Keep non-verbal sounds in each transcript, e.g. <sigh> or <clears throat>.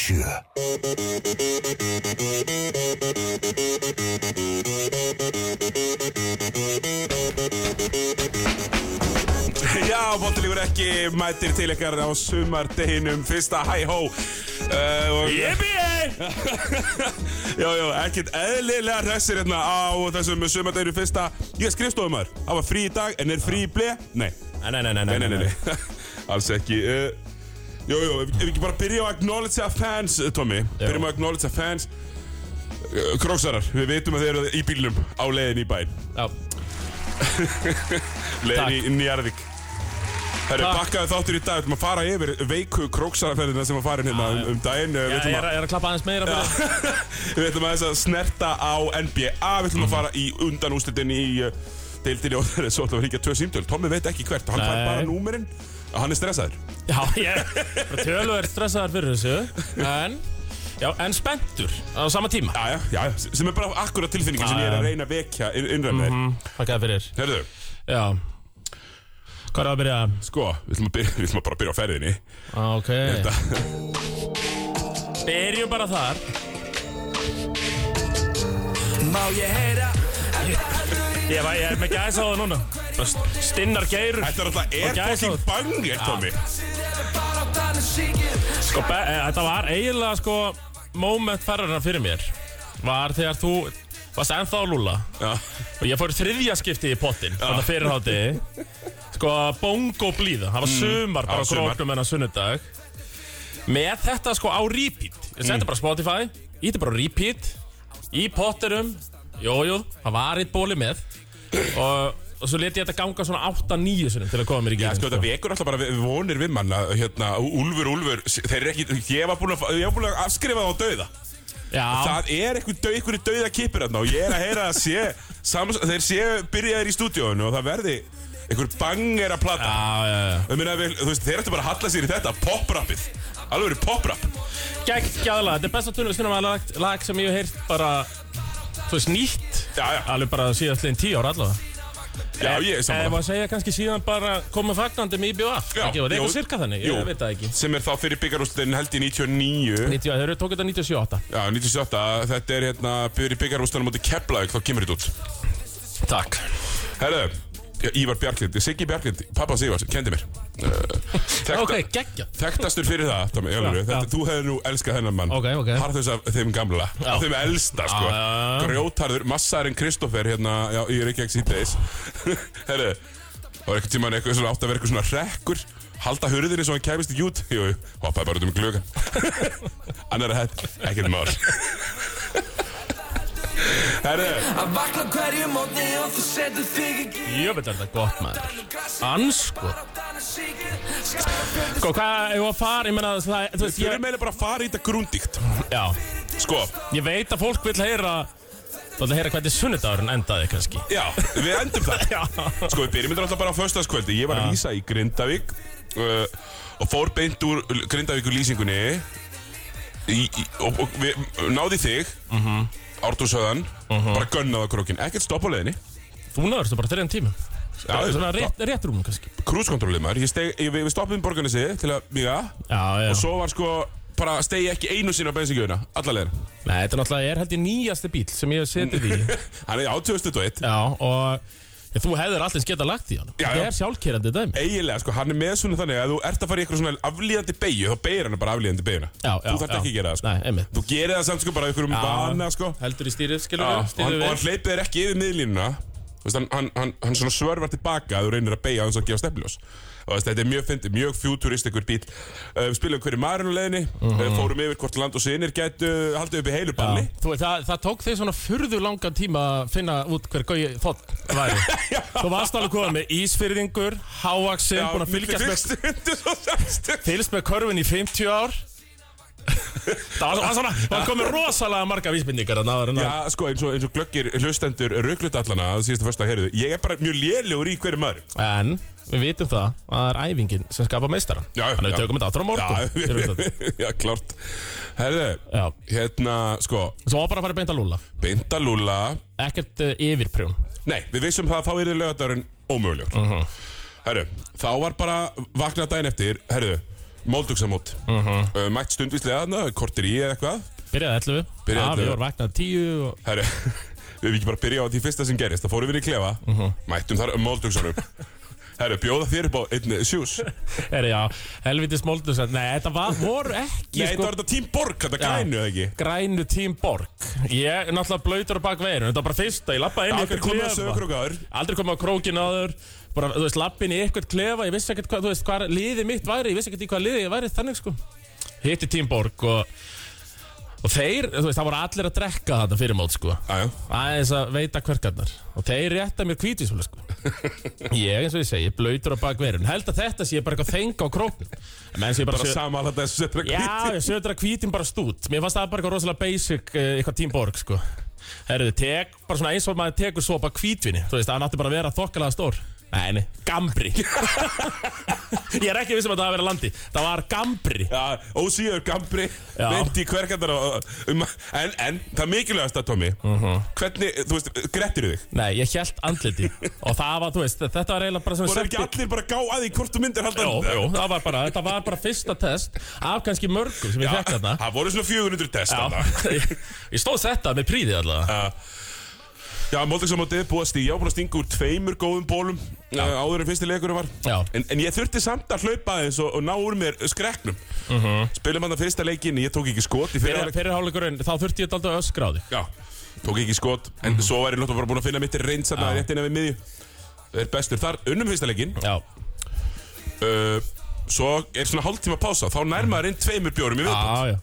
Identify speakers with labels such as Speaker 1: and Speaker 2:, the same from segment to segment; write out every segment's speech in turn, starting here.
Speaker 1: sjö.
Speaker 2: Já, Bóttilífur ekki mætir til ykkar á sumardeginum Fyrsta hæ-hó uh, og- <laughs>
Speaker 3: Yippee!
Speaker 2: Jó, jó, ekkert eðlilega hressir hérna á þessum sumardeginu fyrsta Ég er skrifstofumar, það var frí í dag en er frí í ble? Nei,
Speaker 3: Nei, nei, nei, nei,
Speaker 2: nei, nei, nei, nei. <laughs> alls ekki uh, Jó, jó, ef, ef við ekki bara byrja á að acknowledge að fans, eh, Tommy Byrjum á að acknowledge að fans Eh, Króksarar, við veitum að þeir eru í bílnum á leiðin í bæn
Speaker 3: Já,
Speaker 2: Leiðin í Njarðvík Herru,
Speaker 3: Takk.
Speaker 2: bakkaðu þáttur í dag, við ætlum að fara yfir veiku króksaraferðina sem var farin hérna um, um daginn Eh,
Speaker 3: Já,
Speaker 2: Við
Speaker 3: ég
Speaker 2: ætlum
Speaker 3: er,
Speaker 2: að <laughs>
Speaker 3: ég er að klappa aðeins meira fyrir
Speaker 2: Við ætlum aðeins að snerta á NBA Við ætlum að
Speaker 3: Mhm.
Speaker 2: fara í undanúslitin í uh, deildinni og <laughs> það er svo ætlum við að ríkja tvö símtöl Tommi veit ekki hvert, hann fær
Speaker 3: Nei.
Speaker 2: bara númerinn og hann er stressaður
Speaker 3: Já, ég er tölver stressaðar fyrir þessu En, já, en spenntur á sama tíma
Speaker 2: Jæja, jæja, sem er bara akkurat tilfinningin sem ég er að reyna að vekja inn- innra með þér
Speaker 3: Takk að fyrir
Speaker 2: Herðu,
Speaker 3: Já Hvað er að byrja?
Speaker 2: sko, við ætlum, að byrja, <laughs> við ætlum að bara byrja á ferðinni
Speaker 3: Á, Ok Eh.
Speaker 2: <laughs> Þetta-
Speaker 3: Byrjum bara þar
Speaker 4: Má ég heyra
Speaker 3: Ég, var, ég er með gæs á það núna Bara st- Stinnar geirur
Speaker 2: Þetta er alltaf
Speaker 3: Og
Speaker 2: er
Speaker 3: gæsa-
Speaker 2: fucking banger, Tommi
Speaker 3: sko, be, e, Þetta var eiginlega sko Moment ferðarna fyrir mér Var þegar þú varst ennþá að lúla
Speaker 2: Já,
Speaker 3: Og ég fór í þriðja skipti í pottin Þannig að fyrirhátti Sko bongo blíða Það var sumar bara
Speaker 2: Mm. Já,
Speaker 3: á
Speaker 2: sumar.
Speaker 3: króknum en að sunnudag Með þetta sko á repeat Ég
Speaker 2: Mm.
Speaker 3: sendi bara á Spotify Ítti bara á repeat Í pottinum Jójú, það var eitt bóli með Og, og svo leti ég þetta ganga svona 8-9 sinnum Til að koma mér í
Speaker 2: Já,
Speaker 3: gírin
Speaker 2: sko, þetta vekur alltaf bara við- vonir við mann að, hérna, Úlfur, Úlfur, þeir eru ekki, ég var búin að, ég var búin að afskrifa það á dauða
Speaker 3: Já,
Speaker 2: Það er einhver döð, einhverju döða kipir hérna og ég er að heyra að sé, samans, þeir séu byrjaðir í stúdíóinu og það verði einhver banger að plata.
Speaker 3: já, já, já.
Speaker 2: Ég meina, vel, þú veist, þeir ættu bara að halla sér í þetta, poprappið. Alveg verið poprapp.
Speaker 3: Gæggjæðlega, þetta er besta tónlistin af lag, lag sem ég hef heyrt bara Þú veist, nýtt
Speaker 2: Já, já,
Speaker 3: Alveg bara síðast liðin 10 ára allavega
Speaker 2: já, ég er
Speaker 3: Ef
Speaker 2: saman.
Speaker 3: að segja kannski síðan bara komið fagnandi með IBF
Speaker 2: Já,
Speaker 3: Eh, ekki, var
Speaker 2: jú.
Speaker 3: eitthvað cirka þannig,
Speaker 2: Jú.
Speaker 3: ég veit það ekki
Speaker 2: Sem er þá fyrir byggarústin held í 99,
Speaker 3: 90, þeir eru tók þetta 97
Speaker 2: já, 97, þetta er hérna fyrir byggarústinum átti Keflavík, þá kemur þetta út.
Speaker 3: Takk
Speaker 2: Herðu, Ívar Bjarklind, Siggi Bjarklind, pappa Sigvars, kendi mér. Uh, þekkta-
Speaker 3: Ok, geggja
Speaker 2: Þekktastur fyrir það, Tommy, ég alveg,
Speaker 3: Já,
Speaker 2: þetta,
Speaker 3: já.
Speaker 2: þú hefði nú elskað hennan mann
Speaker 3: Ok, ok.
Speaker 2: Harðus af þeim gamla, af þeim elsta, sko
Speaker 3: Já, já, já.
Speaker 2: Grjótarður, massarinn Kristoffer hérna, já, ég er ekki ekki <laughs> síðdeis Herru, það var eitthvað tímann eitthvað svona átt að vera eitthvað svona rekkur Halda hurðinni svo hann kæmist ekki út Jú, jú, hoppaði bara út um glögan <laughs> Annar að hætt, ekkert mál Herru,
Speaker 4: Að vakna hverju mótni og þú setur þig ekki
Speaker 3: Ég veit þetta gott maður Ansko
Speaker 4: Sko
Speaker 3: Sko, hvað, ef að fara, ég meina það, þú veist,
Speaker 2: við
Speaker 3: ég
Speaker 2: erum eiginlega bara að fara í þetta grundíkt
Speaker 3: Já,
Speaker 2: Sko,
Speaker 3: ég veit að fólk vil heyra Þú vil heyra hvernig sunnudagurinn endaði kannski
Speaker 2: já, við endum það
Speaker 3: Já
Speaker 2: Sko við byrjum þetta alltaf bara á föstaskvöldi Ég var að lýsa í Grindavík uh, Og fór beint úr Grindavík úr lýsingunni í, í, Og, og við, náði þig mm
Speaker 3: Mhm.
Speaker 2: -hmm. Ártúrshöðan Bara gönnaði á krókin, ekkert stopp á leiðinni
Speaker 3: Þú náðurstu bara þriðan tíma
Speaker 2: Já,
Speaker 3: Svona
Speaker 2: já.
Speaker 3: rétt, rétt rúm kannski
Speaker 2: Krúskontrólið maður, ég steg, ég, við stoppum borgarnesi Til að miga
Speaker 3: Já, já
Speaker 2: Og svo var sko, bara stegi ekki einu sinni á bensinkjöfuna Alla leiðina
Speaker 3: Nei, þetta er náttúrulega, ég er held ég nýjasti bíl sem ég hef setið
Speaker 2: <laughs>
Speaker 3: í
Speaker 2: Hann er á 2001
Speaker 3: Já, og ég, þú hefðir allins getað lagt í hann
Speaker 2: Já, já.
Speaker 3: Þetta er sjálfkerandi dæmi
Speaker 2: Eiginlega sko, hann er með svona þannig að þú ert að fara í eitthvað svona aflíðandi beigju Þá beigir hann bara aflíðandi beiguna
Speaker 3: Já, já,
Speaker 2: Þú þarft
Speaker 3: já.
Speaker 2: ekki að gera það sko
Speaker 3: Nei, einmitt.
Speaker 2: Þú gerir það samt sko bara ykkur um vana sko
Speaker 3: Heldur í stýrið, skilur
Speaker 2: Já, og
Speaker 3: við,
Speaker 2: hann,
Speaker 3: stýrið
Speaker 2: og hann
Speaker 3: við
Speaker 2: hleypið þér ekki yfir miðlínuna Þú veist, hann, hann, hann, hann svona svörvar tilbaka að þú reynir að beigja hans að gefa stefnljós og veist, þetta er mjög fyndið, mjög futurist ykkur bíl uh, við spilum hverju maðurinn á leiðinni uh, fórum yfir hvort land og sinir gætu haldið upp í heilu
Speaker 3: Já,
Speaker 2: balli
Speaker 3: Þú veit, það, það tók þig svona furðu langan tíma að finna út hver gauði þótt væri Þú varst alveg komið með Ísfyrðingur, Háaxin, búin að fylgjast með,
Speaker 2: <laughs> með
Speaker 3: fylgst með körfin í 50
Speaker 2: <laughs>
Speaker 3: ár Það var, var svona, það komið rosalega marga vísbendingar að náður en að
Speaker 2: Já, sko, eins og, eins og glöggir hlustendur rauklutallana að síðasta fyrsta heyrðu ég er bara mjög lélugur í hverju maður
Speaker 3: En við vitum það að það er æfingin sem skapa meistaran
Speaker 2: Já, já, já.
Speaker 3: Þannig við tökum þetta aftur
Speaker 2: Já,
Speaker 3: á morgun Ég veit það.
Speaker 2: <laughs> já, klart Herðu,
Speaker 3: Já.
Speaker 2: hérna, sko
Speaker 3: Svo var bara að fara beint að lúla
Speaker 2: Bindalúla
Speaker 3: Ekkert uh, yfirprjón
Speaker 2: Nei, við vissum það að þá yrði
Speaker 3: Mhm.
Speaker 2: lögadagurinn ómögulegur. Herru, þá var bara vaknað daginn eftir, herru, Móldugsamót uh
Speaker 3: Mhm.
Speaker 2: -huh. Mætt stundvíslega þarna, kortir í eða eitthvað
Speaker 3: Byrjaði 11
Speaker 2: Byrjaði
Speaker 3: Afi
Speaker 2: 11.
Speaker 3: var vaknað 10 og...
Speaker 2: Herru, <laughs> við hefum ekki bara byrjað á því fyrsta sem gerist Það fórum við í klefa,
Speaker 3: Mhm.
Speaker 2: mættum þar
Speaker 3: <laughs>
Speaker 2: móldugsanum Herru, bjóða þér upp á einn sjús
Speaker 3: Er, já, helviti smóldur Nei, þetta var, voru ekki
Speaker 2: Nei,
Speaker 3: sko,
Speaker 2: þetta var þetta tím borg, þetta grænu eða ekki
Speaker 3: Grænu tím Borg Ég er náttúrulega blöytur á bak veginu Þetta var bara fyrsta, ég lappaði inn í
Speaker 2: Aldrei
Speaker 3: einhvern
Speaker 2: komið að
Speaker 3: klefa.
Speaker 2: sögurkrókaður
Speaker 3: Aldrei komið á krókin áður Bara, þú veist, lappin í eitthvað klefa Ég vissi ekkert hvað, þú veist, hvað liðið mitt væri Ég vissi ekkert í hvað liðið ég væri þannig, sko Hitti Tímborg og Og þeir, þú veist, það voru allir að drekka þetta fyrir mót, sko
Speaker 2: Æjá,
Speaker 3: Aðeins að veita hverkarnar Og þeir rétta mér kvítisvölu, sko
Speaker 2: <laughs>
Speaker 3: Ég, eins og ég segi, blöytur á bak verun Held að þetta sé bara eitthvað þenga á króknum Menn sé bara,
Speaker 2: bara
Speaker 3: bara
Speaker 2: sama alltaf þessu setra
Speaker 3: Já,
Speaker 2: kvíti
Speaker 3: ég sötur að hvítin bara stút Mér fannst það bara eitthvað rosalega basic eh, Eitthvað Team Borg, sko Herðu, tek, bara svona eins og maður tekur sopa hvítvinni Þú veist, hann átti bara að vera þokkalega stór Nei, nei,
Speaker 2: <laughs>
Speaker 3: gambri Ég er ekki vissum að það hafi verið að landi Það var gambri
Speaker 2: Já, ósýður gambri,
Speaker 3: Já.
Speaker 2: myndi í hverkandar um, en, en það mikilvægast að Tommy
Speaker 3: Mhm.
Speaker 2: Hvernig, þú veist, grettir þig?
Speaker 3: Nei, ég held andliti Og það var, þú veist, þetta var eiginlega bara sem
Speaker 2: Voru ekki allir bara að gá að því hvort þú myndir halda
Speaker 3: Jó, jó, það var bara, þetta var bara fyrsta test Af kannski mörgum sem ég fekk þarna
Speaker 2: Það voru svona 400 test þarna.
Speaker 3: Já, ég, ég stóð þetta með príði allavega
Speaker 2: Já, Móldagsamótið er búið að stíja og búin að stinga úr tveimur góðum bólum uh, áður en fyrsti leikurinn var
Speaker 3: Já.
Speaker 2: en, en ég þurfti samt að hlaupa aðeins og, og ná úr mér skreknum uh
Speaker 3: Mhm.
Speaker 2: Spilum hann að fyrsta leikin, ég tók ekki skot í fyrra
Speaker 3: Fyrir,
Speaker 2: leik
Speaker 3: fyrir hálfleikurinn, þá þurfti ég þetta öskra á þig
Speaker 2: Já, tók ekki skot En
Speaker 3: Mhm.
Speaker 2: svo var ég náttúrulega bara búin að finna mitt reyns að það rétt inn að við miðju Er bestur þar, unnum fyrsta leikin
Speaker 3: Já,
Speaker 2: uh, Svo er svona hálftíma pása Þá nærmaður inn tveimur bjórum í viðbútt
Speaker 3: já, já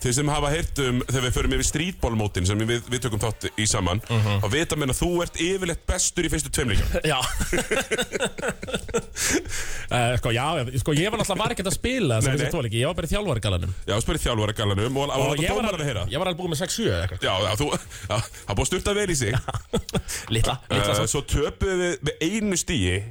Speaker 2: Þeir sem hafa heyrt um þegar við förum yfir strítbólmótin sem við, við tökum þátt í saman uh
Speaker 3: Mhm.
Speaker 2: -huh. að vita menn að þú ert yfirleitt bestur í fyrstu tveimleikjum
Speaker 3: <laughs> Já uh, Sko, já, já, sko, ég var náttúrulega var ekkert að spila
Speaker 2: Nei,
Speaker 3: sem þessi
Speaker 2: nei.
Speaker 3: tvo leiki, ég var bara í þjálfargalanum
Speaker 2: Já, spyrir þjálfara galanum og hann átta
Speaker 3: ég var,
Speaker 2: dómaran að heyra
Speaker 3: ég var alveg búinn með 6-7
Speaker 2: <laughs>
Speaker 3: eða eitthvað
Speaker 2: Já, já, þú, já, það búið að sturta vel í
Speaker 3: <laughs>
Speaker 2: sig
Speaker 3: Lilla, lilla
Speaker 2: uh,
Speaker 3: uh,
Speaker 2: Svo töpuðu við með einu stíi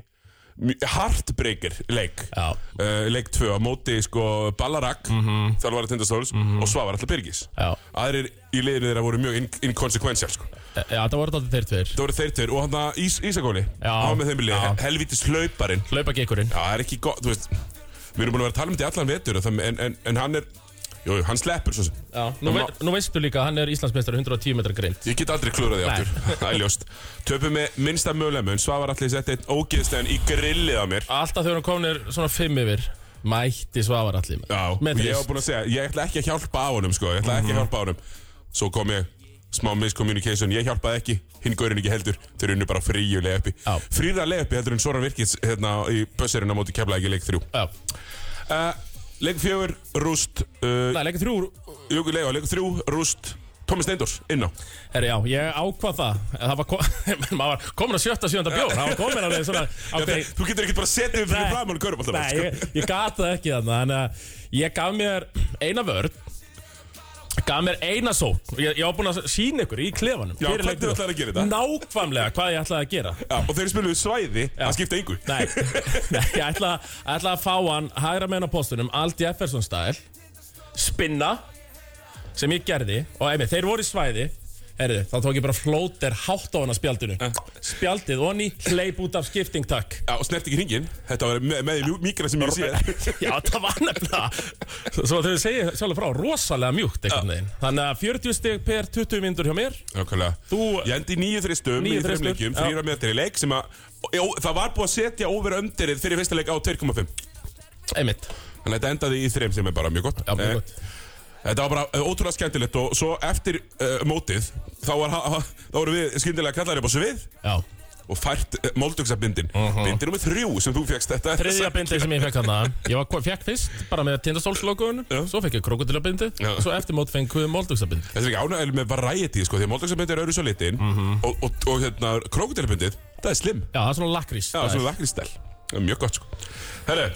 Speaker 2: Heartbreaker leik
Speaker 3: Já.
Speaker 2: uh, Leik 2 á móti sko Ballarak mm -hmm. Þjálfara Tindastóls og Svavar Alla Byrgis
Speaker 3: Mhm. Já.
Speaker 2: Aðrir í liðinu þeirra voru mjög in- inkonsekvensjál sko.
Speaker 3: Já, það voru þetta þeir tveir
Speaker 2: Það voru þeir tveir og hann að Ís Ísakóli
Speaker 3: Já.
Speaker 2: Há með þeim í liði,
Speaker 3: Já.
Speaker 2: helvítis hlauparinn
Speaker 3: Hlaupa gekkurinn
Speaker 2: Já, það er ekki gott, þú veist Við erum búin að vera að tala um þetta í allan vetur og það- en, en, en hann er, jú, jú, hann sleppur svo sem
Speaker 3: Já, nú, veit, nú veistu líka að hann er Íslandsmeistar 110 metra grind
Speaker 2: Ég get aldrei klúrað því aftur, það er ljóst Töpum með minnsta mögulegum Svavar allir setti einn ógeðslegan í grillið á mér
Speaker 3: Alltaf þegar hann komnir svona 5 yfir Mætti svavar allir með
Speaker 2: Já, og
Speaker 3: Með
Speaker 2: ég var
Speaker 3: þess
Speaker 2: búinn að segja Ég ætla ekki að hjálpa á honum, sko Ég ætla
Speaker 3: Mhm.
Speaker 2: ekki að hjálpa á honum Svo kom ég, smá miscommunication Ég hjálpaði ekki, hinn gaurinn ekki heldur Þeir unnu bara fríu leiðuppi
Speaker 3: Já.
Speaker 2: Fríra leiðuppi heldur en Sora Virkis hérna í bösserina móti kefla ekki leik þrjú
Speaker 3: Já,
Speaker 2: uh, Leik fjögur, rúst uh,
Speaker 3: það er leikur þrjú úr-
Speaker 2: Jú, leik, leik þrjú, rúst Tómi Steindors, inn á
Speaker 3: Herri, já, ég ákvað það Það var, kom, <laughs> maður var komin að sjötta, sjönda bjór Það var komin alveg svona
Speaker 2: <laughs>
Speaker 3: ákveðin-
Speaker 2: Þú getur ekki bara setið fyrir
Speaker 3: Nei.
Speaker 2: framann körfum
Speaker 3: Nei, ég, ég gat það ekki þannig Þannig að ég gaf mér eina vörð Gaf mér eina sók Ég, ég var búinn að sína ykkur í klefanum
Speaker 2: Já,
Speaker 3: fyrir
Speaker 2: hvernig
Speaker 3: leiknum.
Speaker 2: ætlarðu að gera þetta?
Speaker 3: Nákvæmlega hvað ég ætlaði að gera
Speaker 2: Já, og þeir spiluðu svæði, það skipta engu
Speaker 3: Nei, <laughs> nei ég ætlaði ætla að fá hann Hægra meina postunum, allt Jefferson stæl Spinna Sem ég gerði Og einmitt, þeir voru í svæði Herðu, þá tók ég bara flóter hátt á hana spjaldinu Spjaldið onni, hleyp út af skipting, takk
Speaker 2: Já, og snert ekki hringin Þetta var með, með því mýkra sem ég sé
Speaker 3: Já, það var nefnilega Svo þau segja sjálf frá, rosalega mjúkt einhvern veginn Þannig að 40 stig per 20 myndur hjá mér
Speaker 2: Nákvæmlega
Speaker 3: Þú-
Speaker 2: Ég endi í nýju þristum í
Speaker 3: Níu
Speaker 2: þreim
Speaker 3: þristum,
Speaker 2: leikjum
Speaker 3: já.
Speaker 2: Þrýra metri í leik sem að Jó, það var búið að setja over underið fyrir fyrsta leik á 2,5 Þannig
Speaker 3: Einmitt,
Speaker 2: að þetta endaði í þreim sem er bara mjög gott
Speaker 3: já, mjög
Speaker 2: Eh,
Speaker 3: gott
Speaker 2: Þetta var bara eh, ótrúlega skemmtilegt og svo eftir uh, mótið þá, var, ha- ha- þá voru við skyndilega kallar upp á svið
Speaker 3: Já,
Speaker 2: og fært uh, moldugsabindin uh -huh. Bindin nummer þrjú sem þú fegst þetta er
Speaker 3: þriðja bindið sem ég fekk hann Ég var, fekk fyrst bara með tindastólslókunum
Speaker 2: Já.
Speaker 3: Svo fekk ég krokodilabindið
Speaker 2: Já.
Speaker 3: Svo eftir mót fengið við moldugsabindið
Speaker 2: Þetta er ekki ánægileg með variety sko því að moldugsabindin er öðru svo litin
Speaker 3: Mhm.
Speaker 2: og, og, og hérna krokodilabindið, það er slim
Speaker 3: Já, það er svona lakrís
Speaker 2: Já, svona lakristæl Það er Mjög gott sko Herru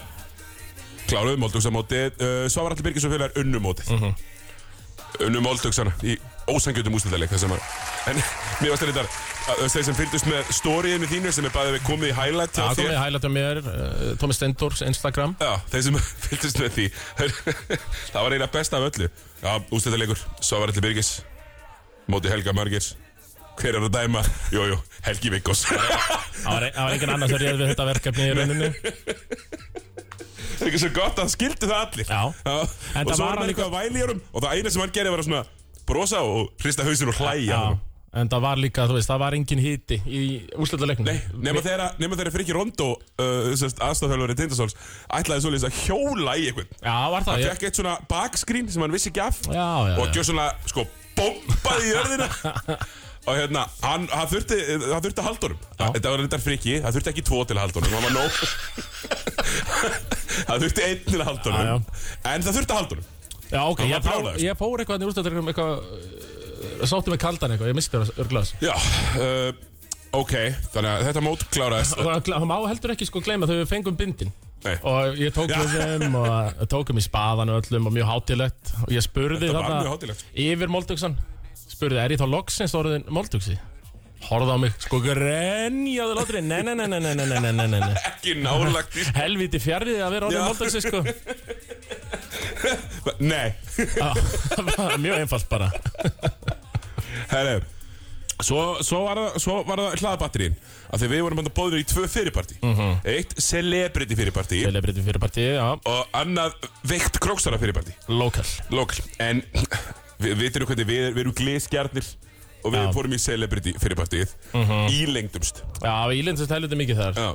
Speaker 2: Kláruðu Moldugsamótið uh, Svavar Allir Birgis og félagar unnu mótið uh -huh. Unnu Moldugsana Í ósangjöndum úsliðarleik Það sem var En <laughs> mér varst þetta að Þeir sem fylgdust með stóriðinu þínu Sem er bæðið við komið í highlight hjá
Speaker 3: Það
Speaker 2: þér
Speaker 3: komið að hælæta mér, uh, Tómi Steindors, Instagram
Speaker 2: Já, þeir sem <laughs> fylgdust með því Það var eiginlega besta af öllu Já, úsliðarleikur Svavar Allir Birgis Móti Helga Margers Hver er að dæma? Jú, jú, Helgi <laughs> Vikkos
Speaker 3: e- Það var, það var engin annars að réð við þetta verkefni í rauninni
Speaker 2: Það er ekki svo gott að hann skildi það allir
Speaker 3: Já. En
Speaker 2: Og svo
Speaker 3: það var
Speaker 2: var
Speaker 3: hann
Speaker 2: hann eitthvað að væli í honum Og það eina sem hann gerði var að svona brosa og hrista hausinn og hlæja
Speaker 3: Já, en það var líka, þú veist, það var engin hiti í úrslutaleiknum
Speaker 2: Nei, nema þeirra, nema þeirra Friki Rondó uh, aðstofhjálfari Tindasóls ætlaði svolítið að hjóla í einhvern
Speaker 3: Já, var það,
Speaker 2: Það
Speaker 3: ég,
Speaker 2: fekk eitt svona bakskrín sem hann vissi ekki af
Speaker 3: Já, já,
Speaker 2: Og
Speaker 3: já.
Speaker 2: gjör svona, sko, bombaði í jörðina Og hérna, hann, hann þurfti, hann þurfti að halda honum Þetta var reyndar friki, það þurfti ekki tvo til að halda honum Það var nóg <laughs> Það þurfti einn til að halda
Speaker 3: Já, já.
Speaker 2: honum En það þurfti að halda honum
Speaker 3: já, ok,
Speaker 2: Hann var
Speaker 3: ég fór,
Speaker 2: brjálaður, sko.
Speaker 3: ég fór eitthvað í úrslutaleiknum, eitthvað, uh, sótti með kaldan eitthvað, ég misti það örglaðs.
Speaker 2: Já, uh, ok, þannig að þetta mót
Speaker 3: <laughs>
Speaker 2: kláraðist
Speaker 3: Og það- það má heldur ekki sko gleyma þegar við fengum bindin.
Speaker 2: Nei,
Speaker 3: Og ég tók
Speaker 2: Já.
Speaker 3: við þeim og tókum í spaðan og öllum og mjög hátilegt. Og ég spurði
Speaker 2: Þetta var
Speaker 3: þarna-
Speaker 2: mjög hátíðlegt.
Speaker 3: yfir Moldugsan spurði, er ég þá loksins orðin Moldugsi? Horða á mig, sko grenjaði látri Nei, nei, nei, nei, nei, nei, nei, nei, nei, nei
Speaker 2: ekki nálagt í
Speaker 3: Helviti fjarrðið að vera orðin
Speaker 2: Já.
Speaker 3: Moldugsi, sko
Speaker 2: Nei,
Speaker 3: Já, <laughs> það var Mjög einfalt bara
Speaker 2: herri Svo, svo var það, svo var það hlaðabatterín Af því við vorum hann að bóðinu í tvö fyrirparti Eitt celebrity fyrirparti
Speaker 3: Telebritum fyrir partí, já,
Speaker 2: og annað veikt krókstara fyrirparti
Speaker 3: lokal
Speaker 2: Lokal En við veitum hvernig við, við erum glískjarnir Og við
Speaker 3: Já.
Speaker 2: fórum í celebrity fyrirpartið Ílengdumst
Speaker 3: Já, við ílendist helviti mikið þar
Speaker 2: Já.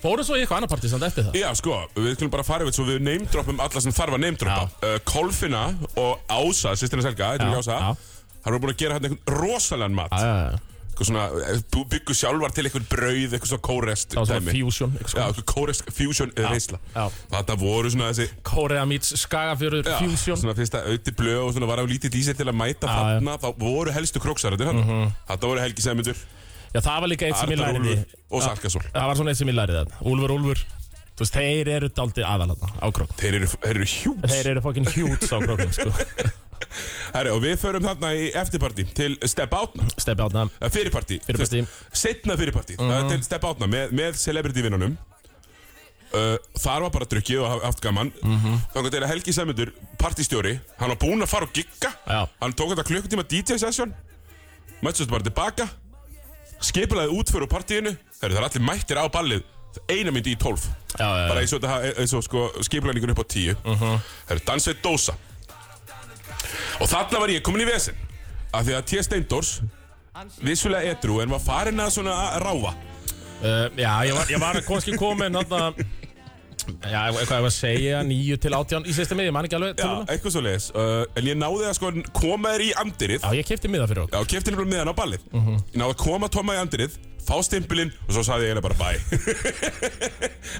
Speaker 3: Fórum svo í eitthvað annar partí samt eftir það
Speaker 2: Já sko, við skulum bara fara yfir Svo við neymdroppum alla sem þarf að neymdroppa uh, Kolfina og Ása, sýstina Selga Þetta er
Speaker 3: Já,
Speaker 2: Ása
Speaker 3: já.
Speaker 2: Það voru búin að gera hérna einhvern rosalega mat
Speaker 3: Já, já, já.
Speaker 2: Eitthvað svona, eh, bú- byggu sjálfar til einhvern brauð Eitthvað svona kórest
Speaker 3: Það var svona
Speaker 2: dæmi.
Speaker 3: fusion, eitthvað
Speaker 2: Já,
Speaker 3: svona.
Speaker 2: eitthvað kórest fusion eða reisla
Speaker 3: já.
Speaker 2: Þetta voru svona þessi
Speaker 3: Korea meets Skagafjörður
Speaker 2: Já,
Speaker 3: fusion
Speaker 2: Svona fyrst að auði blöð og svona var á lítið dísir til að mæta
Speaker 3: Já,
Speaker 2: þarna Þá voru helstu króksaröndir hann Þetta voru Helgi Sæmundur,
Speaker 3: Já, það var líka eitt sem ég
Speaker 2: Arnar
Speaker 3: læriði
Speaker 2: Úlfur og Sarkasól
Speaker 3: Það var svona eitt sem ég læriði þetta Úlfur, Úlfur Þú veist, þeir eru daldið aðalanna á krók
Speaker 2: Þeir eru, þeir eru hjús
Speaker 3: Þeir eru fokkin hjút á króknum, sko <laughs>
Speaker 2: Herri, og við förum þarna í eftirparti til Step Outna
Speaker 3: Steppi átna
Speaker 2: Eh, Fyrirparti
Speaker 3: Fyrirpartí. Mhm.
Speaker 2: Setna fyrirparti mm -hmm. Til Step Outna með, með celebrity vinnunum uh, Þar var bara drukkið og haf- haft gaman mm -hmm.
Speaker 3: Mhm.
Speaker 2: Þannig til að Helgi Sæmundur, partistjóri Hann var búinn að fara og gigga
Speaker 3: Já.
Speaker 2: Hann tók þetta klukkutíma DJ-sessjón Mættist bara tilbaka Skipulaði útför úr partíinu Herri, það er allir mættir á ballið Eina myndi í tólf
Speaker 3: Já, já, já.
Speaker 2: Bara eins og, þetta ha- eins og sko, skipulagningun upp á tíu uh -huh.
Speaker 3: Mhm.
Speaker 2: Herri, dansveit dósa Og þarna var ég komin í vesen Af því að T. Steindors vissulega edru en var farinn að svona að ráfa
Speaker 3: Uh, já, ég var, ég var kannski komin þarna Já, eitthvað ég var að segja Nýju til átján í sérstu miði, mann ekki alveg
Speaker 2: Já,
Speaker 3: töluna
Speaker 2: eitthvað svo leiðis uh, En ég náði að sko koma þér í andirið
Speaker 3: Já, ég kefti miða fyrir okkur
Speaker 2: Já, kefti nefnilega meðan á ballið
Speaker 3: Mhm.
Speaker 2: Ég náði að koma Toma í andirið Fá stimpilinn og svo sagði ég eiginlega bara bæ <laughs>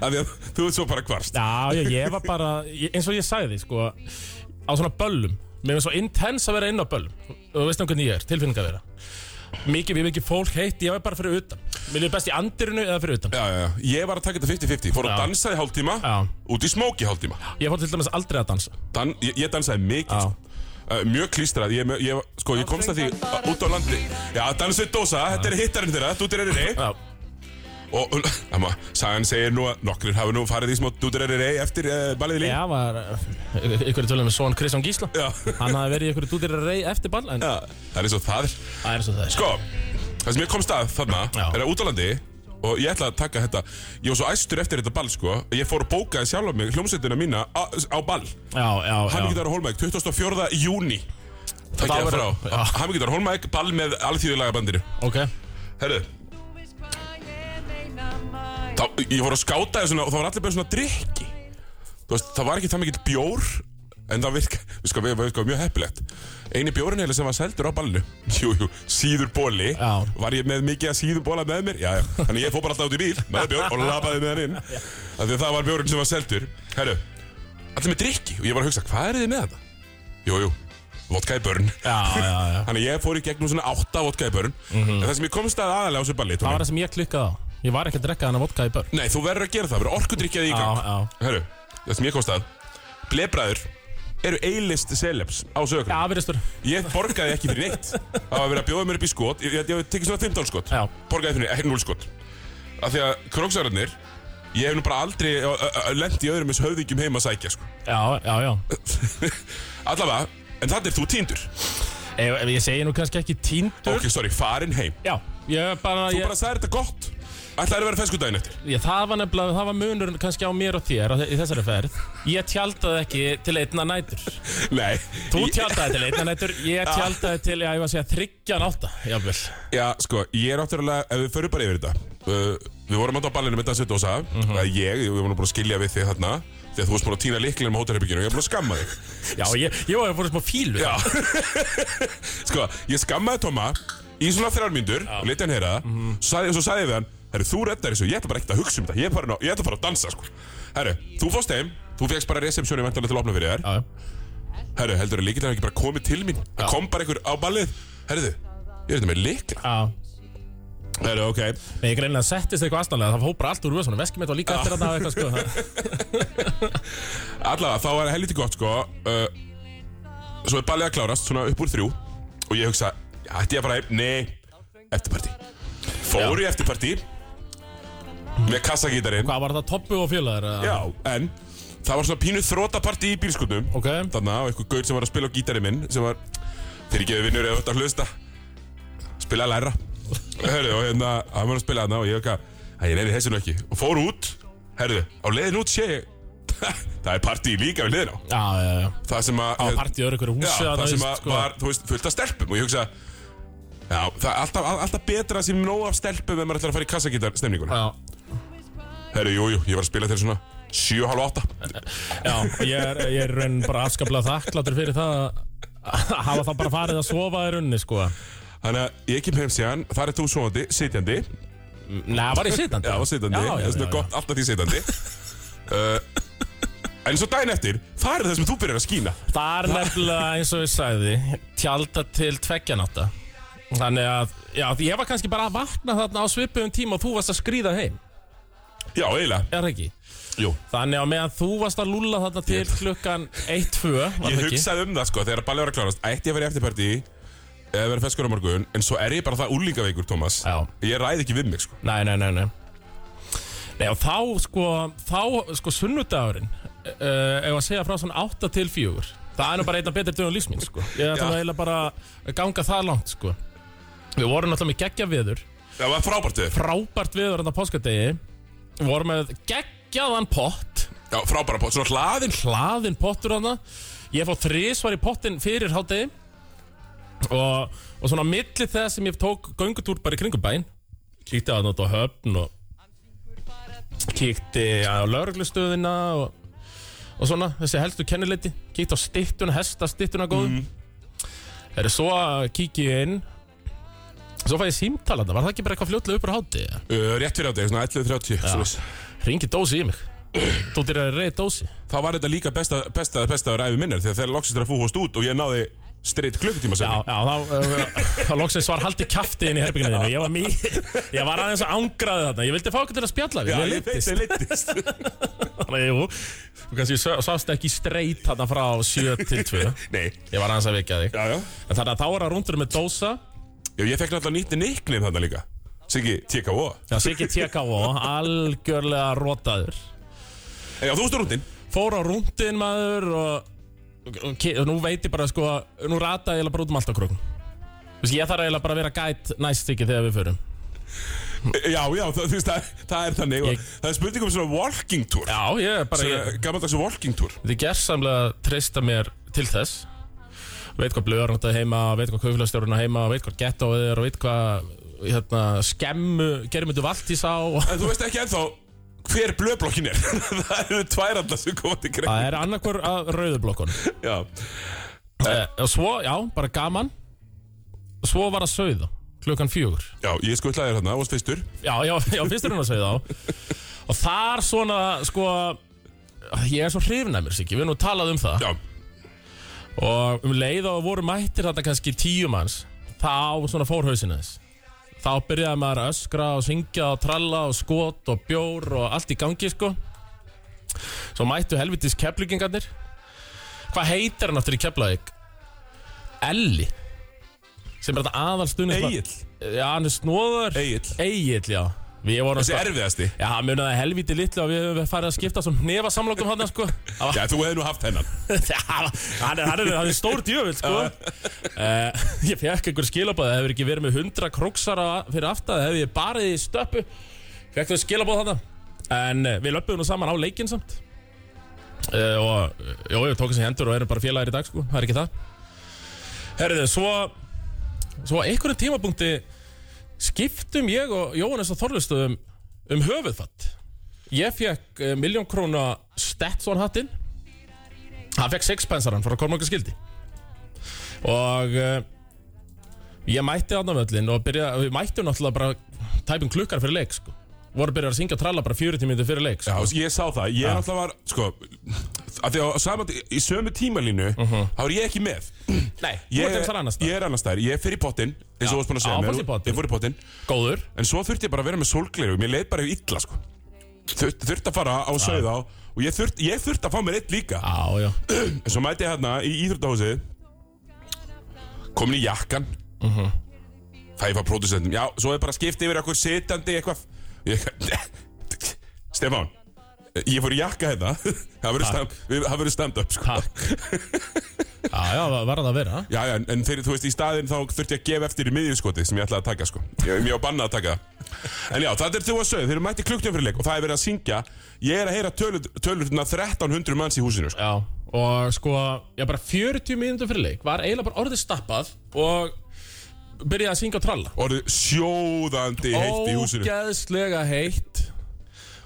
Speaker 2: Af því að þú ert svo bara kvarst
Speaker 3: Já, ég, ég var bara, ég, eins og ég sagði sko Á svona böllum Mér finnst svo intens að vera inn á böllum Og þú veist um hvernig ég er, tilfinninga vera Mikið við mikið fólk heitt, ég var bara fyrir utan Mér er best í andirinu eða fyrir utan
Speaker 2: Já, já, já. ég var að taka þetta 50-50 Fór
Speaker 3: Já.
Speaker 2: að dansa í hálftíma
Speaker 3: Já.
Speaker 2: Út í smóki hálftíma
Speaker 3: Ég fór til dæmis aldrei að dansa
Speaker 2: Dan, ég, ég dansaði mikið
Speaker 3: Já.
Speaker 2: sko. uh, Mjög klístrað ég, ég, Sko, ég komst að því uh, út á landi Já, dansaði dósa, þetta er hittarinn þeirra Dútireriri
Speaker 3: Já,
Speaker 2: Og amma, sagan segir nú að nokkrir hafi nú farið í smá dútireriri Eftir uh, ballið líf
Speaker 3: ég var uh, Ykkur tölum með son Kristján Gísla
Speaker 2: Já.
Speaker 3: Hann hafði verið ykkur dútir að rey eftir ball En
Speaker 2: Já, það er eins og það er
Speaker 3: það er svo það er
Speaker 2: Sko, það sem ég komst að þarna
Speaker 3: Já.
Speaker 2: er að út á landi og ég ætla að taka þetta Ég var svo æstur eftir þetta ball sko að Ég fór að bókaði sjálf á mig hljómsveitina mína á, á ball
Speaker 3: Já, já, já
Speaker 2: Hammingitar og Holmæk, 24. júni Takk
Speaker 3: Það
Speaker 2: ég
Speaker 3: verður-
Speaker 2: frá
Speaker 3: já.
Speaker 2: Hammingitar og Holmæk, ball með alþjóðlega bandinu
Speaker 3: Ok
Speaker 2: Herðu þá, Ég fór að skáta þér svona og það var allir bara svona drikki Þú veist, það var ekki það mikill bjór En það virka, við sko, við, við sko, mjög heppilegt Einu bjórin heila sem var seldur á ballinu <laughs> Jú, jú, síður bóli
Speaker 3: Já.
Speaker 2: Var ég með mikið að síður bóla með mér? Já, já, þannig ég fór bara alltaf út í bíl Með bjór og labaði með hann
Speaker 3: <laughs>
Speaker 2: inn Af því að það var bjórin sem var seldur Herru, allir með drikki Og ég var að hugsa, hvað er þið með þetta? Jú, jú, vodka í börn
Speaker 3: Já, já, já
Speaker 2: Þannig að ég fór í gegnum svona átta vodka í börn En það sem ég komst að aðalega á þessu balli
Speaker 3: Mhm. Það var
Speaker 2: Tómi,
Speaker 3: það sem ég klikkaði á Ég var ekki að drekka þannig vodka í börn
Speaker 2: Nei, þú verður að gera það, verður orkudrykkjað í gang
Speaker 3: Já,
Speaker 2: Herru, það sem ég komst að Blebræður eru eilist celebs á sögur
Speaker 3: Já, virðistur
Speaker 2: Ég borgaði ekki fyrir neitt Það var að vera að bjóða mér upp í skot Ég, ég, ég tekið svona 15 skot
Speaker 3: Já.
Speaker 2: Borgaði fyrir neitt, ekki 0 skot Af því að króksararnir Ég hef nú bara aldrei ö, ö, ö, lent í öðrum eins höfðingjum heima að sækja sko.
Speaker 3: Já, já, já
Speaker 2: <laughs> Allavega, en þannig er þú týndur
Speaker 3: Ef, ef ég segi nú kannski ekki tíndur
Speaker 2: Ok, sorry, farin heim
Speaker 3: Já, ég bara
Speaker 2: Þú
Speaker 3: ég,
Speaker 2: bara sagði þetta gott Ætlaði að vera feskur daginn eftir
Speaker 3: Ég, það var nefnilega, það var munur kannski á mér og þér á þe- í þessari ferð. Ég tjáltaði ekki til einna nætur.
Speaker 2: Nei
Speaker 3: Þú
Speaker 2: Ég-
Speaker 3: tjáltaði til einna nætur, ég tjáltaði til, já, ég var að segja, þryggja nátta, jáfnvel.
Speaker 2: Já, sko, ég er náttúrulega, ef við förum bara yfir þetta uh, Við vorum átt á ballinu með Dansi Dósa mm Ég, við vorum búin að skilja við þig þarna Þegar þú varst búin að týna líklinum á hótelherbygginu og ég er búin að skamma þig
Speaker 3: Já, ég, ég var að fóra smá fílu.
Speaker 2: Já <laughs> Sko, ég skammaði Tóma í svona þrjár mínútur og leti hann heyra það svo, sagði, svo sagði ég við hann Herru, þú reddar þessu, ég ætla bara ekkert að hugsa um þetta Ég er bara, ég ætla bara að dansa, sko Herru, þú fórst heim, þú fegst bara receptioni vantanlega til að opna fyrir þér
Speaker 3: Já, já.
Speaker 2: Herru, heldur að líkilega ekki bara komið til mín Það kom bara einhver á ballið Herru, ég er þetta með líkla
Speaker 3: Já.
Speaker 2: Herru, ok
Speaker 3: Nei, ég greinlega settist eitthvað aðstæðanlega, það hópar allt úr vöðsvonum, veskið mitt var líka eftir að það
Speaker 2: <laughs>
Speaker 3: eitthvað, sko.
Speaker 2: Allavega, þá var það helviti gott sko uh, Svo er ballið að klárast, svona upp úr þrjú Og ég hugsa, ætti ég að fara heim? Nei, eftirparti Fór í eftirparti Með kassagítarinn
Speaker 3: Hvað var það, toppu og fjölaður? eða?
Speaker 2: Já, en það var svona pínu þrótaparti í bílskutnum
Speaker 3: Ok.
Speaker 2: Þarna á eitthvað gaur sem var að spila á gítarinn minn Sem var, þeir ekki vinnur eða þetta hlusta Spila að læra Hörðu, og hérna, hann var að spila þarna Og ég eitthvað, "Æ, ég reyði þessu nú ekki Og fór út, herðu, á leiðin út sé ég <laughs> Það er partí líka við leiðin á
Speaker 3: Já, já, já.
Speaker 2: Það sem að
Speaker 3: Það var partí í öðru hverju húsi.
Speaker 2: Já,
Speaker 3: þarna,
Speaker 2: það sem
Speaker 3: veist, sko.
Speaker 2: að var, þú veist, fullt af stelpum og ég hugsa Já, það er alltaf, all- alltaf betra sem nóg af stelpum ef maður ætlar að fara í kassagítar stemninguna
Speaker 3: Já,
Speaker 2: Herru, jú, jú, ég var að spila til svona 7.30
Speaker 3: já, og ég er, ég er í raunin bara afskaplega þakkláttur fyrir það að- að <laughs> hafa það bara farið að sofa í rauninni, sko.
Speaker 2: Þannig að ég kem heim síðan, þar er þú svoandi, sitjandi Já,
Speaker 3: Nei, var ég sitandi?
Speaker 2: var sitjandi,
Speaker 3: já, já,
Speaker 2: þess
Speaker 3: já,
Speaker 2: vegna
Speaker 3: já.
Speaker 2: gott alltaf því
Speaker 3: <laughs>
Speaker 2: sitjandi uh, En svo daginn eftir, þar er það sem þú byrjar að skína
Speaker 3: Það er nefnilega eins og ég sagði Tjálta til tveggjanátta Þannig að, já, því ég var kannski bara að vakna þarna á svipuðum tíma og þú varst að skrýða heim
Speaker 2: Já, eiginlega,
Speaker 3: Er það ekki?
Speaker 2: jú
Speaker 3: Þannig að meðan þú varst að lúlla þarna til klukkan 1-2 var
Speaker 2: Ég
Speaker 3: það ekki?
Speaker 2: hugsaði um það sko, þegar ballið var að klárast Ætti ég að vera í eftirparti eða vera feskur á morgun En svo er ég bara það úlingaveikur, Tómas
Speaker 3: Já.
Speaker 2: Ég ræð ekki við mig sko
Speaker 3: Nei, nei, nei, nei Nei, og þá, sko, þá, sko, sunnudagurinn uh, Ef að segja frá svona 8 til 4 Það er nú bara einna betur dögum lífsmín, sko Ég ætla
Speaker 2: Já.
Speaker 3: nú eiginlega bara að ganga það langt, sko Við vorum náttúrulega með geggja viður
Speaker 2: Það var frábært eh? við
Speaker 3: frábært viður hann á páskadegi Við vorum með geggjaðan pott
Speaker 2: Já, frábæra pott, svona hlaðin
Speaker 3: hlaðinn pottur hann ég fór þrísvar í pottin fyrir hádegi og, og svona á milli þess sem ég tók göngutúr bara í kringum bæinn kíkti að þetta á höfn og kíkti á lauruglustöðina og, og svona þessi helstu kennileiti kíkti á stittuna, hesta stittuna góðum mm. er svo kíkti ég inn svo fæ ég símtalanda var það ekki bara eitthvað fljótlega uppur hádegi
Speaker 2: uh, Rétt fyrir ádegi, svona 11.30 svoleiðis.
Speaker 3: Ringi Dósi í mig Þú dyrir að reyða Dósi
Speaker 2: Þá var þetta líka besta, besta, besta ræfi minnir Þegar þeir loksist er að fú hóst út og ég náði Streitt klukkutíma
Speaker 3: Já,
Speaker 2: sem
Speaker 3: já, þá, uh, þá loksins var haldið kæfti inn í herbygginu þínu Ég var mý Ég var aðeins að ángraði þarna Ég vildi fá okkur til að spjalla við Mér leiddist.
Speaker 2: þeir leittist
Speaker 3: <laughs> Þannig, jú Þú kannski sá- sást ekki streit þarna frá 7 til 2
Speaker 2: Nei,
Speaker 3: Ég var aðeins að vekja þig
Speaker 2: já, já
Speaker 3: En þannig að þá er að rundur með Dósa
Speaker 2: Já, ég fekk náttúrulega nýtti nickname þarna líka Siggi, TKO
Speaker 3: Já, Siggi TKO Algjörlega rótaður
Speaker 2: Já, þú stór rúndin
Speaker 3: Fór á rundin maður og, og, og, og nú veit ég bara sko Nú rataði ég eiginlega bara út um allt á krókn Ég þarf eiginlega bara að vera gæt næst ekki þegar við förum
Speaker 2: Já, já, það, þú veist, það, það er þannig
Speaker 3: Hm. Ég-
Speaker 2: ég... Það er spurning um svona walking tour
Speaker 3: Já, ég er bara ég,
Speaker 2: Gammaldags walking tour
Speaker 3: Þið gerðsamlega treysta mér til þess Veit hvað blöður náttu heima Veit hvað kaufélagstjórun heima Veit hvað gettóið er og Veit hvað hérna, skemmu Germundu valdís á
Speaker 2: En þú veist ekki ennþá hver blöðblokkin er <laughs> Það eru tværanda sem koma til greið
Speaker 3: Það er annarkvör að rauðublokkun
Speaker 2: Já,
Speaker 3: Og svo, já, bara gaman Svo var að sauða Klukkan fjögur
Speaker 2: já, ég skutlaði þér þarna, varst fyrstur
Speaker 3: Já, já, já, fyrst er hún að sauða á Og þar svona, sko Ég er svo hrifin af mér, Siggi Við erum nú talað um það
Speaker 2: Já,
Speaker 3: Og um leið og voru mættir þetta kannski tíu manns Þá svona fór hausinu þess Þá byrjaði maður að öskra og syngja og tralla og skot og bjór og allt í gangi sko Svo mættu helvitis keflugingarnir Hvað heitir hann aftur í Keflavík? Elli Sem er þetta aðal stundin
Speaker 2: Egill
Speaker 3: Já, hann er snóður
Speaker 2: Egill.
Speaker 3: Egill, já Við vorum
Speaker 2: Þessi
Speaker 3: sko-
Speaker 2: erfiðasti
Speaker 3: Já, munaði helviti litlu að við höfum farið að skipta Svo nefa samlokum hann sko Það var
Speaker 2: Já, þú hefði nú haft hennan
Speaker 3: <laughs> Það- hann er, hann er, hann er stór djöfull sko. uh, ég fekk einhver skilabæð það hefur ekki verið með 100 króksara fyrir aftað það hefur ég barið í stöppu Fekk þau skilabóð þarna En eh, við löpum nú saman á leikinn samt uh, Og eh, Jó, við tókum sér hendur og erum bara félagir í dag sko Það er ekki það Herðu, svo Svo á einhverjum tímapunkti Skiptum ég og Jóhannes og Þorlustuðum Um höfuðfatt Ég fekk uh, miljón króna Stetson hattinn Hann fekk sixpensaran frá Kormungaskildi Og uh, Ég mætti þarna á völlin og byrja, við mættum náttúrulega bara tæpum klukkar fyrir leik sko. voru byrjar að syngja og tralla bara 40 minnir fyrir leik
Speaker 2: Já,
Speaker 3: sko.
Speaker 2: ég sá það, ég náttúrulega var, sko, að því að saman, í sömu tímalínu, þá er ég ekki með.
Speaker 3: Nei, Mhm. þú
Speaker 2: Ég,
Speaker 3: ert einhversar annars
Speaker 2: ég er annars þær, ég fer í pottin, eins og þú varst búin að segja
Speaker 3: Já,
Speaker 2: mér,
Speaker 3: fórst í pottinn.
Speaker 2: Ég fór í pottin,
Speaker 3: Góður
Speaker 2: en svo þurfti ég bara að vera með sólgleru, mér leið bara yfir illa, sko. Þur, þurfti að fara á sögða og ég þurfti, ég þurfti að fá mér eitt líka.
Speaker 3: Já, já
Speaker 2: En svo mæti ég hérna í Íþróttahúsið, komin í jakkan, það ég fá pródusentum, já, svo er bara skipt yfir eitthvað sitandi, eitthvað, ég, <laughs> Stefán, ég fór í jakka hérna, <laughs> það verður stand- við- það verður stand-up, sko.
Speaker 3: Takk Já, já, var var það að vera
Speaker 2: Já, já, en- en fyrir, þú veist, í staðinn þá þurfti ég að gefa eftir í miðjurskoti sem ég ætlaði að taka, sko. Ég, ég var bannað að taka það. En já, það er þú að sögðu, þeir eru mætti klukknum fyrir leik og það er verið að syngja. Ég er að heyra tölur, tölurna 1300 manns í húsinu, sko.
Speaker 3: Já, og sko Já, bara 40 minnir fyrir leik var eiginlega bara orðið stappað og byrjaði að syngja og tralla
Speaker 2: Orðið sjóðandi heitt í húsinu.
Speaker 3: Ógeðslega heitt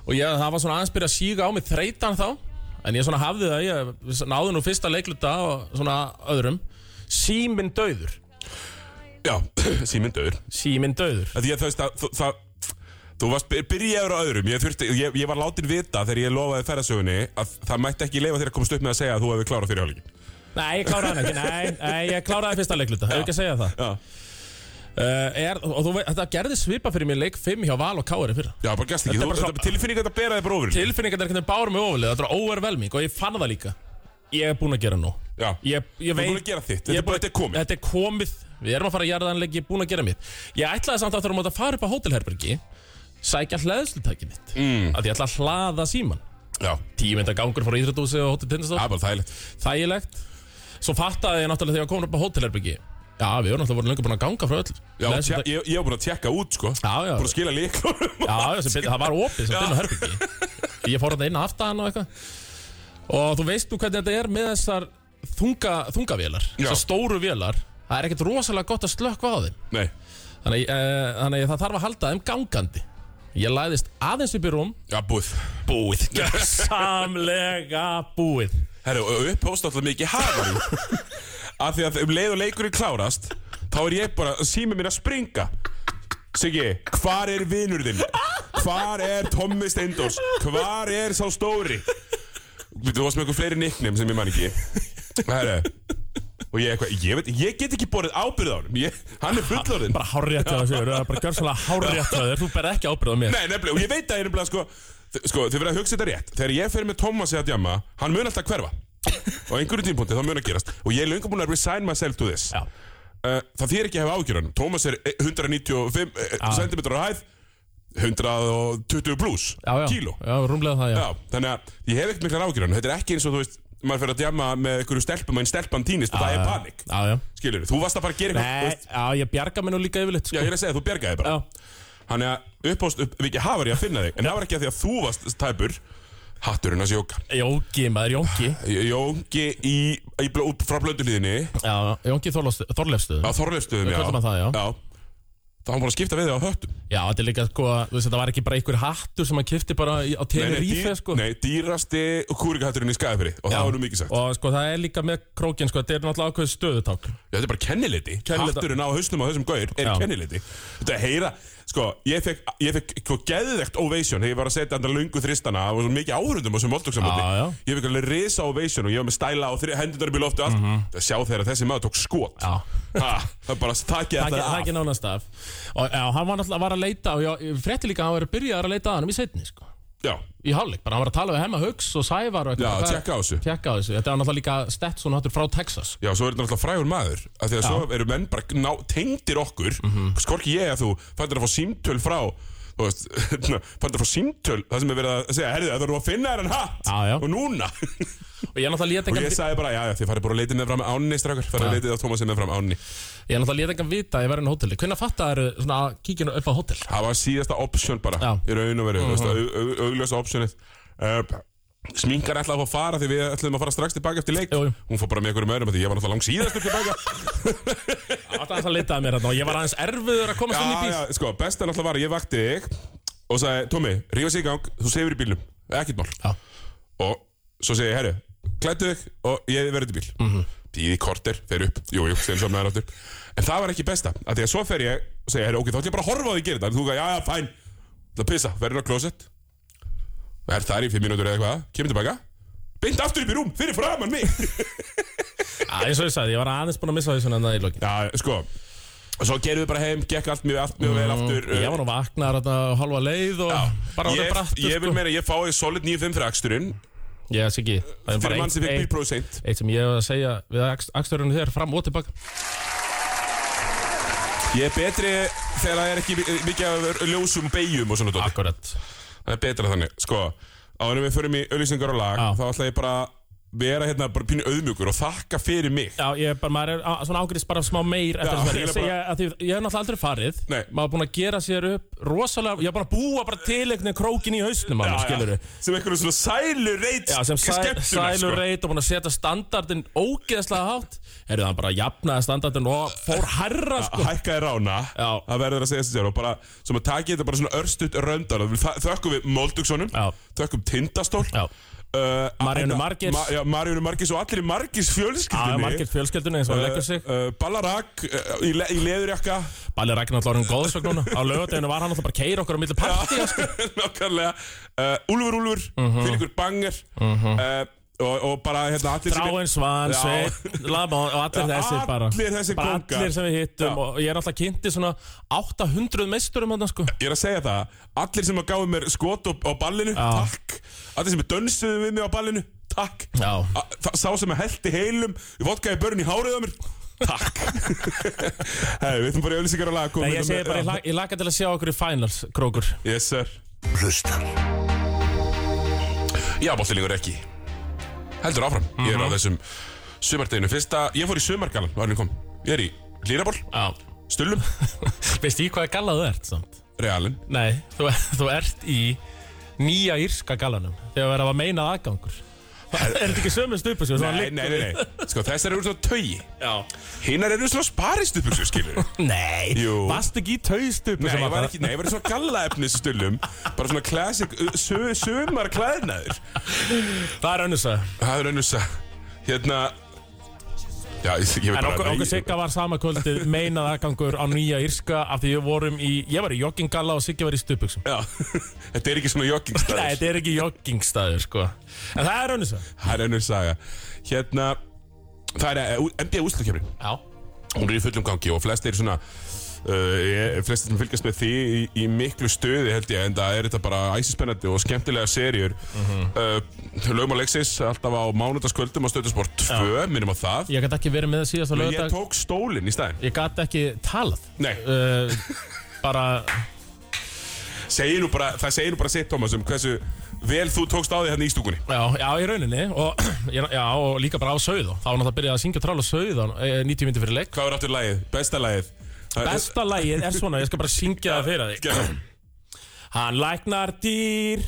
Speaker 3: Og ég, það var svona aðeins byrja að síga á mig þreytan þá En ég svona hafði það, ég náði nú fyrsta leikluta og svona öðrum Síminn dauður
Speaker 2: Já, <clears throat> síminn döður.
Speaker 3: Síminn dauður
Speaker 2: Því að þú veist að þú- það... Þú varst byr- byrjaður á öðrum, ég, þurfti, ég, ég var látin vita þegar ég lofaði ferðasögunni að það mætti ekki leifa þér að komast upp með að segja að þú hefði klárað fyrir hálfleikin.
Speaker 3: Nei, ég kláraði hann ekki, nei, nei ég kláraði fyrsta leikluta Hefur ekki að segja það
Speaker 2: Já.
Speaker 3: uh, er, Og þú veit, þetta gerði svipa fyrir mér leik 5 hjá Val og Kári fyrir
Speaker 2: Já, bara gæst ekki,
Speaker 3: Þetta er
Speaker 2: þú,
Speaker 3: bara svo-
Speaker 2: þetta tilfinning að þetta bera þig bara ofur.
Speaker 3: Tilfinningar er hvernig bárum mig ofalið, þetta er overwhelming og ég fann það líka Ég er búinn að gera nú
Speaker 2: Já,
Speaker 3: Ég, ég
Speaker 2: þú
Speaker 3: veit
Speaker 2: er búin að gera þitt, þetta
Speaker 3: Ég
Speaker 2: er bara, þetta er komið.
Speaker 3: Þetta er komið, við erum að fara að jarða anleik, ég er búin að gera mitt Ég ætlaði samt aftur að móta að fara upp á hótelherbergi Sækja hlæðslutækið mitt mm. Að ég ætla að hlaða síman
Speaker 2: Já,
Speaker 3: Tíu mynda gangur frá íþrættúsi og hótel
Speaker 2: það
Speaker 3: tindastóð
Speaker 2: er bara þægilegt
Speaker 3: Þægilegt Svo fattaði ég náttúrulega þegar ég var komin upp á hótelherbergi Já, við vorum náttúrulega voru lengur búin að ganga frá öll
Speaker 2: Já, tjek,
Speaker 3: Hleðslutæki-
Speaker 2: ég, ég var búin að tjekka út, sko
Speaker 3: já,
Speaker 2: Búin að
Speaker 3: já,
Speaker 2: skila líklunum
Speaker 3: já, já sem betur, það var opið sem dynna herbergi Ég fór að inn aftan og eitthvað Og þú veist nú hvernig þetta er með þessar þunga, þungavélar
Speaker 2: Já.
Speaker 3: Þessar stóru vélar Það er ekkert rosalega gott að slökkva á þeim
Speaker 2: <laughs> Nei,
Speaker 3: Þannig, uh, þannig að það þarf að halda þeim gangandi Ég læðist aðeins upp í rúm
Speaker 2: já, búið
Speaker 3: Búið Samlega búið
Speaker 2: Herru, og upphóst alltaf mikið hafari Af því að um leið og leikurinn klárast Þá er ég bara, sími mín að springa Siggi, hvar er vinur þinn? Hvar er Tommi Steindors? Hvar er sá stóri? Þú varst með eitthvað fleiri nicknum sem ég man ekki Herru Og ég eitthvað, ég veit, ég get ekki borðið ábyrð á honum ég, Hann er fullorðinn
Speaker 3: Bara hárrétt að þessu, það er bara görsalega hárrétt að þér Þú ber ekki ábyrð á mér
Speaker 2: Nei, nefnilega, og ég veit að ég nefnilega sko þ- Sko, þið verða að hugsa þetta rétt Þegar ég fer með Thomas í að djamma Hann mun alltaf hverfa Og á einhverju tímpúnti þá mun að gerast Og ég er löngu búin að resign myself to this
Speaker 3: Já.
Speaker 2: uh, Það þýr ekki að hafa ágjörðan Thomas er eh, 195 uh,
Speaker 3: Ah.
Speaker 2: cm á hæð 120 plus
Speaker 3: Já, já,
Speaker 2: kíló
Speaker 3: já, rúmlega það, já,
Speaker 2: Já, þannig að ég hef ekkert miklar ágjörðan Þetta er ekki eins og þú veist Maður fer að djamma með einhverju stelpum En stelpan týnist og það er panik
Speaker 3: já, já.
Speaker 2: Skilur, þú varst að fara að gera eitthvað þú
Speaker 3: Ah. Nei,
Speaker 2: veist,
Speaker 3: já, ég bjarga mér nú líka
Speaker 2: Já,
Speaker 3: yfirleitt sko.
Speaker 2: ég er að segja, þú bjargaði bara
Speaker 3: já,
Speaker 2: Þannig að upphóst upp, við ekki hafar ég að finna þig En það var ekki að því að þú varst tæpur Hatturinn að sjóka
Speaker 3: Jónki, maður, Jónki
Speaker 2: Jóngi í, í, bló- út frá blöndulíðinni
Speaker 3: Já, Jónki Þorlefstuð
Speaker 2: Á
Speaker 3: Já,
Speaker 2: Þorleifstöðum
Speaker 3: Við köllum hann það, já.
Speaker 2: já. Það var bara að skipta við þig á höttum
Speaker 3: þetta er líka, sko, þú veist, þetta var ekki bara einhver hattur sem hann kifti bara í- á Tenerife,
Speaker 2: dýr-
Speaker 3: sko
Speaker 2: nei, dýrasti kúrikahatturinn í skæðafri Og það var nú mikið sagt
Speaker 3: Og sko, það er líka með krókin, sko, þetta er náttúrulega ákveð stöðuták
Speaker 2: já, Þetta er bara kenniliti
Speaker 3: Kennilita-
Speaker 2: Hatturinn á hausnum á þessum gaur er
Speaker 3: Já.
Speaker 2: kenniliti Þetta er að heyra Sko, ég fekk, ég fekk sko, geðvegt ovation Þegar ég var að setja andan löngu þristana Það var svo mikið áhörundum á þessum
Speaker 3: Já, já.
Speaker 2: voldugsambandi Ég fekk alveg risa ovation og ég var með stæla og hendunar upp í loftu og allt. Það sjá þegar þessi maður tók skot
Speaker 3: Mhm. Já.
Speaker 2: ha, Það er bara þakkið
Speaker 3: Það
Speaker 2: alltaf
Speaker 3: er
Speaker 2: af
Speaker 3: ekki nánast af Og já, hann var náttúrulega var að leita Og já, ég frétti líka að hann var að byrja að leita að hann í setni sko.
Speaker 2: Já,
Speaker 3: Í hálfleik, bara hann var að tala við hemma Hugs og Sævar og
Speaker 2: já,
Speaker 3: eitthvað Hvað-
Speaker 2: tjekka á þessu
Speaker 3: Tjekka á þessu, þetta var náttúrulega líka Stetson hattur frá Texas sko.
Speaker 2: Já, svo er þetta náttúrulega frægur maður af
Speaker 3: Mhm.
Speaker 2: Sko, Því að svo eru menn bara ná, tengdir okkur Skorki ég að þú fættir að fá símtöl frá þú veist, <laughs> hérna, fannst frá símtöl það sem er verið að segja, herðu, það voru að finna þér en hatt
Speaker 3: Já, já.
Speaker 2: og
Speaker 3: <laughs>
Speaker 2: núna
Speaker 3: Og ég náttúrulega lét
Speaker 2: og
Speaker 3: engan,
Speaker 2: ég sagði bara, já, já, þið farið bara að leita með fram ánni strákar, farið að leita á Tómasi með fram ánni
Speaker 3: ég náttúrulega lét engan vita að ég verið á hóteli. Hvernig fattar eh, svona að kíkja upp á hótel?
Speaker 2: það var síðasta option bara,
Speaker 3: Já. Mhm.
Speaker 2: í raun og veru uh -huh. augljósa optionið uh, sminkar ætlaði að fá að fara því við ætlaðum að fara strax tilbaka eftir leik
Speaker 3: Jú, jú.
Speaker 2: hún fór bara með einhverjum öðrum af því ég var náttúrulega langt síðastur tilbaka
Speaker 3: Alltaf aðeins að leitaði mér þarna og ég var aðeins erfiður að komast inn í
Speaker 2: Já,
Speaker 3: bíl.
Speaker 2: já, sko, besta náttúrulega var að ég vakti þig og sagði, Tómi, rífa sig í gang, þú sefur í bílnum, ekkert mál.
Speaker 3: Já.
Speaker 2: Og svo segi ég, herru, klættu þig og ég verður í bíl. Mm
Speaker 3: Mhm.
Speaker 2: -hmm. Býði korter, fer upp, jú, jú, sem sofnaði ráttur. En það var ekki besta, að því að svo fer ég og segi, herru, ok, þá ætlum ég bara að horfa á því að gera þetta. En þú gæði, já, já, fæn, það pissa, verður á klósett. Er þar í fimm mínútur eða eitthvað, kemur tilbaka, beint aftur upp í rúm, fyrir framann
Speaker 3: <laughs>
Speaker 2: mig.
Speaker 3: Já, eins og ég sagði, ég var aðeins búin að missa því svona enna í lokin.
Speaker 2: já, sko, og svo gerum við bara heim, gekk allt mjög, allt mjög vel aftur.
Speaker 3: Mm, Ég var nú vaknar þarna halva leið og
Speaker 2: ég,
Speaker 3: bara orðið brattur, sko.
Speaker 2: ég vil meina að ég fái solid 9.5 fyrir aksturinn
Speaker 3: Ég veist ekki, það er
Speaker 2: fyrir
Speaker 3: bara
Speaker 2: mann sem
Speaker 3: eitt,
Speaker 2: fikk
Speaker 3: eitt,
Speaker 2: bílprófi seint
Speaker 3: eitt sem ég hef að segja við akstörunum þér fram og tilbaka.
Speaker 2: ég er betri þegar það er ekki mi- mikið af ljósum beigjum og svona dótt
Speaker 3: Akkurat.
Speaker 2: það er betra þannig sko áður en við förum í auðlýsingar og lag
Speaker 3: Já.
Speaker 2: þá ætla ég bara að vera hérna bara pínu auðmjögur og þakka fyrir mig
Speaker 3: Já, ég er bara, maður er á- svona ágriðs bara smá meir eftir
Speaker 2: Já,
Speaker 3: þess að
Speaker 2: ég
Speaker 3: ég
Speaker 2: er
Speaker 3: segja að því, ég hef náttúrulega aldrei farið
Speaker 2: Nei.
Speaker 3: Maður er búin að gera sér upp rosalega, ég er bara að búa bara til einhvern veginn krókin í hausnum á mér, skilur við
Speaker 2: sem einhverjum svona sko. sælu reit
Speaker 3: Já, sem sæ, sælureit og búin að setja standardin ógeðslega hátt Herðu, hann bara jafnaði standardin og fór herra, sko
Speaker 2: hækkaði rána
Speaker 3: Já.
Speaker 2: það verður að segja sér og bara sem að taki þetta bara svona örstutt röndan þökkum við Moldugssonum
Speaker 3: Já.
Speaker 2: þökkum Tindastól
Speaker 3: Já.
Speaker 2: Uh,
Speaker 3: Maríönu
Speaker 2: hérna,
Speaker 3: Margeirs.
Speaker 2: Ma, já, Maríönu Margis og allir í Margis
Speaker 3: Það
Speaker 2: fjölskyldinni
Speaker 3: er margir fjölskeldunni eins og hann leggur sig
Speaker 2: uh, Ballarak uh, í, le í leðurjakka <laughs>
Speaker 3: Balli Ragnar alltaf orðin góðsvögn núna Á lögadeginu var hann alltaf bara að keira okkur á milli partíu, sko
Speaker 2: Nákvæmlega uh, Úlfur Úlfur,
Speaker 3: Mhm.
Speaker 2: fyrir ykkur banger uh, og, og bara hérna allir sem-
Speaker 3: Þráinn Svan,
Speaker 2: Já.
Speaker 3: Sveit, Lamón og allir
Speaker 2: Já,
Speaker 3: þessi bara
Speaker 2: allir þessir
Speaker 3: bara
Speaker 2: kóngar.
Speaker 3: allir sem við hittum
Speaker 2: Já.
Speaker 3: og ég er alltaf kynnti svona 800 meisturum þarna sko
Speaker 2: Ég er að segja það, allir sem að gáðu mér skot á, á ballinu, takk Allir sem dönsuðu við mig á ballinu, takk
Speaker 3: Já.
Speaker 2: A- þa- Sá sem að heldi heilum, vodkaði börn í hárið á mér, takk <laughs> Hei, við ætlum bara í öllisingar að laga
Speaker 3: Nei,
Speaker 2: komum
Speaker 3: ég
Speaker 2: hérna
Speaker 3: segi
Speaker 2: með-
Speaker 3: bara, ég lak- ég laka til að sjá okkur í finals, Krókur
Speaker 2: Yes sir
Speaker 5: hlustar.
Speaker 2: Já, boltilingur ekki Heldur áfram, ég er á
Speaker 3: Mhm.
Speaker 2: þessum sumardeginu Fyrsta, ég fór í sumargalan, hvernig kom Ég er í Lýraból,
Speaker 3: Já
Speaker 2: Stullum,
Speaker 3: Veist ég hvaða galla þú ert samt?
Speaker 2: Realin
Speaker 3: Nei, þú, <laughs> þú ert í nýja írska gallanum Þegar verður að meina aðgangur Er þetta ekki sömu stupu sem
Speaker 2: Nei, nei, nei, nei Sko, þessar eru svona tögi
Speaker 3: Já
Speaker 2: Hinar eru svona sparistupuxu, skilur
Speaker 3: Nei,
Speaker 2: Jú.
Speaker 3: varst ekki í taustupu
Speaker 2: Nei,
Speaker 3: sem
Speaker 2: ég var
Speaker 3: að-
Speaker 2: ekki, nei, ég var í svona gallaefnis stullum Bara svona classic uh, su, sumar klæðnaður
Speaker 3: Það er önnur sagði
Speaker 2: Það er önnus að, hérna Já, ég, ég veit
Speaker 3: En
Speaker 2: bara
Speaker 3: okkur,
Speaker 2: nei,
Speaker 3: okkur
Speaker 2: ég-
Speaker 3: Sigga var sama kvöldið meinað aðgangur á nýja írska af því við vorum í, ég var í jogginggalla og Sigga var í stupuksum.
Speaker 2: Já, <laughs> þetta er ekki
Speaker 3: <laughs>
Speaker 2: svona joggingstæður
Speaker 3: Nei, þetta er ekki joggingstaður sko. En það er önnur svo.
Speaker 2: Það er önnur saga Hérna Það er uh, NBA úslukefnin
Speaker 3: Já.
Speaker 2: Hún er í fullum gangi og flest er svona uh, ég- Flestir sem fylgjast með því í, í miklu stöði held ég En það er þetta bara æsispennandi og skemmtilega serjur mm -hmm. uh, Lögum Alexis alltaf á mánudagskvöldum á stöðusport 2 Minnum á það
Speaker 3: Ég gæti ekki verið með það síðast á
Speaker 2: Ég
Speaker 3: lögadag.
Speaker 2: tók stólinn í staðinn
Speaker 3: Ég gæti ekki talað.
Speaker 2: Nei,
Speaker 3: Uh, bara,
Speaker 2: segir nú bara, það segir nú bara sitt Thomas um hversu vel þú tókst á því hérna í stúkunni
Speaker 3: já, já, í rauninni og, <clears throat> já, og líka bara á sauð og þá var náttúrulega byrjað að syngja og trála sauð á eh, 90 myndi fyrir leik.
Speaker 2: Hvað er aftur lagið? Besta lagið?
Speaker 3: Besta lagið er svona, ég skal bara syngja það fyrir þig.
Speaker 2: Gerðu.
Speaker 3: Hann læknar dýr,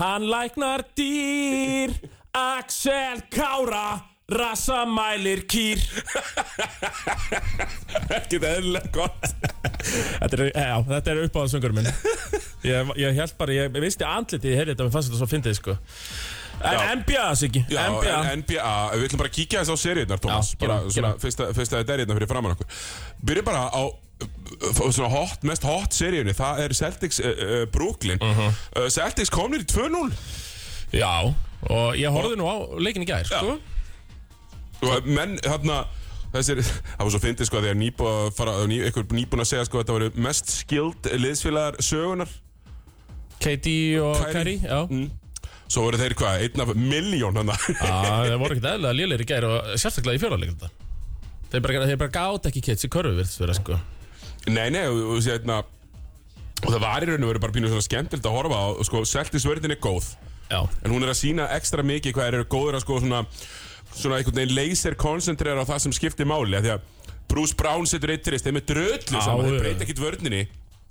Speaker 3: hann læknar dýr, Axel Kára, rassamælir kýr.
Speaker 2: Ekkert eðlilega gott
Speaker 3: Þetta er, já, þetta er uppáðasöngur minn. Ég, ég held bara, ég, ég visti andlitið, ég heyrði þetta, mér fannst þetta svo fyndið, sko. En
Speaker 2: Já.
Speaker 3: NBA, Siggi,
Speaker 2: Já,
Speaker 3: NBA.
Speaker 2: en NBA, við ætlum bara að kíkja þess á seriðnar, Thomas,
Speaker 3: Já,
Speaker 2: bara
Speaker 3: gerum-
Speaker 2: svona
Speaker 3: gerum.
Speaker 2: fyrst að þetta er hérna fyrir framann okkur. Byrjum bara á uh, svona hot, mest hot seriðinni, það er Celtics uh, uh, Brooklyn.
Speaker 3: Mhm.
Speaker 2: uh, Celtics komnir í 2-0
Speaker 3: já, og ég horfði nú á leikin í gær, sko.
Speaker 2: og menn, þarna, þessir, það var svo fyndið sko þegar nýbúið að fara, ný, einhver nýbúin að segja sko að þetta voru mest skild liðsfélagar sögunar.
Speaker 3: KD og
Speaker 2: Kyrie.
Speaker 3: Kyrie, já.
Speaker 2: Mm. Svo voru þeir hvað, einn af miljón hann <laughs>
Speaker 3: Já, það voru ekkert eðlilega lélir í gær og sérstaklega í fjólarleikin þetta. Þeir bara, þeir bara gátt ekki kids í körfu, virðist vera, sko.
Speaker 2: Nei, nei, og þú sé hérna Og það var í raun og veru bara pínu svona skemmtilegt að horfa á, sko, seltisvörðin er góð.
Speaker 3: Já,
Speaker 2: En hún er að sína ekstra mikið hvað þeir eru góður að sko svona, svona einhvern veginn laser koncentrera á það sem skiptir máli. af Því að Bruce Brown setur eitt trist, þeim er dröðli saman,
Speaker 3: já.
Speaker 2: þeir breyta ekkit vörninni.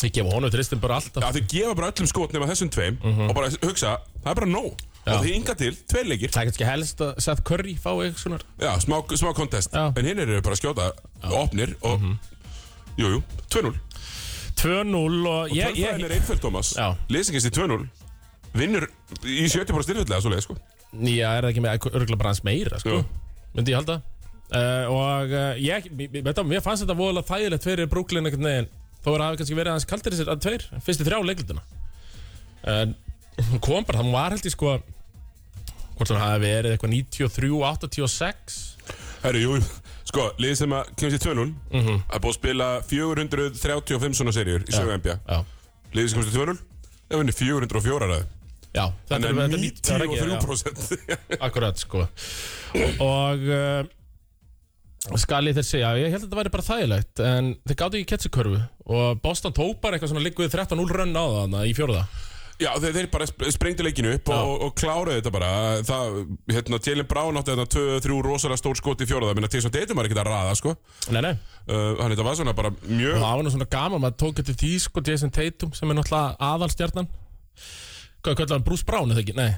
Speaker 3: ég gefa honum tristin bara alltaf
Speaker 2: Já, þeir gefa bara öllum skot nema þessum tveim
Speaker 3: Mhm.
Speaker 2: og bara hugsa, það er bara nóg. Og þeir inga til, tveir leikir,
Speaker 3: Það er kannski helst að Seth Curry fái svona
Speaker 2: já, smá, smá contest.
Speaker 3: Já. Mhm.
Speaker 2: En hinn eru bara að skjóta, opnir og, jú, jú, 2-0.
Speaker 3: 2-0 og ég,
Speaker 2: Tölfræðin
Speaker 3: ég,
Speaker 2: er einföld, Thomas.
Speaker 3: Já.
Speaker 2: Lesingist í 2-0, vinnur í 70% styrfullega, svo sko.
Speaker 3: Já, er það ekki með örgulega bara hans meira sko?
Speaker 2: Jú.
Speaker 3: Myndi ég halda uh, Og uh, ég, mér- mér- veit það, mér fannst þetta voðalega þægilegt fyrir Brooklyn einhvern veginn Þó er að hafi kannski verið aðeins kaldir sér að tveir Fyrstu þrjá leiklutina En hún kom bara, hún var held ég sko Hvort hún hafi verið eitthvað 93, 86
Speaker 2: Herru, jú, sko, liðið sem að kemur sér 2-0 Það er búið að spila 435 svona serjur í sögu NBA
Speaker 3: Mhm. Já,
Speaker 2: Liðið sem kemur sér 2-0 Það vinnir 404 ræði
Speaker 3: já þetta
Speaker 2: Þannig að
Speaker 3: er- þetta er nít- það er ekki- já.
Speaker 2: 93%
Speaker 3: Akkurat, sko Og uh, skal ég þeir segja, ég held að þetta væri bara þægilegt En þeir gátu ekki ketsikörfu Og Boston tók bara eitthvað svona líkuð 13-0 rönn á það þarna í fjórða
Speaker 2: <laughs> Já, þeir, þeir bara sp- sprengdu leikinu upp og, og kláruðu þetta bara Það, hérna, Jalen Brown átti þetta 2-3 rosalega stór skot í fjóraða Minna til þess að deytum maður ekki að raða, sko
Speaker 3: Nei, nei,
Speaker 2: uh, Þannig þetta var svona bara mjög
Speaker 3: það var nú svona gaman Maður tók eftir því, sko, Jason Tatum Sem er náttúrulega aðalstjarnan Hvað kallar hann, Bruce Brown, eða ekki? Nei,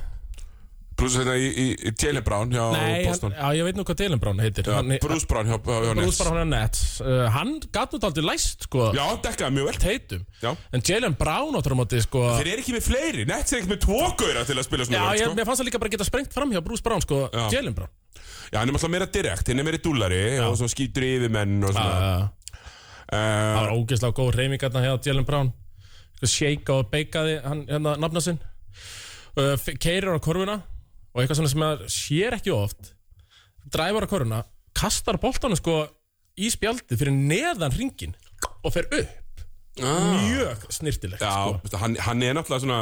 Speaker 2: Bruce hérna í, í, í Jalen Brown hjá
Speaker 3: nei hann,
Speaker 2: Boston
Speaker 3: já, ég veit nú hvað Dylan Brown heitir
Speaker 2: Já,
Speaker 3: hann,
Speaker 2: Bruce Brown hjá, hjá
Speaker 3: Bruce
Speaker 2: Nets
Speaker 3: Brown er Nets uh, Hann gat nú daldið læst, sko
Speaker 2: Já, dekkaði mjög vel
Speaker 3: Tatum
Speaker 2: Já.
Speaker 3: En Jalen Brown áttur á móti, sko
Speaker 2: Þeir eru ekki með fleiri, Nets er ekki með tvo gauðra til að spila svona
Speaker 3: Já,
Speaker 2: vel,
Speaker 3: ég,
Speaker 2: sko.
Speaker 3: mér fannst það líka bara geta sprengt fram hjá Bruce Brown, sko
Speaker 2: Já.
Speaker 3: Jalen Brown
Speaker 2: Já, hann er alltaf meira direkt, hann er meira dúllari og svona skýtur yfir menn og svona uh,
Speaker 3: Það var ógeðslega góð reyfing hérna hjá Jalen Brown Eitthvað Shake og beikaði hann, hérna nafna sinn uh, Keirir á korfuna og eitthvað svona sem maður sér ekki oft Dræfar á korfuna Kastar boltanum sko í spjaldið fyrir neðan ringin og fer upp Ah. Mjög snirtilegt
Speaker 2: Já,
Speaker 3: sko.
Speaker 2: sko. hann, hann er náttúrulega svona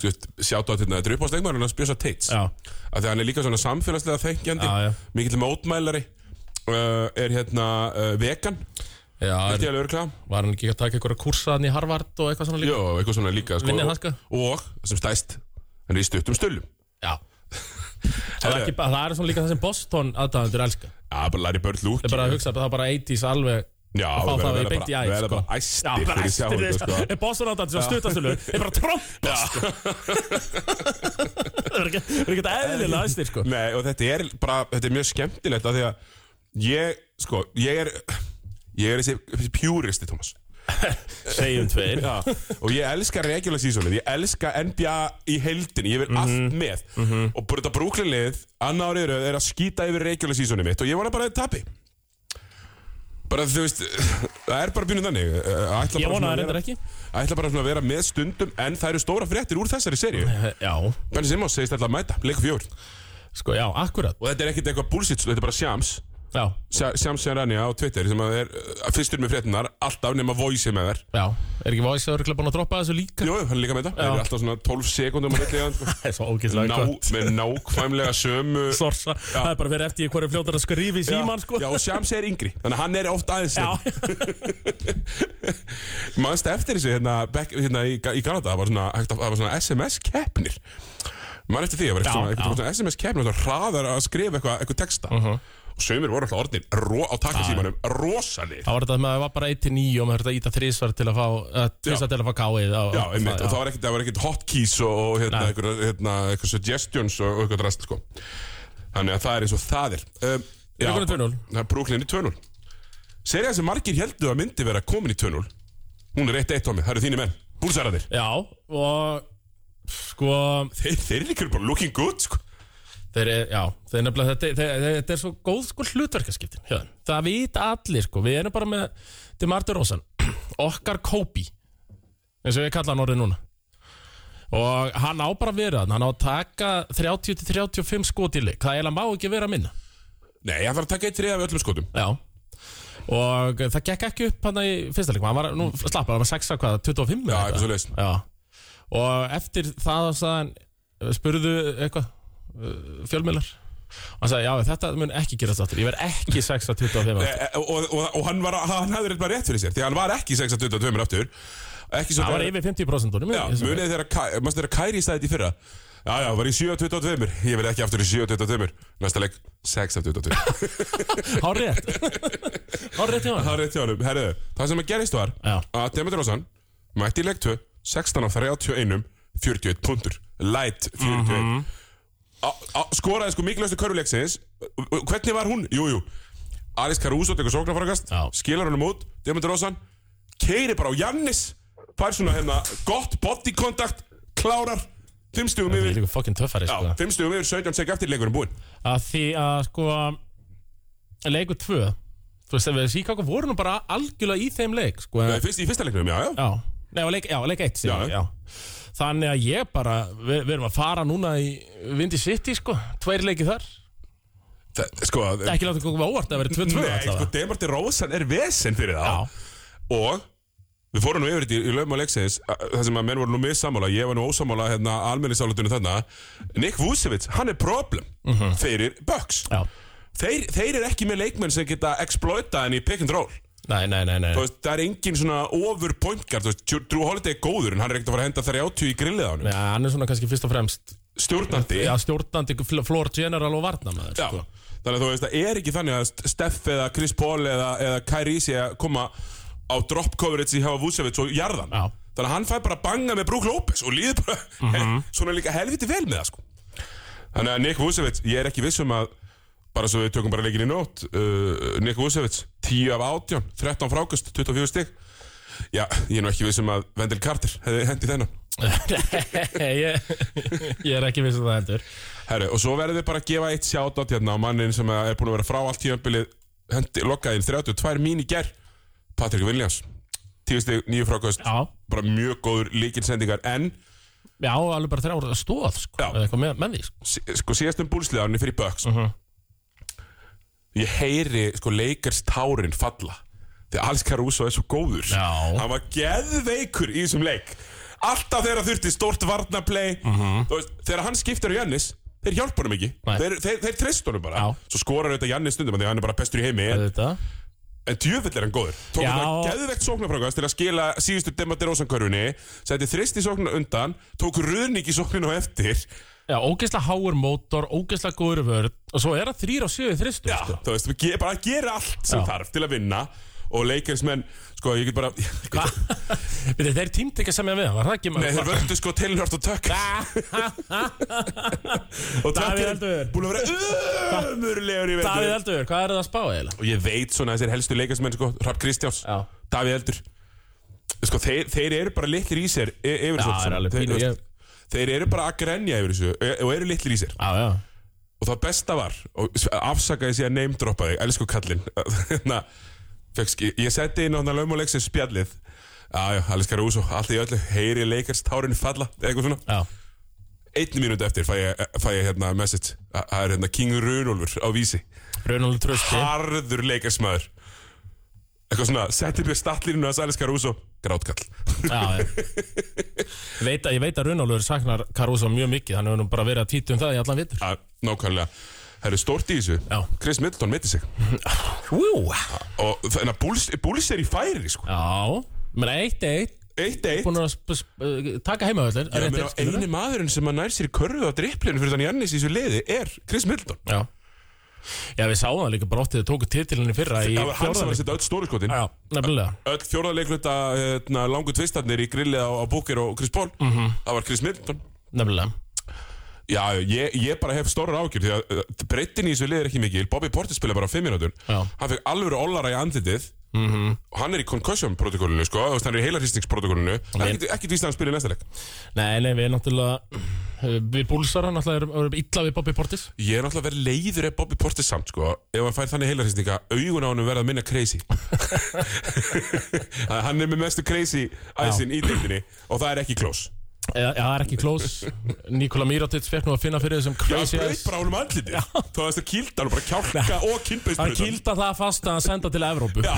Speaker 2: þú veist, sjátt á þetta, þetta er upp á stegmæður hann spjösa teits,
Speaker 3: Já.
Speaker 2: af því að hann er líka svona samfélagslega þengjandi,
Speaker 3: Já, já.
Speaker 2: mikill mótmælari uh, er hérna uh, vegan,
Speaker 3: Já,
Speaker 2: held
Speaker 3: er,
Speaker 2: ég alveg örgla
Speaker 3: var hann ekki að taka einhverja kursa hann í Harvard og eitthvað svona líka
Speaker 2: Jó, eitthvað svona líka sko,
Speaker 3: Vinnir hann,
Speaker 2: og,
Speaker 3: sko?
Speaker 2: og sem stæst, hann er í stuttum stöllum
Speaker 3: Já Það er, ekki, bara- það er svona líka það sem Boston aðdæðandur elska Það
Speaker 2: Já, bara Larry Bird lúk
Speaker 3: er bara að hugsa að það er bara 80s alveg
Speaker 2: Já,
Speaker 3: og fá
Speaker 2: verða-
Speaker 3: það í
Speaker 2: verða
Speaker 3: beint í
Speaker 2: bara-
Speaker 3: æð
Speaker 2: verða
Speaker 3: sko.
Speaker 2: bara æstir fyrir
Speaker 3: Já, bara
Speaker 2: sjáandi, sko.
Speaker 3: æstir Boston átt að þessu stuttastölu er bara trompa sko. Það er ekki- það er ekki þetta eðlilega æstir sko.
Speaker 2: Nei, og þetta er bara, þetta er mjög skemmtilegt af því að ég, sko, ég er ég er þessi pjúristi, Thomas
Speaker 3: Segjum tveir
Speaker 2: Já, og ég elska regular seasonið, ég elska NBA í heildinni, ég vil
Speaker 3: Mhm.
Speaker 2: allt með og bara þetta brúklinlið, annar árið í röð er að skýta yfir regular seasonið mitt og ég vona bara að þetta tapi bara þú veist, <laughs> það er bara björnum þannig Ætla bara
Speaker 3: Ég vona
Speaker 2: svona
Speaker 3: það
Speaker 2: að
Speaker 3: reyndar
Speaker 2: vera-
Speaker 3: ekki.
Speaker 2: ætla bara svona að vera með stundum en það eru stóra fréttir úr þessari seríu
Speaker 3: Já,
Speaker 2: Benny Simmons segist alltaf að mæta, leikur fjór
Speaker 3: sko, já, akkurat
Speaker 2: og þetta er ekkert eitthvað bullshit, þetta er bara sjams
Speaker 3: Já,
Speaker 2: Sjams Sjáranja á Twitter sem að er uh, fyrstur með fréttinar, alltaf nema voice með þær.
Speaker 3: já, er ekki voice að örgulega búin að droppa þessu líka?
Speaker 2: Jú, jú, hann er líka með þetta.
Speaker 3: Já.
Speaker 2: Það eru alltaf svona 12 sekundum að litlega
Speaker 3: <laughs> Það er svo ógeðslega
Speaker 2: hérna, sko. ná,
Speaker 3: gott.
Speaker 2: með nákvæmlega sömu...
Speaker 3: <laughs> Sorsa, það er bara verið eftir í hverju fljótar að skrifa í síman sko.
Speaker 2: Já, og Sjams er yngri, þannig að hann er oft aðeins
Speaker 3: Já.
Speaker 2: <laughs> Manst eftir þessu hérna, back, hérna í, í Kanada, það var svona, hægt að- það var svona SMS-keppnir Man eftir því, það var
Speaker 3: Já,
Speaker 2: eitthvað svona,
Speaker 3: já. Mhm.
Speaker 2: eitthvað svona SMS-keppnir Það hraðar að skrifa eitthvað, eitthvað texta Og sömur voru alltaf orðnir ro, á takkasímanum rosalir
Speaker 3: Það var þetta með að það var bara 1-9 og maður þurfti að íta þrísvar til að fá, uh, þrísvar til að fá káið
Speaker 2: Já, einmitt, og það var ekkert, það var ekkert hotkeys og, og hérna, einhver, hérna, einhver suggestions og, og eitthvað rast, sko. Þannig að það er eins og það er. Um, já,
Speaker 3: Brooklyn 2-0.
Speaker 2: Það er Brooklyn í 2-0. Serið sem margir heldur að myndi vera komin í 2-0, hún er 1-1 Tommy, það eru þínir menn, búlsæraðir.
Speaker 3: Já, og sko,
Speaker 2: Þeir, þeir eru líka bara looking good, sko.
Speaker 3: þeir, er- já, þeir nefnilega, þetta, þeir, þeir, þetta er svo góð sko hlutverkaskiptin hérna. Það vita allir sko, við erum bara með Demartur Rósan, <clears throat> okkar Kobe eins og ég kalla hann orðið núna og hann á bara að vera þarna, hann á að taka 30-35 skot í leik, það eiginlega má ekki vera minna
Speaker 2: Nei, hann þarf að taka eitt þrið af öllum skotum.
Speaker 3: Já Og það gekk ekki upp hann í fyrsta leikum Hann var, nú slappar, hann var 6 að hvað,
Speaker 2: Já,
Speaker 3: 25 eða
Speaker 2: eitthvað
Speaker 3: eitthvað?
Speaker 2: svoleiðis.
Speaker 3: Já Og eftir það sagðan, spurðu eitthvað uh, Fjölmiðlar Og hann sagði, já þetta mun ekki gerast aftur Ég verð ekki 6 að 25
Speaker 2: E,
Speaker 3: aftur
Speaker 2: e, og, og, og hann, var, hann hafði rétt bara rétt fyrir sér, því að hann var ekki 6-22 aftur. Ekki svo
Speaker 3: Það var yfir 50% honum
Speaker 2: Já, munið þegar Ky- manstu þegar Kæri stæði þetta í fyrra Já, já, var í 7.22 Ég verði ekki aftur í 7.22 Næsta leik
Speaker 3: <laughs>
Speaker 2: 6.22
Speaker 3: Há rétt
Speaker 2: <laughs>
Speaker 3: Há rétt hjá hann
Speaker 2: Það er rétt hjá honum Herðu, það sem að gerist var
Speaker 3: Já.
Speaker 2: Að Demeter Rósan Mætti í leik 2 16 á 31 41 puntur Light 41 mm
Speaker 3: Mhm.
Speaker 2: Skoraði sko mikilvægstu körfuleiksins Hvernig var hún? Jú, jú Aris Caruso tekur sóknarfarkast
Speaker 3: Já.
Speaker 2: Skilar honum út Demeter Rósan Keiri bara á Jannis Fær svona hérna Gott body contact Klárar Fimm stugum
Speaker 3: Það
Speaker 2: yfir
Speaker 3: er líka fokkin töffari
Speaker 2: Já,
Speaker 3: sko.
Speaker 2: fimm stugum yfir 17 sek eftir leikurinn búinn
Speaker 3: að því að sko leikur tvö þú veist að við Chicago voru nú bara algjörlega í þeim leik sko
Speaker 2: Nei, Eh, fyrst, Í fyrsta leiknum, já, já
Speaker 3: já, nei, á leik, já, á leik eitt já.
Speaker 2: Já.
Speaker 3: Já. þannig að ég bara við, við erum að fara núna í Windy City sko, tveir leiki þar
Speaker 2: Þa, Sko, að-
Speaker 3: ekki láta koma óvart að vera 2-2
Speaker 2: Nei, sko,
Speaker 3: allavega.
Speaker 2: Demarti Rósan er vesen fyrir það
Speaker 3: já,
Speaker 2: Og við fórum nú yfir þetta í, í lögum á leiksins Það sem að menn voru nú missammála Ég var nú ósammála hérna almenningsálutunum þarna Nick Vucevic, hann er problem Fyrir Bucks
Speaker 3: Mhm. já,
Speaker 2: þeir, þeir eru ekki með leikmenn sem geta exploita henni í pick and roll
Speaker 3: nei, nei, nei, nei.
Speaker 2: Þú veist, Það er engin svona over point guard Þú veist, Drew Holiday er góður En hann er ekkert að fara að henda 30 í grillið á hann
Speaker 3: Já, hann er svona kannski fyrst og fremst
Speaker 2: Stjórnandi
Speaker 3: já, stjórnandi fl- floor general og varnamæður
Speaker 2: Já,
Speaker 3: sko. <laughs>
Speaker 2: þannig að þú veist, það er ekki þannig að St- Steff eða Chris Paul eða, eða Kyrie sé að koma á drop coverage í hefa Vucevic og jarðan
Speaker 3: Já.
Speaker 2: Þannig að hann fær bara að banga með Brook Lopez og líður bara
Speaker 3: Mhm.
Speaker 2: <laughs> svona líka helviti vel með það sko Þannig að Nick Vucevic, ég er ekki viss um að bara svo við tökum bara leikin í nótt uh, Nick Vucevic, 10 af 18 13 frákust, 24 stig Já, ég er nú ekki viss um að Wendell Carter hefði hendi þennan
Speaker 3: ég, ég er ekki viss um það heldur
Speaker 2: Herru, og svo verðum við bara að gefa eitt sjátat hérna á mannin sem er búin að vera frá allt tíðanbilið hendi, lokkaði inn 32 mín í ger Patrik Williams tíðusti nýju frákvæðust
Speaker 3: já,
Speaker 2: bara mjög góður líkinsendingar en
Speaker 3: já, alveg bara þrjá stóð sko,
Speaker 2: Já.
Speaker 3: eða eitthvað með, með því sko.
Speaker 2: sí- sko síðast um búlsliðarni fyrir Bucks
Speaker 3: Mhm.
Speaker 2: ég heyri sko leikars tárin falla því Alex Caruso er svo góður
Speaker 3: Já.
Speaker 2: hann var geðveikur í þessum leik alltaf þegar þurfti stórt varnaplay Þú veist, þegar hann skiptir á Jannis þeir hjálpa honum ekki,
Speaker 3: Mhm. Nei.
Speaker 2: þeir, þeir, þeir treyst honum bara
Speaker 3: Já.
Speaker 2: svo skorar auðvitað Jannis stundum af því að hann er bara bestur í heimi en,
Speaker 3: Þetta.
Speaker 2: en djöfull er hann góður tók
Speaker 3: Já.
Speaker 2: hann geðveikt sóknarfrákast til að skila síðustu Dematerosan-körfunni setti þrist í sóknar undan tók ruðning í sókninu á eftir
Speaker 3: Já, ógeðslega háur mótor, ógeðslega góður vörð og svo er það þrýr á sjöðu þristu
Speaker 2: Já, þú veist, við ge- bara að gera allt sem
Speaker 3: Sko. Já.
Speaker 2: þarf til að vinna og leikarismenn, sko, ég get bara Nei,
Speaker 3: Við þeir tímt ekki að semja við hann, var það ekki
Speaker 2: þeir
Speaker 3: maður?
Speaker 2: völdu sko Taylor og Tucker og Tucker
Speaker 3: Eldur.
Speaker 2: er búin að vera ömurlegur í
Speaker 3: <laughs> Davíð
Speaker 2: veitur
Speaker 3: Eldur, hvað er það að spá eiginlega?
Speaker 2: og ég veit svona þessir helstu leikarismenn, sko, Rapp Kristjáns
Speaker 3: Já.
Speaker 2: Davíð Eldur sko, þeir, þeir eru bara litlir í sér e yfir
Speaker 3: Já,
Speaker 2: þessu,
Speaker 3: það er alveg
Speaker 2: þeir,
Speaker 3: pínu,
Speaker 2: þú
Speaker 3: ég-
Speaker 2: veist, þeir eru bara að grenja yfir þessu e og eru litlir í sér
Speaker 3: Já, já,
Speaker 2: og það besta var og s- afsakaði sér að neymdroppa þig elsku kallinn <laughs> Hérna, fékkst- ég ég setti inn á hann laumáleiksins spjallið aðjá, Alice Caruso, allt í öllu heyri leikast tárin falla, eða eitthvað svona
Speaker 3: já,
Speaker 2: einni mínúti eftir fæ ég, fæ ég hérna message Þa- það er hérna King Runolfur á vísi
Speaker 3: raunalegu trösti
Speaker 2: harður leikastmaður eitthvað svona, setti upp í statlínu hans Alice Caruso, grátkall <laughs>
Speaker 3: Já, já veit að, Ég veit að raunalegu saknar Caruso mjög mikið hann hefur nú bara verið að títu um það í allan vitur
Speaker 2: Já, nákvæmlega, það eru stórt í þessu
Speaker 3: Já.
Speaker 2: Chris Middleton meiti sig
Speaker 3: Ú,
Speaker 2: og þannig að Bulls, Bulls er í færi sko.
Speaker 3: já, menn eitt eitt
Speaker 2: 1-1
Speaker 3: búin að sp- sp- uh, taka heima öllir
Speaker 2: Ég meina, eini maðurinn sem að nær sér í körfu á dripplinu fyrir þann Jannis í þessu liði er Chris Middleton.
Speaker 3: Já Já, við sáum það líka bara oft þegar þið tóku titilinni fyrra í
Speaker 2: Það var hann sem var að
Speaker 3: fjórðanleik
Speaker 2: setja öll stóru skotin.
Speaker 3: Já, nefnilega
Speaker 2: Öll fjórðarleikluta hérna, langu tvistarnir í grillið á, á Booker og Chris Paul.
Speaker 3: Mhm.
Speaker 2: Það var Chris Middleton.
Speaker 3: Nefnilega
Speaker 2: Já, ég, ég bara hef stórar ágjur því að uh, breytin í þessu liði er ekki mikil. Bobby Portis spila bara á fimm minútur.
Speaker 3: Já. Mhm.
Speaker 2: Hann fekk alvöru ollara í andlitið. Og hann er í concussion protokollinu, sko. þú veist, Hann er í heilarhýstingsprotokollinu. Okay. Ekki, ekki því að hann spila í næsta leik.
Speaker 3: Nei, nei, við náttúrulega Við búlsara náttúrulega erum, erum illa við Bobby Portis
Speaker 2: Ég er náttúrulega verið leiður ef Bobby Portis samt sko Ef hann fær þannig heilarhýstinga Augun á hann verða minna
Speaker 3: <laughs>
Speaker 2: crazy Að Hann er með mestu crazy æsin í deildinni Og það er ekki close
Speaker 3: Eh, Já, það er ekki klós Nikola Mirotic fekk nú að finna fyrir þessum
Speaker 2: Já,
Speaker 3: crazy
Speaker 2: braut bara húnum andliti Þú veist að kýlda hann bara kjálka og
Speaker 3: Hann
Speaker 2: kynbeisbrutan
Speaker 3: kýlda það fast að hann senda til Evrópu <laughs>
Speaker 2: Já.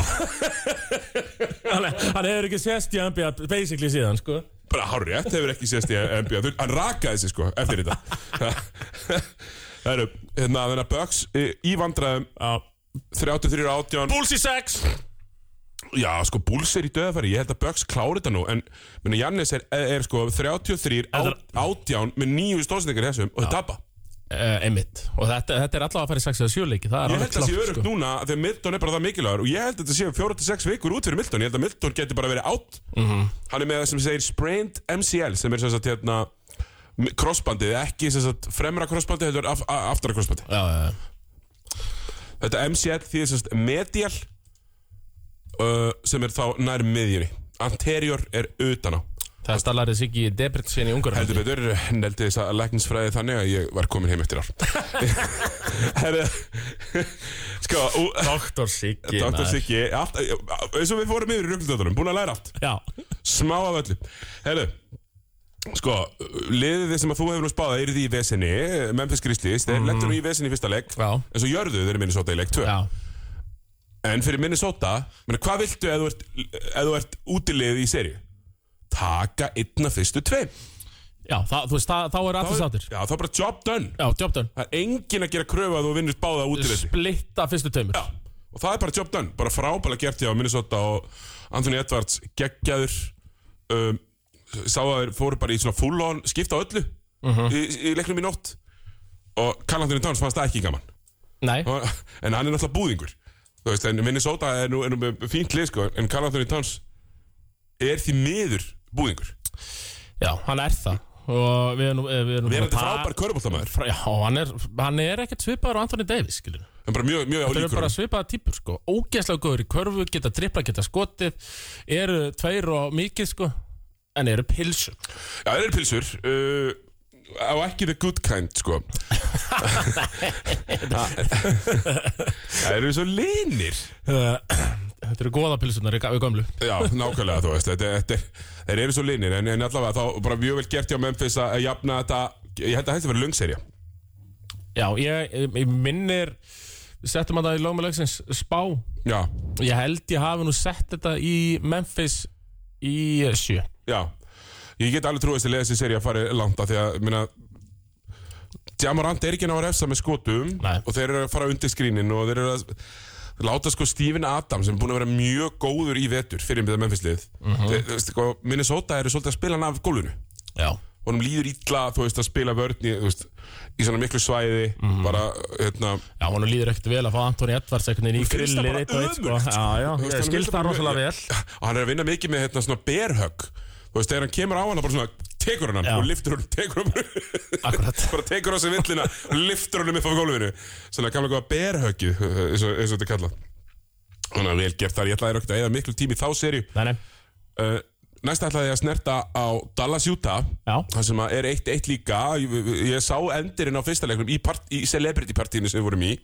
Speaker 3: hann, hann hefur ekki sést í NBA basically síðan, sko
Speaker 2: Bara hárrétt, hefur ekki sést í NBA Þú- Hann rakaði sig sko eftir þetta
Speaker 3: <laughs>
Speaker 2: Það eru, hérna, þannig að Bucks í- í vandræðum
Speaker 3: Já
Speaker 2: 33 átján
Speaker 3: Búls í sex
Speaker 2: Já, sko, Bulls er í döðafæri, ég held að Bucks klári þetta nú En, menna, Jannis er, er, er sko 33,
Speaker 3: Þetta er-
Speaker 2: át- 18 með nýju stóðsendingar í þessum og þau tapa
Speaker 3: uh, einmitt og þetta, þetta er allavega að fara í 6 eða 7 leiki það er
Speaker 2: Ég
Speaker 3: alveg
Speaker 2: held að það sé
Speaker 3: klárt, sko.
Speaker 2: örugt núna af því að Milton er bara það mikilvægur og ég held að þetta sé 4-6 vikur út fyrir Milton ég held að Milton geti bara verið átt
Speaker 3: Mhm.
Speaker 2: Hann er með það sem segir sprained MCL sem er sem sagt hérna m- crossbandið, ekki sem sagt fremra crossbandið heldur af, a- aftara crossbandið
Speaker 3: já, já, já.
Speaker 2: Þetta MCL því sem sagt medial uh, sem er þá nær miðjunni Anterior er utan á
Speaker 3: það er stallarið Siggi Debritsen í ungur
Speaker 2: Heldur betur, neldi þess að læknisfræði þannig að ég var komin heim
Speaker 3: <laughs>
Speaker 2: eftir ár Herra Sko, ú-
Speaker 3: Dr. Siggi
Speaker 2: Dr.
Speaker 3: maður.
Speaker 2: Siggi, allt, eins og við fórum yfir í rugglindöðunum, búin að læra allt,
Speaker 3: já,
Speaker 2: smá af öllu. Herru, sko, liðið þið sem að þú hefur nú spáðað er því í vesinni, Memphis Grizzlies, þeir mm. lendur nú í vesinni í fyrsta leik,
Speaker 3: Mhm. Já.
Speaker 2: en svo jörðu þeir í Minnesota í leik 2.
Speaker 3: já,
Speaker 2: En fyrir Minnesota, meni, hvað viltu ef þú ert, ef þú ert útilið í serju? Taka einna fyrstu tveim.
Speaker 3: já það, þú veist, það, þá er allir sáttir
Speaker 2: Já, þá er bara job done.
Speaker 3: já, job done
Speaker 2: Það er enginn að gera kröfu að þú vinnur báða útilið.
Speaker 3: splitta fyrstu taumur
Speaker 2: Já, og það er bara job done bara frábæla gert hjá Minnesota og Anthony Edwards geggjaður um, sá að þeir fóru bara í svona full on skipta á öllu
Speaker 3: Mhm.
Speaker 2: í, í leiknum í nótt og Karl Anthony Towns fannst það ekki gaman
Speaker 3: nei,
Speaker 2: Og- en hann er náttúrulega búðingur þú veist, en Minnesota er nú, er nú með fínt lið sko, en Karl Anthony Towns er því miður búðingur
Speaker 3: já, hann er það og við erum, eh, við erum,
Speaker 2: verandi
Speaker 3: svona par-
Speaker 2: frábær körubóltamæður
Speaker 3: Fra- Já, hann er, hann er ekkert svipaður á Anthony Davis, skiljum
Speaker 2: en bara mjög, mjög
Speaker 3: Það eru
Speaker 2: álíkur
Speaker 3: bara svipaða típur, sko Ógeðslega góður í körfu, geta tripla, geta skotið Eru tveir og mikið, sko En eru pilsum
Speaker 2: Já, það eru pilsur uh, á ekki the good kind, sko Það eru svo linir
Speaker 3: Uh, Þetta eru góða pilsunar í ga- í gömlu
Speaker 2: Já, nákvæmlega, þú veist þetta, þetta, er- Þeir eru svo linir, en, en allavega þá bara mjög vel gert hjá Memphis að að jafna þetta Ég held að þetta verið löngserja
Speaker 3: Já, ég, ég minnir Við settum að það í lögmælegsins spá
Speaker 2: Já,
Speaker 3: Ég held ég hafi nú sett þetta í Memphis í eh, sjö
Speaker 2: já Ég get alveg trúið að leiða þessi serja að fara langt af því að, minna Jamorant er ekki ná að refsa með skotum
Speaker 3: Nei.
Speaker 2: og þeir eru að fara undir skrínin og þeir eru að láta sko Steven Adams sem er búin að vera mjög góður í vetur fyrir með Memphis lið uh -huh. sko, Minnesota eru svolítið að spila hann af gólfinu
Speaker 3: Já
Speaker 2: honum líður illa þú veist að spila vörn í, þú veist, í svona miklu svæði bara hérna
Speaker 3: Já, hann líður ekkert vel að fá Anthony Edwards einhvern veginn í
Speaker 2: Mér finnst það
Speaker 3: grillið
Speaker 2: bara
Speaker 3: eitt og eitt, sko
Speaker 2: ömurlegt, sko.
Speaker 3: Já, já,
Speaker 2: Þú veist,
Speaker 3: ég
Speaker 2: hann
Speaker 3: skilst
Speaker 2: virkar
Speaker 3: það
Speaker 2: bara
Speaker 3: rosalega
Speaker 2: mjög-
Speaker 3: vel
Speaker 2: og hann er að vinna mikið með hérna svona berhögg þú veist þegar hann kemur á hana bara svona tekur hann hann
Speaker 3: Já.
Speaker 2: og liftur hann tekur hann
Speaker 3: Akkurat
Speaker 2: <laughs> bara tekur á sig villina og liftur honum upp á gólfinu svona gamla góða berhöggið eins og, eins og þetta er kallað þannig að vel gert þar ég ætlaði rögt að eða miklu tími í þá seri
Speaker 3: Nei, nei,
Speaker 2: uh, næst ætlaði ég að snerta á Dallas Utah
Speaker 3: Já.
Speaker 2: þar sem að er eitt eitt líka ég, ég- ég sá endurinn á fyrsta leiknum í, part, í celebrity partíinu sem við vorum í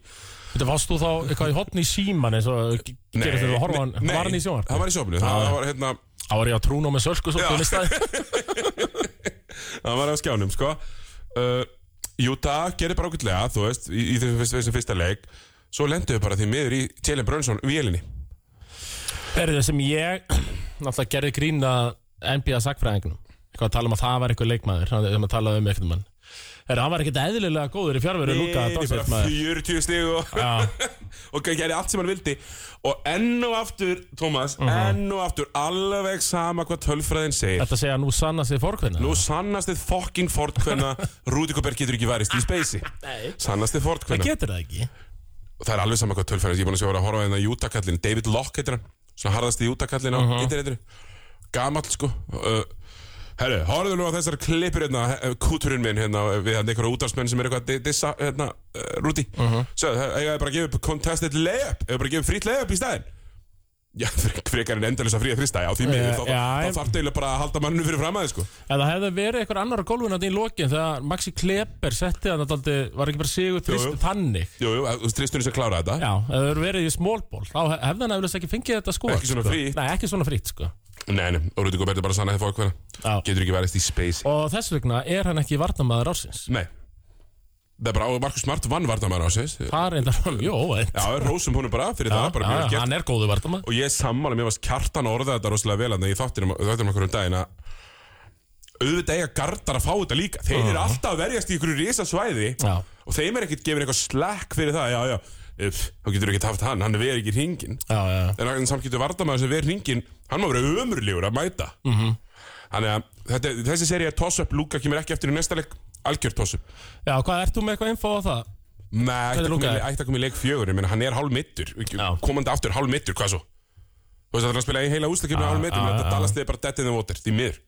Speaker 3: Þetta varst þú þá eitthvað í hotni í síman eins og ge- gerist þegar þú horfa hann,
Speaker 2: nei,
Speaker 3: var hann í sjónvarp?
Speaker 2: það var í sjónvarpinu. það, það var hérna
Speaker 3: Það var ég á trúnum með sölsku svo
Speaker 2: Já.
Speaker 3: þú
Speaker 2: <laughs>
Speaker 3: listaði
Speaker 2: það var á skjánum sko uh, Utah gerir bara ákveldlega þú veist í, í þessum fyrsta, þessum fyrsta leik svo lenduðu bara því miður í Jalen Brunson vélinni
Speaker 3: Erðu sem ég náttúrulega gerði grín að NBA sagfræðingunum eitthvað að tala um að það var eitthvað leikmaður það sem að tala um eitthvað mann Erðu, hann var ekkert eðlilega góður í fjárveru Luka
Speaker 2: Nei, bara
Speaker 3: Doncic maður
Speaker 2: 40 stig og, <laughs> og gerði allt sem hann vildi og enn og aftur, Thomas enn og aftur, alveg sama hvað tölfræðin segir
Speaker 3: Þetta segja nú sanna sig fórkvinna
Speaker 2: Nú sannast þið fokking fort hvenna Rúdikoberg getur ekki værist í speysi Sannast þið fort
Speaker 3: Það
Speaker 2: hvenna
Speaker 3: getur það ekki
Speaker 2: Það er alveg sama hvað tölfræðin, ég er búin að sjá að horfa hérna í Jútakallin, David Locke heitir hann Svona harðasti Jútakallin á
Speaker 3: Mhm.
Speaker 2: internetinu Gamall sko uh, Herru, horfðu nú á þessar klippur hérna, he- kúturinn minn hérna við hérna einhverja útarsmenn sem er eitthvað að di- dissa hérna, uh, Rúdi uh
Speaker 3: Mhm.
Speaker 2: -huh. Sjöðu, eiga þið bara að gefa upp contested layup eiga bara að gefa upp frýtt layup í staðinn Já, <laughs> fre- frekar en endalisa fríða frýstæði á því miður,
Speaker 3: Eh,
Speaker 2: þá,
Speaker 3: já,
Speaker 2: þá
Speaker 3: ég-
Speaker 2: þarf deila bara að halda mannu fyrir fram að þið sko
Speaker 3: En það hefði verið eitthvað annar á gólfinu þarna í lokin þegar Maxi Kleber setti hann daldi, var ekki bara
Speaker 2: Jú,
Speaker 3: sigur
Speaker 2: jú.
Speaker 3: þrist þannig
Speaker 2: Jú, jú, eh, þú tristur þess að klára þetta
Speaker 3: Já, ef það hefur verið í smólból þá hef- hefði hann eflust ekki fengið þetta sko
Speaker 2: Ekki svona
Speaker 3: sko.
Speaker 2: frítt.
Speaker 3: Nei, ekki svona frýtt sko
Speaker 2: Nei, nei, og Rúti Gobert er bara að sanna þetta fólk
Speaker 3: Já.
Speaker 2: hverna Getur ekki verið í space
Speaker 3: Og þess vegna er hann ekki varnamæður ársins
Speaker 2: Nei Það er bara, og Markus Smart vann vartamæður á sig Já,
Speaker 3: Það er reyndar <laughs> var mjög óvænt
Speaker 2: rósum honum bara fyrir það, bara mjög vel gert
Speaker 3: hann er góðu vartamæður
Speaker 2: Og ég er sammála, mér varst kjartan að orða þetta rosalega vel Þannig ég þáttir um okkur um daginn að Auðvitað eiga gardar að fá þetta líka Þeir eru alltaf að verjast í ykkur risasvæði
Speaker 3: Já.
Speaker 2: Og þeim er ekkert gefin eitthvað slack fyrir það Já, já, upp, þá getur ekki haft hann, hann verið ekki í ringin
Speaker 3: Já, já, já.
Speaker 2: en, en samt getur vardamaður sem verið ringin hann má vera ömurlegur að mæta
Speaker 3: Mhm.
Speaker 2: -hmm. þannig að þetta, þessi seri er toss-up Luka kemur ekki eftir í næsta leik algjör toss-up
Speaker 3: Já, hvað, ert þú með eitthvað info á það? <laughs>
Speaker 2: Nei, ætti að koma
Speaker 3: er
Speaker 2: í
Speaker 3: Luka?
Speaker 2: le- ætti að koma í leik fjögur menn hann er hálf mittur,
Speaker 3: Já.
Speaker 2: komandi aftur hálf mittur hvað svo? Þú veist að hann spila í heila
Speaker 3: Ah,
Speaker 2: úslakefni hálf mittur, þetta dalast þið bara dead in the water, því miður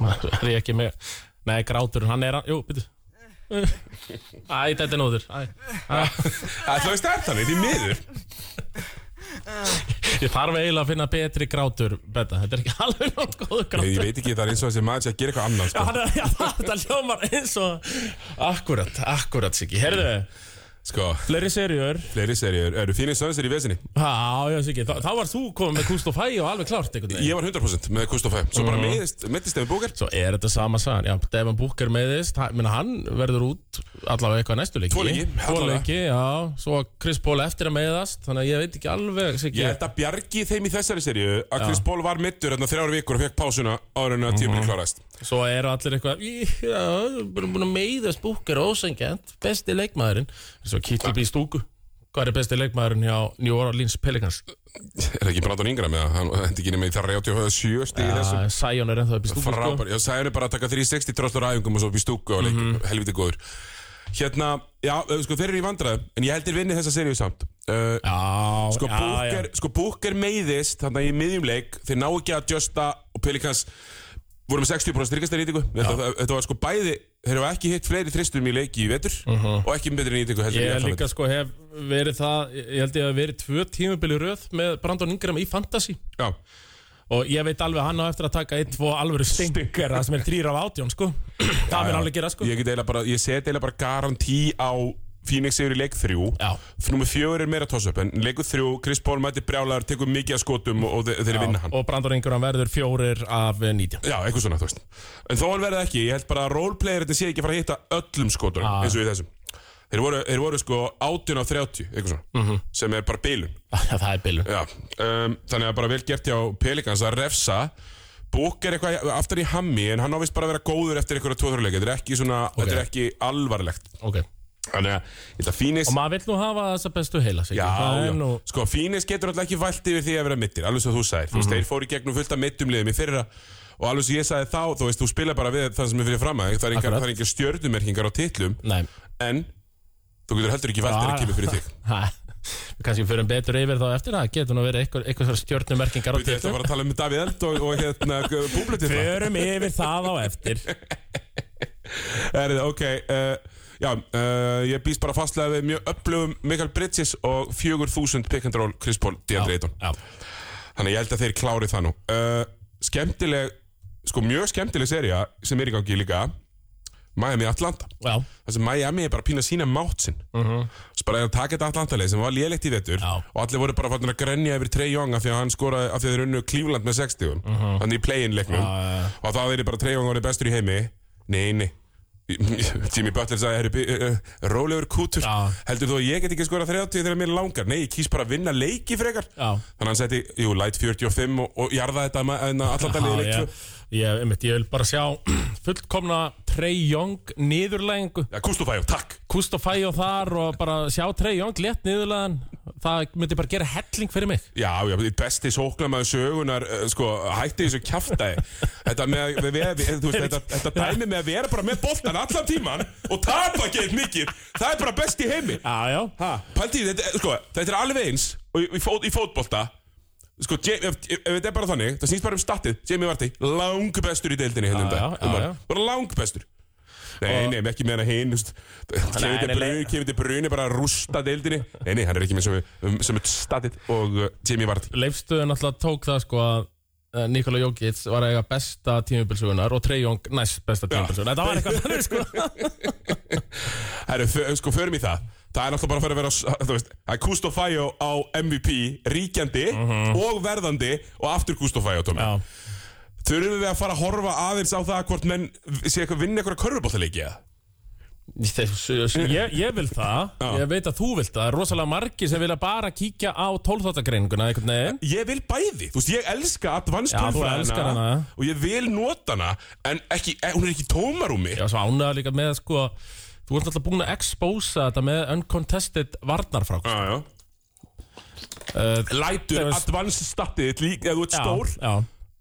Speaker 3: Maður er ég ekki með Nei, gráturinn, hann er hann Jú, byrju Æ, þetta er nóður Æ,
Speaker 2: Það þú veist það er þannig, því miður
Speaker 3: Ég þarf eiginlega að finna betri grátur Betta, þetta er ekki <laughs> alveg nóg góður
Speaker 2: Nei,
Speaker 3: grátur
Speaker 2: Ég veit ekki, það er eins og þessi maður sé að gera eitthvað annað
Speaker 3: Já,
Speaker 2: sko.
Speaker 3: hann er, <laughs> já, þetta hljómar eins og Akkurat, akkurat, Siggi Herðu,
Speaker 2: sko,
Speaker 3: fleiri seriur
Speaker 2: fleiri serjur, eru fínir sönsir í vesinni
Speaker 3: Já, já, Siggi, þá, þá varst þú komið með Kúst og Fæ og alveg klárt einhvern veginn
Speaker 2: Ég var 100% með Kustofæ Svo
Speaker 3: Mm.
Speaker 2: bara meiðist, meiddist þeim búkar
Speaker 3: Svo er þetta sama sagan, já, Devin Booker meiðist, hann, minna, hann verður út allavega eitthvað næstu leiki
Speaker 2: Tvo leiki,
Speaker 3: Tvo
Speaker 2: allavega.
Speaker 3: leiki, já, svo Chris Paul eftir að meiðast, þannig að ég veit ekki alveg, Siggi
Speaker 2: Ég held að bjargi þeim í þessari serju Að Chris Paul var middur þarna þrjár vikur og fekk pásuna áður en að tíminn
Speaker 3: Mm.
Speaker 2: klárast
Speaker 3: Svo eru allir eitthvað "Í, Já, búin búin að meiðast búkar ósengjant Besti leikmaðurinn Svo kittlum í stúku Hvað er besti leikmaðurinn hjá New Orleans Pelicans?
Speaker 2: Er það ekki Brandon Ingram eða? Hann hendi ekki nema í þar 37 stig í þessu
Speaker 3: Ah, Sion er ennþá upp í stúku sko.
Speaker 2: Frábær, já, sæðinu bara að taka 360 tróstur æfingum og svo upp í stúku og leikum,
Speaker 3: Mhm.
Speaker 2: helviti góður Hérna, já, eh, sko þeir eru í vandræðum En ég held þeir vinni þessa serju samt uh,
Speaker 3: Já,
Speaker 2: Sko
Speaker 3: já,
Speaker 2: Booker, sko Booker meiðist þannig í miðjum leik, þeir ná ekki að justa og Pelikans voru með 60% tryggasta nýtingu, þetta, þetta var sko bæði þeir hafa ekki hitt fleiri þristum í leiki í vetur og ekki með betri nýtingu heldur
Speaker 3: Mhm. Ég
Speaker 2: en í
Speaker 3: líka
Speaker 2: Atlanta.
Speaker 3: sko hef verið það Ég held ég að verið tvö tímubili röð Með Brandon Ingram í Fantasy
Speaker 2: Já,
Speaker 3: Og ég veit alveg að hann á eftir að taka einn, tvo alvöru stingar Það sem er þrýr af átjón sko Það
Speaker 2: já.
Speaker 3: mun alveg gera sko
Speaker 2: Ég, get eiginlega bara, ég seti eiginlega bara garantí á Phoenix yfir í leik þrjú
Speaker 3: Já.
Speaker 2: Númer fjögur er meira toss-up en leikur þrjú, Chris Paul mæti brjálæður tekur mikið að skotum og, og þe- þeir vinna hann
Speaker 3: Og Brandon Ingram verður fjórir af
Speaker 2: <laughs>
Speaker 3: nítján
Speaker 2: Já, eitthvað svona, þú veist En þó hann verði ekki, ég held bara að roleplayerinn sé ekki að fara að hitta öllum skotunum eins og í þessum Þeir voru, þeir voru sko 18 á 30, eitthvað svona
Speaker 3: Mhm.
Speaker 2: sem er bara bílun
Speaker 3: Það er bilun
Speaker 2: Já, um, þannig að bara vel gert hjá Pelikans að refsa Búk er eitthvað aftar í hammi en hann ávist bara að vera góður eftir einhverja tvoðurleika Þetta er ekki svona, þetta er ekki alvarlegt
Speaker 3: okay.
Speaker 2: Þannig að, ég held að Fínis
Speaker 3: Og maður vill nú hafa þessa bestu heila sig
Speaker 2: Já,
Speaker 3: það
Speaker 2: já,
Speaker 3: er nú
Speaker 2: sko Fínis getur alltaf ekki vælt yfir því að vera mittir alveg svo þú sagðir,
Speaker 3: Mhm.
Speaker 2: þú veist, þeir fóru í gegnum fullt af mittum liðum í fyrra og alveg svo ég sagði þá, þú veist, þú spila bara við það sem er fyrir fram að það er engar,
Speaker 3: Akkurat.
Speaker 2: það er engar stjörnumerkingar á titlum
Speaker 3: Nei,
Speaker 2: en þú getur heldur ekki vælt þegar það
Speaker 3: Já.
Speaker 2: kemur fyrir
Speaker 3: <laughs>
Speaker 2: þig
Speaker 3: ha, við kannski fyrir betur yfir þá eftir það getur nú verið eitthvað, eitthvað svona stjórnumerkingar á
Speaker 2: Þú veist, það
Speaker 3: titlum
Speaker 2: var að tala um Davíð Eld og, og
Speaker 3: <laughs>
Speaker 2: hérna búblutið það
Speaker 3: Förum yfir það á eftir
Speaker 2: <laughs> er, Ok, uh, já, uh, ég býst bara fastlega við mjög upplöfum Mikael Bridges og 4000 pick and roll Chris Paul, DeAndre Ayton
Speaker 3: Já,
Speaker 2: Þannig að ég held að þeir klári það nú uh, Skemmtileg, sko mjög skemmtileg seria sem er í gangi líka Miami Atlanta
Speaker 3: já,
Speaker 2: Það sem Miami er bara að pína sína mátt sinn uh Svo bara er að taka þetta Atlanta leið sem var lélegt í vettur
Speaker 3: Mhm. Já.
Speaker 2: Og allir voru bara farin að grenja yfir Trey Young af því að hann skoraði af því að þeir unnu Cleveland með 60 Þannig í play-in leiknum
Speaker 3: Mhm. já, já.
Speaker 2: Og það er bara Trey Young orðið bestur í heimi Nei, nei <laughs> Jimmy Butler sagði, herri, bi- uh, uh, rólegur kútur
Speaker 3: Já.
Speaker 2: Heldur þú að ég get ekki skorað 30 þegar mér langar? Nei, ég kýs bara að vinna leiki frekar
Speaker 3: já
Speaker 2: Þannig að hann setti, jú, light 45 og, og jarða þetta ma- en allan
Speaker 3: Já,
Speaker 2: daglega í leik
Speaker 3: ég,
Speaker 2: 2.
Speaker 3: ég, einmitt, ég vil bara sjá <clears throat> fullkomna Trey Young niðurlægingu
Speaker 2: Já, Kustofæjó, takk.
Speaker 3: Kúst og fæ og þar og bara sjá Trey Young létt niðurlæðan það myndi bara gera helling fyrir mig
Speaker 2: Já, já, besti sóknamaður sögunar, uh, sko, hætti þessu kjaftaði. Þetta með, við, við, við, þú veist, þetta, þetta dæmi með að vera bara með boltan allan tíman og tapa geitt mikið, það er bara best í heimi.
Speaker 3: Já, já,
Speaker 2: Ha, pældi, þetta, er- sko, þetta er alveg eins og í, í, fót, í fótbolta, sko, Ja- ef, ef, ef þetta er bara þannig, það snýst bara um statið, Jamie Vardy, langbestur í deildinni hérna um
Speaker 3: Já,
Speaker 2: dag. Um
Speaker 3: já, já,
Speaker 2: bara-
Speaker 3: já.
Speaker 2: Bara langbestur. Nei, nei, ekki með hana hinn
Speaker 3: Nei, nei, nei.
Speaker 2: Kevin De Bruyne bara að rústa deildinni Nei, nei, hann er ekki með sem, um, sem er statið og uh, Jimmy Vardy
Speaker 3: Leifstöðu náttúrulega tók það sko að eh, Nikola Jokic var að eiga besta tímubilsugunar og Trey Young næst besta tímubilsugunar Þetta var eitthvað
Speaker 2: <laughs>
Speaker 3: þannig sko
Speaker 2: Herru, fö- sko, förum í það Það er náttúrulega bara að fara að vera s- <laughs> þú veist, Það er Kustofæjó á MVP Ríkjandi og verðandi Og aftur Kustofæjó, Tómi
Speaker 3: Mhm. Já.
Speaker 2: Þurfum við að fara að horfa aðeins á það Hvort menn sé eitthvað vinna eitthvað körfubóttaleiki
Speaker 3: ég, ég vil það,
Speaker 2: Já.
Speaker 3: ég veit að þú vilt það Það er rosalega margi sem vilja bara kíkja á 12.greininguna einhvern veginn
Speaker 2: Ég vil bæði, þú veist, ég elska advanced
Speaker 3: Já, þú
Speaker 2: tölfræðina
Speaker 3: elskar hana.
Speaker 2: Og ég vil nota hana En ekki, eh, hún er ekki í tómarúmi
Speaker 3: Ég var svo ánægða líka með sko Þú Þú ert alltaf búin að expósa þetta með uncontested varnarfrák
Speaker 2: Já, já Lætur
Speaker 3: þegar-
Speaker 2: advanced statið þitt lík eða þú ert stór
Speaker 3: Já,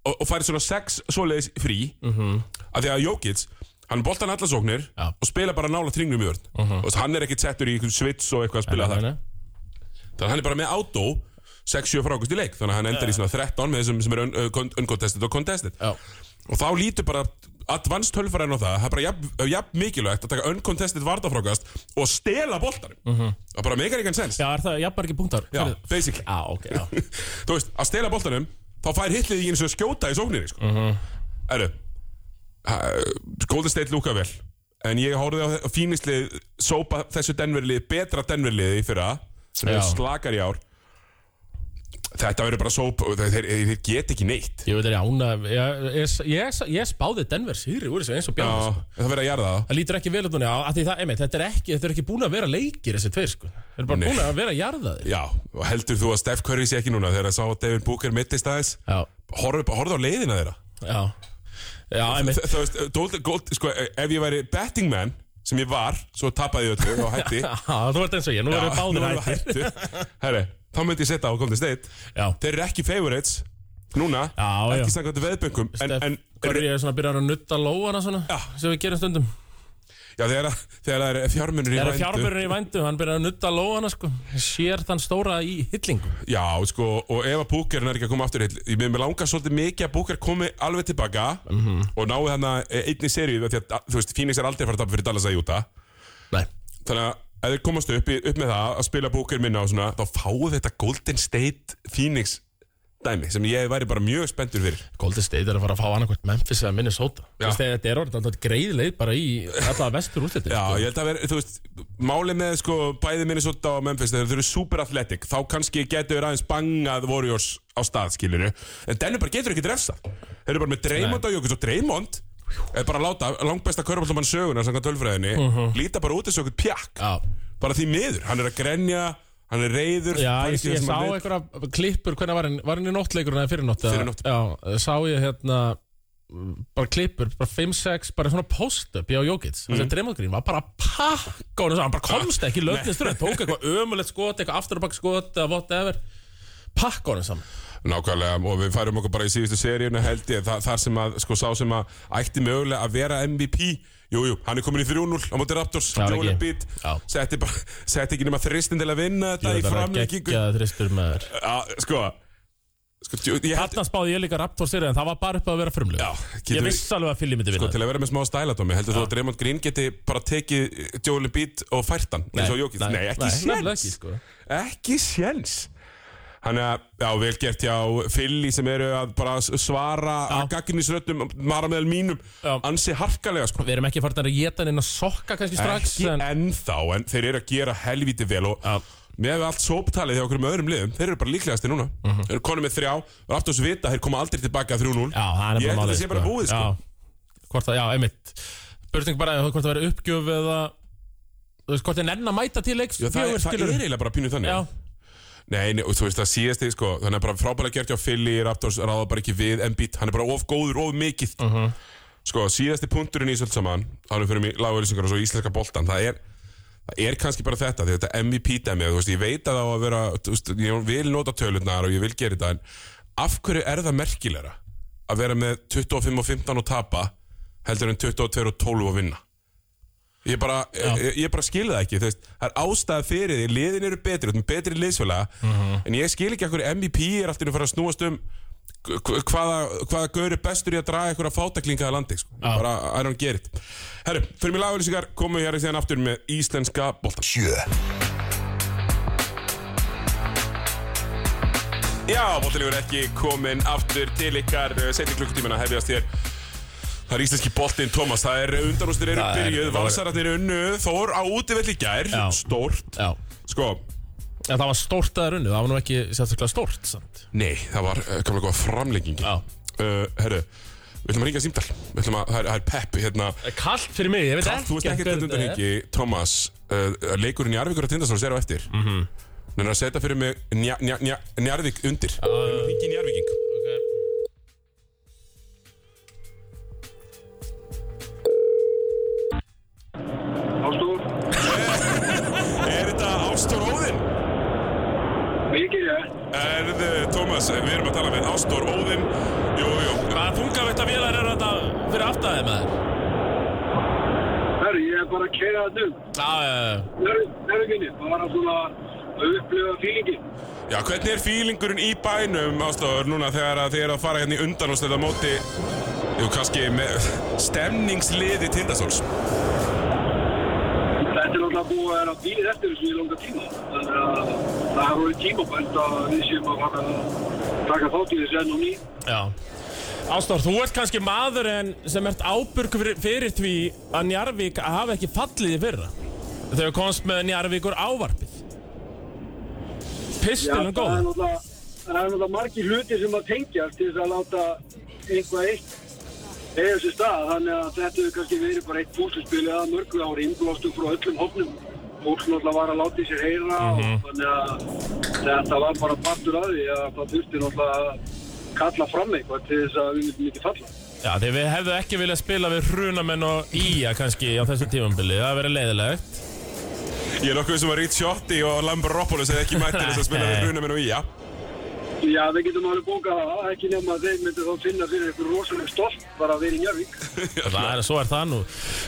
Speaker 2: og, og færi svona sex svoleiðis frí af því að Jókits hann boltar hann allar sóknir
Speaker 3: Mhm. Já. Mhm.
Speaker 2: og spila bara nála tringnum í vörn uh -huh. hann er ekkert settur í einhvern svits og eitthvað að spila það
Speaker 3: já
Speaker 2: þannig að hann er bara með auto 6-7 frákust í leik þannig að hann endar í svona 13 með þessum sem er un uh, con- uncontested og contested
Speaker 3: Já.
Speaker 2: og þá lítur bara advanced tölfræðin á það það er bara jafn, jafn mikilvægt að taka uncontested vardafrákast og stela boltanum það bara meikar engan sens
Speaker 3: Mhm. Já, er það jafnbar ekki punktar?
Speaker 2: Já,
Speaker 3: Fyrir-
Speaker 2: basically
Speaker 3: Já, ok, já
Speaker 2: þú veist, að stela boltanum þá fær hitlið í eins og skjóta í sókninni sko. uh
Speaker 3: Mhm.
Speaker 2: -huh. Eru Golden State lúka vel en ég horfði á fínislið sópa þessu denverlið, betra denverliði í fyrra sem
Speaker 3: Já.
Speaker 2: er slakar í ár þetta verður bara sóp og þeir, þeir, þeir get ekki neitt
Speaker 3: Ég veit það, já, ég, ég, ég, ég spáði Denver síðri úr þessu eins og
Speaker 2: Já,
Speaker 3: björn
Speaker 2: það verður að gera það
Speaker 3: Það lítur ekki vel út núna, já, af því það, einmitt, þetta er ekki, þetta er ekki búin að vera leikir þessi tveir, sko. Þeir eru bara
Speaker 2: Nei.
Speaker 3: búin að vera jarðaðir.
Speaker 2: Já, og heldur þú að Steph Curry sé ekki núna þegar að sá að Devin Booker mittist aðeins
Speaker 3: Já,
Speaker 2: horfðu horfðu á leiðina þeirra
Speaker 3: já, já, einmitt,
Speaker 2: Þa- Þú veist, gold, gold, sko, ef ég væri betting man sem ég var, svo tapaði ég öllu og
Speaker 3: <laughs>
Speaker 2: hætti
Speaker 3: já, þú ert eins og ég, nú erum við
Speaker 2: nú
Speaker 3: báðir
Speaker 2: erum
Speaker 3: hættir.
Speaker 2: við hættir. Herri, þá myndi ég setja á Golden State
Speaker 3: Já,
Speaker 2: Þeir eru ekki favorites núna
Speaker 3: Já, já.
Speaker 2: Ekki samkvæmt veðböngum En,
Speaker 3: Steff,
Speaker 2: en
Speaker 3: hverju ég er svona að byrja að nutta lóana svona,
Speaker 2: Já.
Speaker 3: sem við gerum stundum.
Speaker 2: já, þegar, þegar það er fjármunur í
Speaker 3: Það er
Speaker 2: væntu.
Speaker 3: fjármörun í vændu, hann byrjar að nutta lóana, sko, sér þann stóra í hyllingu.
Speaker 2: Já, sko, og ef að Booker er ekki að koma aftur heill Ég með langar svolítið mikið að Booker komi alveg tilbaka
Speaker 3: Mhm.
Speaker 2: -hmm. Og nái þarna eh, einni seríu af Því að, þú veist, Phoenix er aldrei að fara að tapa fyrir Dallas að Júta
Speaker 3: Nei.
Speaker 2: Þannig að ef þeir komast upp, í- upp með það Að spila Booker minna og svona Þá fáu þetta Golden State Phoenix dæmi Sem ég væri bara mjög spenntur fyrir
Speaker 3: Golden State er að fara að fá annarkvæmt Memphis eða Minnesota.
Speaker 2: Já.
Speaker 3: Þessi, þetta er orðið, þetta er greiðleið bara í alla vestur útlitið.
Speaker 2: Já,
Speaker 3: sko.
Speaker 2: ég held að vera, þú veist, málið með sko bæði Minnesota og Memphis, þegar þau eru super athletic, þá kannski getur þeir aðeins bangað Warriors á stað, skilinu. En Denver bara getur ekki drefsað. Þeir eru bara með Draymond á jökul, og Draymond er bara að láta langbesta körbáltamann sögunar, samkvæmt tölfræðinni, líta bara út þessu okkur pjakk.
Speaker 3: Já.
Speaker 2: Bara því miður, hann er að grenja, hann er reyður.
Speaker 3: Já,
Speaker 2: fær
Speaker 3: ég,
Speaker 2: ekki það
Speaker 3: ég
Speaker 2: sem
Speaker 3: sá
Speaker 2: hann vill.
Speaker 3: einhverja klippur, hvernig var hann, var hann í nóttleikurinn eða fyrir nótt? eða-
Speaker 2: Fyrir nótt.
Speaker 3: Já, sá ég hérna, mm, bara klippur, bara 5-6, bara svona post-up hjá Jókits. Mm.
Speaker 2: Mhm.
Speaker 3: Þessi Dremond Green var bara að pakka honum, saman, hann bara komst ekki löfnist þurra, tók eitthvað ömulegt skot, eitthvað afturabakk skot, eða whatever, pakka honum saman.
Speaker 2: Nákvæmlega og við færum okkur bara í síðustu seríuna held ég þar, þar sem að sko sá sem að ætti mögulega að vera MVP Jújú, jú, hann er komin í 3-0 á móti Raptors,
Speaker 3: Já,
Speaker 2: Joel
Speaker 3: ekki.
Speaker 2: Embiid
Speaker 3: Já.
Speaker 2: setti, bara, <laughs> setti ekki nema þristin til að vinna þetta í framleikingu
Speaker 3: Gekkjaði þristur með þér.
Speaker 2: Sko, sko djú- ég held
Speaker 3: Þarna spáði ég líka Raptors sér, en það var bara upp að vera frumlug.
Speaker 2: Já,
Speaker 3: Ég
Speaker 2: getur við
Speaker 3: vissi alveg að Philly myndi vinna.
Speaker 2: sko, til að vera með smá stæladómi heldur þú að Draymond Green geti bara tekið eh, Joel Embiid og fært hann eins og Jókins? Nei, ekki
Speaker 3: nefnilega
Speaker 2: séns
Speaker 3: ekki, sko.
Speaker 2: ekki séns Þannig að, já, vel gert hjá Fili sem eru að bara s- svara að gagnisröttum, mara meðal mínum
Speaker 3: Já.
Speaker 2: ansi harkalega, sko
Speaker 3: Við erum ekki farin að geta hann inn að sokka kannski strax
Speaker 2: Ekki
Speaker 3: en,
Speaker 2: ennþá, en þeir eru að gera helvíti vel og
Speaker 3: Já.
Speaker 2: með við allt sóptalið hjá okkur með öðrum liðum, þeir eru bara líklegasti núna Þeir eru konum með þrjá, og aftur þessu vita að þeir koma aldrei tilbaka að 3-0
Speaker 3: Mhm. Já, það er
Speaker 2: Ég held að
Speaker 3: málið,
Speaker 2: þetta sé bara búið, sko
Speaker 3: Já, hvort það, já, einmitt Spurning bara hvort það verður uppgjöf eða Þú veist, hvort þið nenn að mæta til leiks
Speaker 2: Já, það, er, það er
Speaker 3: skilurðu.
Speaker 2: eiginlega bara pínu þannig
Speaker 3: Já,
Speaker 2: Nei, nei, og þú veist, það síðast þig, sko, þannig að bara frábælega gert hjá Philly, Raptors ráða bara ekki við Embiid, hann er bara of góður, of mikill. Sko, síðasti punkturinn í svolítið saman, hann er fyrir mig lagauðlýsingar og svo íslenska boltan, það er, það er kannski bara þetta, því þetta MVP-dæmið, þú veist, ég veit að það á að vera, þú veist, ég vil nota tölurnar og ég vil gera þetta, en af hverju er það merkilegra að vera með 25 og 15 og tapa heldur en 22 og 12 og vinna? Ég bara, ég, ég bara skil það ekki þú veist, Það er ástæða fyrir því, liðin eru betri þú ert með betri liðsfélaga
Speaker 3: Mhm.
Speaker 2: En ég skil ekki hverju MVP er alltaf að fara að snúast um hv- Hvaða, hvaða gaur er bestur í að draga einhverja fátaklinga að landi sko. Bara, I don't get it Herru, fyrir mig lagauðlýsingar, komum við hér í síðan aftur með íslenska boltan
Speaker 5: sjö,
Speaker 2: Já, boltilegur ekki kominn aftur til ykkar Setni klukkutíminn að hefjast hér Það er íslenski boltinn, Tómas Það er undanústir eru
Speaker 3: Það er-
Speaker 2: byrjuð,
Speaker 3: það var-
Speaker 2: valsararnir unnu Þór á útivill í gær,
Speaker 3: Já.
Speaker 2: stórt
Speaker 3: já
Speaker 2: Sko,
Speaker 3: En það var stórt að runnu, það var nú ekki sérstaklega stórt samt.
Speaker 2: Nei, það var uh, komlega góða framlenging
Speaker 3: Já.
Speaker 2: uh, Herru, við ætlum að ringja símdal Við ætlum að, það er, það er Peppi hérna
Speaker 3: Það er Kallt fyrir mig, ég veit
Speaker 2: Karl, þú veist
Speaker 3: ekki
Speaker 2: ekkert þetta undan hengi Thomas, uh, leikurinn í Arvíkur og Tindastóra sér á eftir mm -hmm. Nennar að setja fyrir mig nja, nja, nja, Njarvík undir uh. Ringi Njarvíking
Speaker 6: Ástúr,
Speaker 2: Thomas, eh, við erum að tala við Ástór Óðinn Jú, jú,
Speaker 3: Hvaða þungaveitt að vélar eru þetta fyrir aftæði með þér?
Speaker 5: Herru, ég er bara að keira þetta um.
Speaker 3: Já, já, já.
Speaker 5: Nervinginni, bara svona að upplifa fílingin.
Speaker 2: já, hvernig er fílingurinn í bænum Ástór núna þegar að þið eru að fara hérna í undan og stöða móti Jú, kannski með stemningsliði tindastóls
Speaker 5: Þetta er náttúrulega búið að vera bílið eftir þessu í langa tíma. Þannig að það er orðið tímabænt að við séum að fara að taka þátt í þessu enn og ný.
Speaker 3: já. Ástór, þú ert kannski maður en sem ert ábyrg fyrir, fyrir því að Njarvík hafa ekki fallið í fyrra þegar komst með Njarvíkur ávarpið.
Speaker 5: Já, það er
Speaker 3: Pistilum góð.
Speaker 5: náttúrulega, það er náttúrulega margir hluti sem að tengja til þess að láta einhvað eitt eða þessu stað. Þannig að þetta hefur kannski verið bara eitt fúsilspil eða mörgu ári innblástum frá öllum hóknum. Fólk náttúrulega var að láta í sér heyra og þannig að þetta var bara partur af því að það þurfti náttúrulega að kalla fram eitthvað til þess að við myndum ekki falla.
Speaker 3: Já, þegar við hefðu ekki viljað spila við hrunamenn og íja kannski á þessu tímambili. Það hefði verið leiðilegt.
Speaker 2: Ég er nokkuð sem að Rít Sjótti og Lambaropoulos hefði ekki mætt til þess að spila við Brunaminn og Ía
Speaker 5: Já, við getum alveg bókað það, ekki nefn að þeir myndu þá finna fyrir eitthvað rosalega stolt bara að vera í Njörvík.
Speaker 3: Það er, svo er það nú.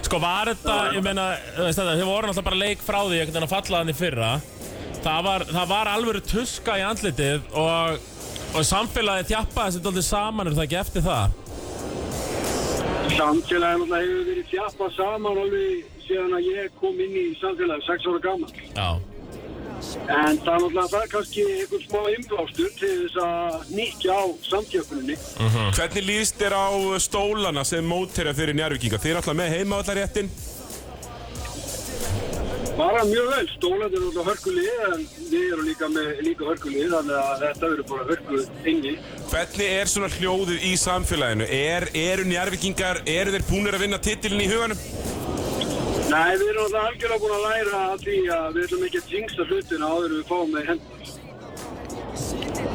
Speaker 3: Sko var þetta, ég meina, þú veist þetta, þið voru náttúrulega bara leik frá því einhvern veginn að falla hann í fyrra. Það var, það var alvöru tuska í andlitið og, og samfélagið þjappaði þessi dóldi saman, er það ekki eftir það?
Speaker 5: Samfélagið náttúrulega hefur verið þjappað saman alveg síðan að ég kom inn í samfélagið, 6 ára gammal.
Speaker 3: Já.
Speaker 5: En það er náttúrulega það er kannski einhvern smá innblástur til þess að nýkja á samtjöfnuninni.
Speaker 3: Mm.
Speaker 2: Hvernig líst þér á uh, stólana sem mótherja fyrir njárvíkinga? Þið er alltaf með heimavallarréttin
Speaker 5: Bara mjög vel, stólandir er náttúrulega hörkulið en við erum líka með líka hörkulið þannig að þetta verður bara hörkulið engi.
Speaker 2: Hvernig er svona hljóðið í samfélaginu? Er, eru njárvíkingar, eru þeir búnir að vinna titilin í huganum?
Speaker 5: Nei, við erum náttúrulega algjörlega búin að læra af því að við ætlum ekki að jinxa hlutina áður en við fáum með hendur.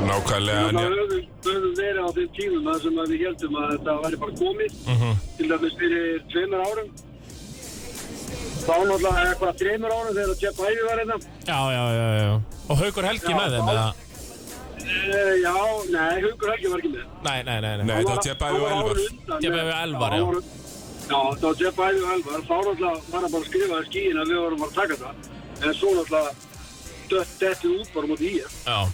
Speaker 2: Nákvæmlega,
Speaker 5: Þannig að
Speaker 2: njá...
Speaker 5: höfum, höfum verið á þeim tímum að sem að við heldum að þetta væri bara komið
Speaker 2: Mhm.
Speaker 5: til dæmis fyrir tveimur árum þá náttúrulega eitthvað þreimur árum þegar Jeff Ivey var hérna
Speaker 3: Já, já, já, já. Og Haugur Helgi
Speaker 5: Já,
Speaker 3: með þeim,
Speaker 5: þá-
Speaker 3: eða?
Speaker 5: uh, Já, nei, Haukur Helgi var ekki með
Speaker 3: Nei, nei, nei, nei.
Speaker 2: Nei, það var tjeppaði og elvar.
Speaker 3: Jeff Ivey og Elfar, já.
Speaker 5: já eh, Já, það var Jeff Ivey og Elvar þá náttúrulega var hann bara að skrifa í skíin að við vorum bara að taka það en svo náttúrulega dött þetta út bara mútið í
Speaker 3: Já.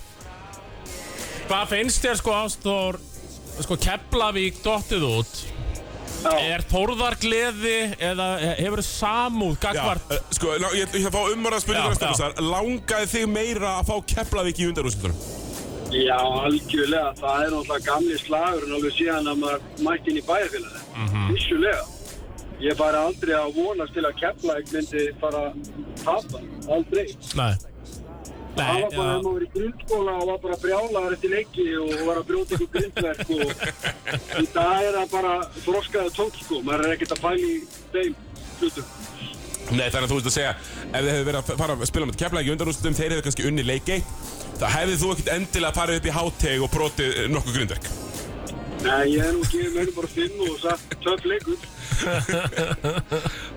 Speaker 3: Hvað finnst þér sko Ástór, sko Keflavík dottið út?
Speaker 5: Já,
Speaker 3: Er Þórðar gleði eða hefur samúð
Speaker 2: Já,
Speaker 3: gagvart?
Speaker 2: eh, sko, lá- ég ætla að fá umvarað
Speaker 3: Já,
Speaker 2: spurningar að spila þessar. Langaði þig meira að fá Keflavík í undarúsildunum?
Speaker 5: já, algjörlega það er náttúrulega gamli slagurinn alveg síðan að maður mætti inn í bæjarfélagi
Speaker 3: Mhm.
Speaker 5: vissulega ég bara aldrei að vonast til að kepla myndi bara tapa, aldrei
Speaker 3: Nei.
Speaker 5: það
Speaker 3: Nei,
Speaker 5: var bara hérna að
Speaker 3: já.
Speaker 5: maður var í grunnskóla og var bara brjálaður eftir leiki og var að brjóta ykkur grindverk
Speaker 3: <laughs>
Speaker 5: og í dag er það bara þroskaða tók sko, maður er ekkert að pæla í þeim hlutum
Speaker 2: Nei, þannig að þú veist að segja, ef þið hefðu verið að fara að spila með Keflavík í undarúsildum, þeir hefðu kannski unni leik 1, það hefðu þú ekkert endilega farið upp í háteg og brotið eh, nokkuð grindverk.
Speaker 5: Nei, ég er nú gefið mörgum bara fimm og sagt töff leikur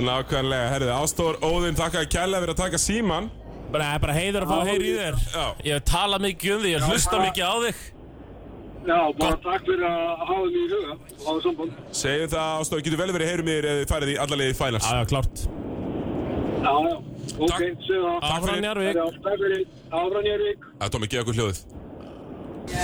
Speaker 2: Nákvæmlega, herðu, Ástór Óðinn þakkaði kærlega fyrir að taka síman
Speaker 3: Bara, bara heiður að fá að heyra í þér.
Speaker 2: Já.
Speaker 3: Ég hef talað mikið um því, ég hef hlusta
Speaker 5: bara-
Speaker 3: mikið á þig.
Speaker 5: Já, bara takk fyrir að hafa mig í huga og hafa samband
Speaker 2: Segjum það, Ástór, getur vel verið að heyra mér eða þið farið í alla leiði finals
Speaker 3: Já, já, klárt.
Speaker 5: Já, já, ok,
Speaker 2: Takk.
Speaker 5: segðu það
Speaker 3: Áfram
Speaker 2: fyrir.
Speaker 3: Njárvík.
Speaker 5: Já, Takk fyrir, áfram ég er vik
Speaker 2: Það Tómi, geða okkur hljóðið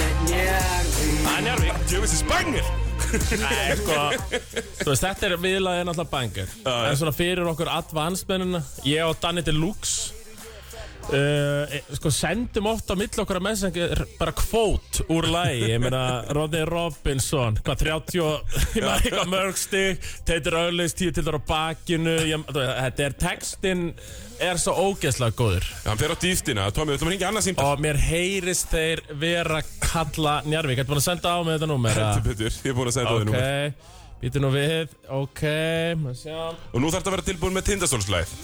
Speaker 3: Það er Njárvík.
Speaker 2: Ég veist þið spangir
Speaker 3: Nei, sko, þú veist, þetta er viðlaðið náttúrulega banger.
Speaker 2: já.
Speaker 3: En svona fyrir okkur advancemennina, ég og Danny Deluxe, Uh, eh, sko sendum oft á mill okkar að messengar bara kvót úr lagi ég meina Rodney Robinson hvað 30 og- <laughs> ég meina eitthvað mörgstig Teitur Öllins 10 til þar á bakinu ég, þú veist, þetta er textin er svo ógeðslega góður
Speaker 2: Hann fer á dýftina, Tómi, við ætlum að ringja annað símtal
Speaker 3: og mér heyrist þeir vera kalla Njarvík Þetta búin að senda á með þetta númer eða?
Speaker 2: Heldur betur, ég er búin að segja það
Speaker 3: Ok,
Speaker 2: númer
Speaker 3: býtu nú við Ok, maður sjá
Speaker 2: Og nú þarf þetta að vera tilbúin með Tindastólslæð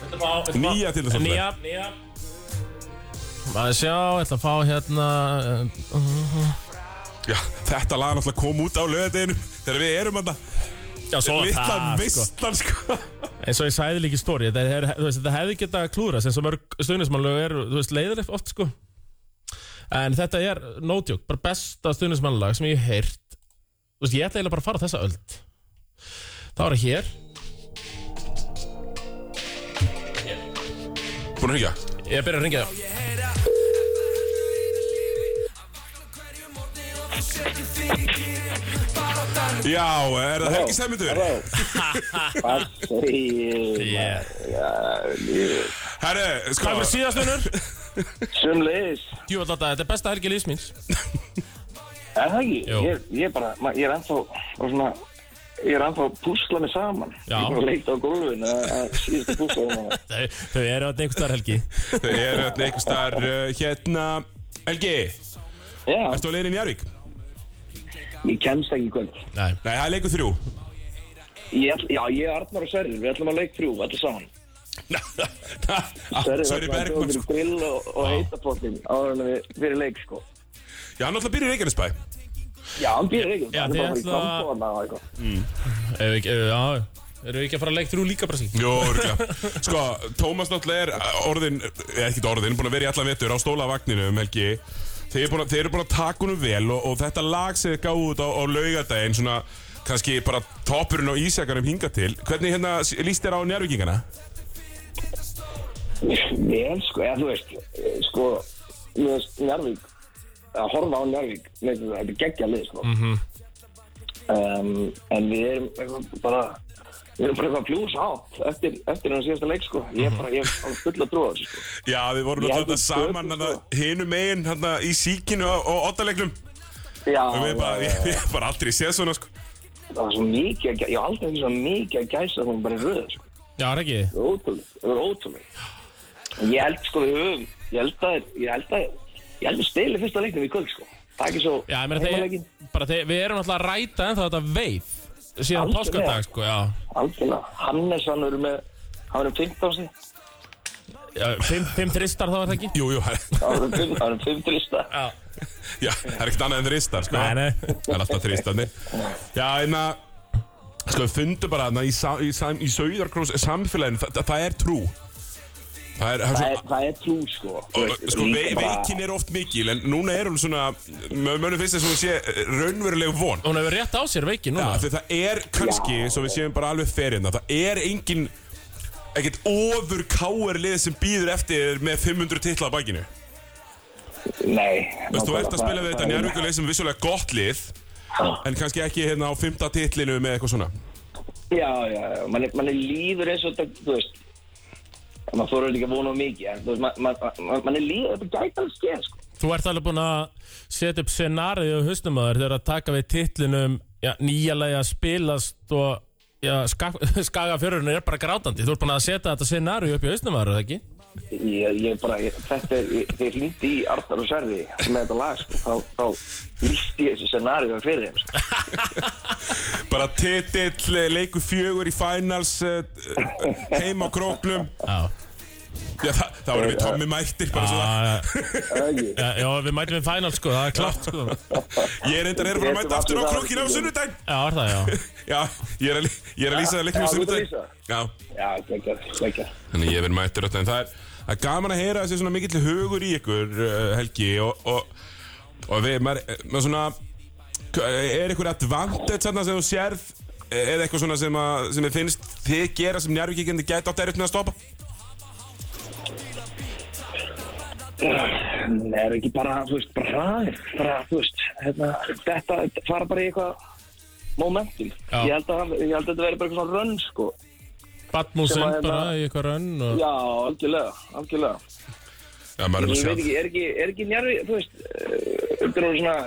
Speaker 3: Ætla að fá- ætla að fá-
Speaker 2: Nýja til þess að
Speaker 3: Nýja, nýja Maður sjá, ég ætla að fá hérna uh,
Speaker 2: Já, þetta lag náttúrulega kom út á löðinu Þegar við erum hann
Speaker 3: Já, svo var
Speaker 2: Litla
Speaker 3: það, sko.
Speaker 2: veistan sko
Speaker 3: eins og ég sæði líka í stóri þetta, er, þú veist, þetta hefði geta klúðrast eins og mörg stuðnismannlög eru þú veist, leiðir oft sko en þetta er no joke, bara besta stuðnismannlag sem ég hef heyrt þú veist, ég ætla eiginlega bara að fara á þessa öld það var hér
Speaker 2: Búin að hengja
Speaker 3: ég byrja að ringja það
Speaker 2: Já, er það Helgi Sæmundur?
Speaker 3: yeah.
Speaker 2: Herre, sko
Speaker 3: það var síðast unnur
Speaker 6: Sumleis,
Speaker 3: Jú, alltaf, þetta er besta helgi lífsmins
Speaker 6: er það ekki?
Speaker 3: Jú.
Speaker 6: Ég, ég er bara, ma- ég er ennþá bara svona Ég er ennþá að púsla mig saman
Speaker 3: Já.
Speaker 6: Ég er bara leikt á gólfinu að- að síðustu púsla um
Speaker 3: þau, þau eru að neikust þar helgi
Speaker 2: Þau eru hérna einhvers staðar uh, hérna Helgi,
Speaker 6: Já,
Speaker 2: ertu á leiðinni í Njarvík?
Speaker 6: ég kemst ekki í kvöld
Speaker 3: Nei.
Speaker 2: Nei, það er leikur þrjú
Speaker 6: ég, ætl- Já, ég er Arnar og Sverrir, við ætlum að leik þrjú, allir saman
Speaker 3: Ah,
Speaker 6: Sverrir
Speaker 2: Sverri
Speaker 6: ætlar að
Speaker 2: Bergman
Speaker 6: bjóða
Speaker 2: Ah, sko.
Speaker 6: mér grill og, og heita pottin áður en við fyrir leik sko
Speaker 2: Já, hann alltaf byrja í Reykjanesbæ
Speaker 6: Já, hann býr ekki,
Speaker 3: Já,
Speaker 6: hann
Speaker 3: þið
Speaker 6: er bara að fara í
Speaker 3: ætla-
Speaker 6: framboðana og eitthvað
Speaker 3: Ef ekki- ef- já, eru við ekki að fara að leik þrjú líka bara sín
Speaker 2: Jó, örgulega Sko, Tómas náttúrulega er uh, orðin eða ekkert orðin, búin að vera í allan vetur á stólavagninum Helgi Þeir eru búin að, þeir eru búin að taka honum vel og, og þetta lag sem þeir gáðu út á, á laugardaginn svona kannski bara toppurinn á ísjakarum hinga til Hvernig hérna s- líst þér á njárvíkingana?
Speaker 6: Vel, sko, eða þú veist, eh, sko, þú veist, Njarvík, að horfa á Njarvík, veitum það, þetta er geggja lið, sko.
Speaker 3: Mhm.
Speaker 6: um, en við erum eitthvað bara, við erum bara eitthvað fljús átt eftir, eftir hennar síðasta leik, sko.
Speaker 3: Mhm.
Speaker 6: Ég er bara, ég er fulla trúa, þessu, sko.
Speaker 2: Já, við vorum
Speaker 6: Já,
Speaker 2: náttúrulega
Speaker 6: við
Speaker 2: saman
Speaker 6: tökum, sko.
Speaker 2: hinnum megin hana, í síkinu og, og oddalegnum
Speaker 6: Já,
Speaker 2: og <laughs> við bara,
Speaker 6: já,
Speaker 2: ég, ég hef bara aldrei séð svona sko
Speaker 6: það var svo mikið, að gæ- ég hef aldrei ekki svo mikið að gæsa hún bara í röðu, sko.
Speaker 3: Já, er ekki
Speaker 6: Það var ótrúlega, það var ótrúlega. En Ég held, sko, við höfum, ég held að, ég held að, ég held að stili fyrsta leiknum í kvöld, sko. Það er ekki svo,
Speaker 3: Já, ég meina þeir,
Speaker 6: heimaleikinn.
Speaker 3: bara þeir, við erum alltaf að ræta ennþá þetta veif síðan
Speaker 6: Algjörlega.
Speaker 3: páskardag, sko, já.
Speaker 6: Algjörlega, Hannes hann verður með hann verður 15 sig
Speaker 3: já fimm, fimm þristar þá er það ekki?
Speaker 2: Jú, <laughs> jú, það-
Speaker 6: hann verður 5 hann verður 5 trista
Speaker 3: Já.
Speaker 2: já, það er ekkert annað en þristar sko
Speaker 3: Nei, nei.
Speaker 2: Það er alltaf þristarnir Já, en að Sko, við fundum bara hana í, sa- í, sa- í sauðarkrós samfélaginu, það, það er trú Það er, það
Speaker 6: það
Speaker 2: er
Speaker 6: er,
Speaker 2: svo
Speaker 6: það er trú sko Þú
Speaker 2: og,
Speaker 6: veist,
Speaker 2: Sko,
Speaker 6: líka
Speaker 2: ve,
Speaker 6: bara-
Speaker 2: veikin er oft mikil En núna er hún svona Mönnum finnst þess að hún sé eh, raunveruleg von
Speaker 3: Hún hefur rétt á sér veiki
Speaker 2: Já,
Speaker 3: núna.
Speaker 2: því það er kannski, svo við séum bara alveg ferina Það er engin ekkert ofur káar lið sem býður eftir með 500 titla á bakinu
Speaker 6: nei
Speaker 2: Veist, þú
Speaker 6: nákvæmlega,
Speaker 2: ert að
Speaker 6: það-
Speaker 2: spila við þetta
Speaker 6: það er-
Speaker 2: njárvíkuleið sem er vissulega gott lið En kannski ekki hérna á fymta titlinu með eitthvað svona
Speaker 6: já já já mann er, man er líður eins og þetta þú veist maður fóruður ekki að vona of mikið en þú veist mann man, man, man er líður þetta gæti alveg skeð sko
Speaker 3: Þú ert alveg búin að setja upp scenarið og hustum að þeir eru að taka við titlinum já, nýjalega spilast og já, skak, <laughs> skaga fjörurinn er bara grátandi. Þú ert búin að setja þetta scenarið upp í haustum að það ekki?
Speaker 6: ég, ég bara ég, þetta er ég- þegar ég hlýndi í Arnar og Sverði með þetta lag sko þá, þá líst ég þessu scenaríu fyrir þeim sko
Speaker 2: Bara titill, eh, leikur fjögur í finals eh, eh, Heim á króknum
Speaker 3: Já. Ah,
Speaker 2: Já, þa það voru við Tommy mættir bara
Speaker 6: Ah.
Speaker 2: svo það
Speaker 3: Já,
Speaker 6: Það er ekki
Speaker 3: já, já, við mætum við final, sko, það er klart, sko.
Speaker 2: Ég er endar er að fara að
Speaker 6: Ég
Speaker 2: mæta aftur á
Speaker 6: veit
Speaker 2: krókinu á
Speaker 6: það.
Speaker 2: sunnudaginn
Speaker 3: Já, er það, já.
Speaker 2: Já, ég er að, lí- ég er að lýsa það leiknum á
Speaker 6: Já, þú ert að
Speaker 2: sunnudaginn Já,
Speaker 6: já geggjað geggjað
Speaker 2: þannig ég verð mættur öll En það er, það er gaman að heyra þessi svona mikill hugur í ykkur eh, Helgi Og, og, og við, maður, eh, maður svona Er ykkur advantage þarna sem þú sérð Eða eitthvað svona sem, að, sem þið finnst þið gera sem njárvíkikindi gæti átt erut með að stoppa?
Speaker 6: Nei, er ekki bara, þú veist, bara hraðir, bara, þú veist, hérna, þetta fara bara í eitthvað momentum.
Speaker 3: Já.
Speaker 6: Ég held að, ég held að þetta verði bara eitthvað svona rönn, sko. Sem að
Speaker 3: Batmúsin
Speaker 6: hérna-
Speaker 3: bara í eitthvað rönn og...
Speaker 6: Já, algjörlega, algjörlega.
Speaker 2: Já, maður er nú
Speaker 6: Ég veit
Speaker 2: sjálf
Speaker 6: ekki, er ekki, er ekki njárvi, þú veist, uh, þetta eru svona,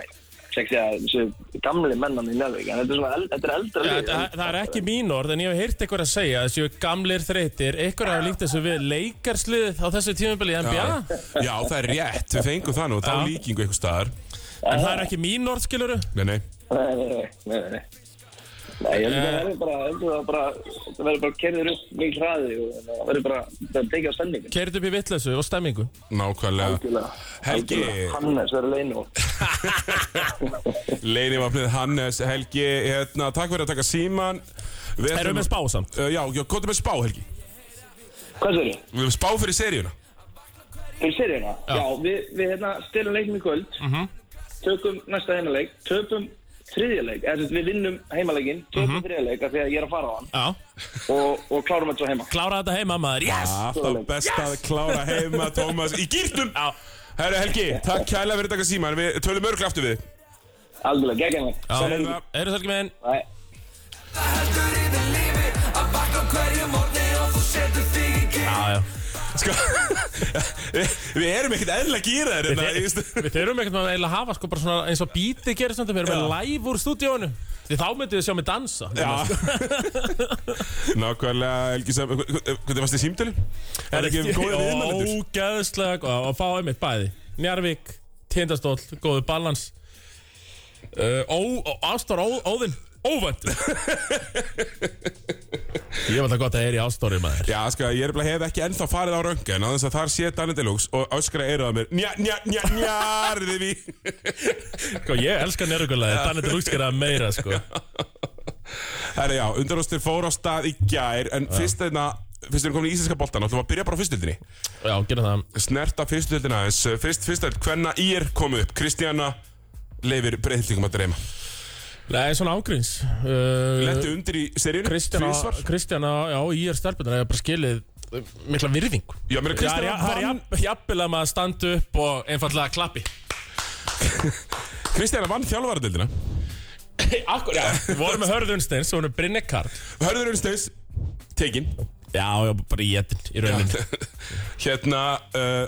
Speaker 6: sexi að þessu gamli mennan í njárvík, en þetta er svona, eld, þetta er eldra
Speaker 3: Já,
Speaker 6: lið.
Speaker 3: það, það er ekki mín orð, en ég hef heyrt eitthvað að segja að þessu gamlir þreytir, eitthvað hafa líkt þessu við leikarslið á þessu tímabili í NBA
Speaker 2: Já, það er rétt, við fengum það nú, þá líkingu eitthvað staðar
Speaker 3: en það er ekki mín orð, skiluru
Speaker 2: Nei, nei
Speaker 6: Nei, nei, nei, nei, nei. Nei, ég held að það verði bara, ég held að það bara, það verði bara kerður upp mikið hraði og það verði bara, það tekið á stemningin.
Speaker 3: Keirðu upp í vitleysu og stemmingu
Speaker 2: Nákvæmlega
Speaker 6: Algjörlega.
Speaker 2: Helgi.
Speaker 6: Algjörlega. Hannes verður leinu
Speaker 2: Leini Vapnið Hannes, Helgi, hérna, takk fyrir að taka síman Við
Speaker 3: Erum við með spá samt?
Speaker 2: Uh, já, já, hvað er með spá, Helgi?
Speaker 6: Hvað sér þið?
Speaker 2: Við erum spá fyrir seríuna.
Speaker 6: Fyrir seriðina? Já, við, við hérna stelum leiknum í kvöld Tökum næsta heimaleik Töpum þriðja leik eða sem sagt, Við vinnum heimaleikin, töpum mm -hmm. þriðja leik af Því að ég er að fara á hann
Speaker 3: Já,
Speaker 6: og, og klárum þetta svo heima
Speaker 3: klára þetta heima maður, yes!
Speaker 2: Alltaf best að klára heima, Tómas, í gýrtum! Herru Helgi, takk kælega fyrir þetta síman, við tölum örgla aftur við. þig.
Speaker 6: Algjörlega, geggjum það
Speaker 3: Já,
Speaker 2: Sælir.
Speaker 3: eru sælgum einn
Speaker 6: Nei.
Speaker 4: heldur yfir lífi Að bakka á hverju morgni og þú setur þig í kyn
Speaker 3: Já, já
Speaker 2: Sko, <laughs> við, við erum ekkert eðlilega gýraðir hérna, ég veist.
Speaker 3: Við þurfum ekkert með að eiginlega hafa sko bara svona eins og bítið gerir stundum Við erum með live úr stúdíónu Því þá myndum við sjá mig dansa <laughs>
Speaker 2: Já. Nákvæmlega, Helgi, sem, hva- hva- hvernig varst þið símtölu? Er ekki um góða viðmælendur?
Speaker 3: Ógæðslega góð og fá einmitt bæði Njarvík, tindastóll, góðu balans uh, ó, ó, Ástór ó, Óðinn, óvænt Ég var það gott að er í Ástóri maður
Speaker 2: Já, sko, ég er bara hef ekki ennþá farið á röngan, á þess að þar sé Danny Deluxe og öskra eruð að mér, njá, njá, njá, njá, rðið við.
Speaker 3: Sko ég elska nérugulaði, þannig til útskýra meira sko
Speaker 2: Herra, já, undanústir fór á stað í gær, en fyrst þeirna, fyrst þeirna komin í íslenska boltan, ætlum við að byrja bara á fyrstildinni.
Speaker 3: Já, gera það
Speaker 2: snerta fyrstu deildina aðeins Eh, fyrst, fyrst deild, hvenna í er komið upp Kristjana leifir breyðlingum að dreyma
Speaker 3: Nei, svona ágríns uh,
Speaker 2: Lettu undir í seríunum
Speaker 3: Kristjana,
Speaker 2: tvisvar.
Speaker 3: Kristjana, já, ég er stelpunar Ég er bara skilið uh, mikla virðingu
Speaker 2: Já, mér er
Speaker 3: Já, já,
Speaker 2: Kristjana
Speaker 3: það er
Speaker 2: vann
Speaker 3: jafn- jafnvel að maður standa upp og einfallega klappi
Speaker 2: Kristjana vann þjálfaradeildina
Speaker 3: Akkur, já Vorum með hörðunsteins og hún er Brynnekarl
Speaker 2: Hörður Unsteins tekin
Speaker 3: Já, já, bara í etin í rauninni
Speaker 2: hérna uh,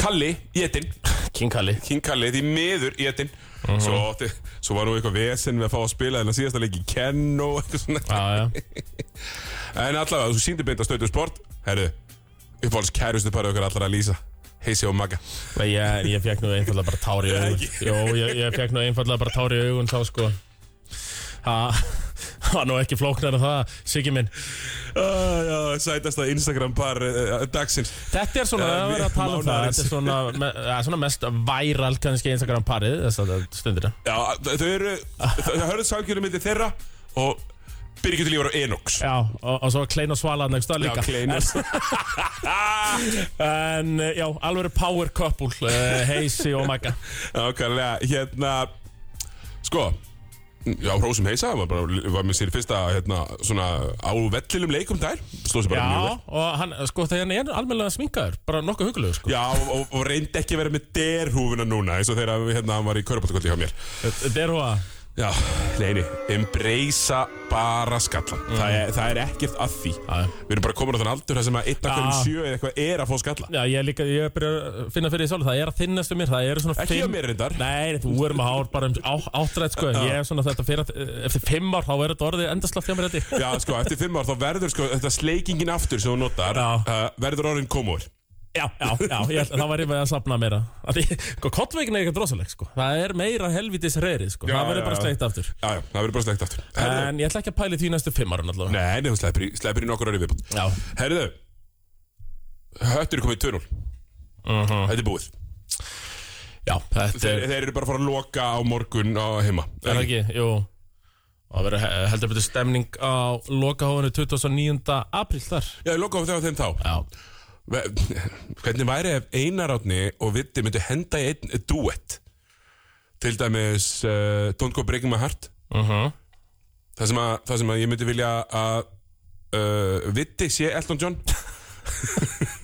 Speaker 2: Kalli Jetin
Speaker 3: <laughs> King Kalli
Speaker 2: King Kalli því miður Jetin
Speaker 3: Mhm.
Speaker 2: Svo, átti, svo var nú eitthvað vesen við að fá að spila þennan síðasta leik í Ken og eitthvað svona
Speaker 3: Já, já
Speaker 2: En allavega, þú síndi beint að stöðu sport Herru, uppáhalds kærustu parið okkar allra að lýsa Heisi og Magga
Speaker 3: Nei, Ég, ég fekk nú einfallega bara tár í augun
Speaker 2: Ekki.
Speaker 3: Jó, ég, ég fekk nú einfallega bara tár í augun þá sko <laughs> Það var nú ekki flóknar en það, Siggi minn
Speaker 2: Ah, já, sætasta Instagram par uh, dagsins
Speaker 3: Þetta er svona,
Speaker 2: Já,
Speaker 3: það er verið að tala um það
Speaker 2: mánaðarins.
Speaker 3: Þetta er svona, me, ja, svona mest væral kannski Instagram parið þess að stundir
Speaker 2: Já, þau eru, þau hörðu samkjörnum myndi þeirra og Birgit Lífur og Enox
Speaker 3: Já, og, og svo Klein og Svala nægst það líka
Speaker 2: Kleinus
Speaker 3: <laughs> En eh, já, alveg power couple uh, Heisi og <laughs> Magga
Speaker 2: Nákvæmlega, hérna Sko Já, Rósum Heisa var, bara, var með sér fyrsta hérna, svona á vellinum leikum þær Stóð sér bara mjög
Speaker 3: Já,
Speaker 2: vel
Speaker 3: og hann, sko þegar hann er almennilega sminkaður Bara nokkuð hugulegur sko
Speaker 2: Já, og, og, og reyndi ekki að vera með derhúfuna núna eins og þegar hérna, hann var í Körbáttakvöldi hjá mér
Speaker 3: Þetta er hóa
Speaker 2: Já, neini, embracea bara skallan
Speaker 3: Mm.
Speaker 2: það, er, það er ekkert að því
Speaker 3: já.
Speaker 2: Við erum bara komin á þann aldur þar sem að einn af hverjum
Speaker 3: Já.
Speaker 2: sjö eða eitthvað er að fá skalla
Speaker 3: Já, ég er líka, ég er byrjað að finna fyrir því sjálf Það er að þinnast um mér, það eru svona
Speaker 2: Ekki hjá mér reyndar.
Speaker 3: Nei, þú erum að hár bara um á- áttrætt sko En ég er svona þetta fyrir, að- eftir fimm ár Þá er þetta orðið endaslagt hjá mér þetta
Speaker 2: Já, sko, eftir fimm ár þá verður sko, þetta sleikingin aftur sem þú notar
Speaker 3: Já.
Speaker 2: uh, verður orðin komur
Speaker 3: Já, já, já, ég, held- þá var ég með að safna meira Af Því, sko, kottveikin er eitthvað drosaleg sko Það er meira helvitis reyrið sko
Speaker 2: Já,
Speaker 3: Það verður
Speaker 2: já,
Speaker 3: bara
Speaker 2: já.
Speaker 3: sleikt aftur
Speaker 2: Já, já, það verður bara sleikt aftur Herðu,
Speaker 3: En ég ætla ekki að pæli því næstu fimm ára náttúrulega
Speaker 2: Nei, nei, hún sleipir í, sleipir í nokkur orði viðbútt
Speaker 3: Já,
Speaker 2: Herðu, höttur er komið í 2-0
Speaker 3: Mhm.
Speaker 2: Þetta er búið
Speaker 3: já, þetta
Speaker 2: þeir,
Speaker 3: er
Speaker 2: þeir eru bara að fara að loka á morgun á heima
Speaker 3: Er það ekki, jú Það verður he- heldur betur stemning á lokahóðinu 29. apríl þar
Speaker 2: Já, ég loka á þegar þeim þá
Speaker 3: Já,
Speaker 2: Ve- <laughs> Hvernig væri ef Einar Átni og Vitti myndu henda í einn duett til dæmis uh, Don't Go Breaking My Heart
Speaker 3: Mhm.
Speaker 2: það, sem að, það sem að ég myndi vilja að uh, Vitti sé Elton John <laughs>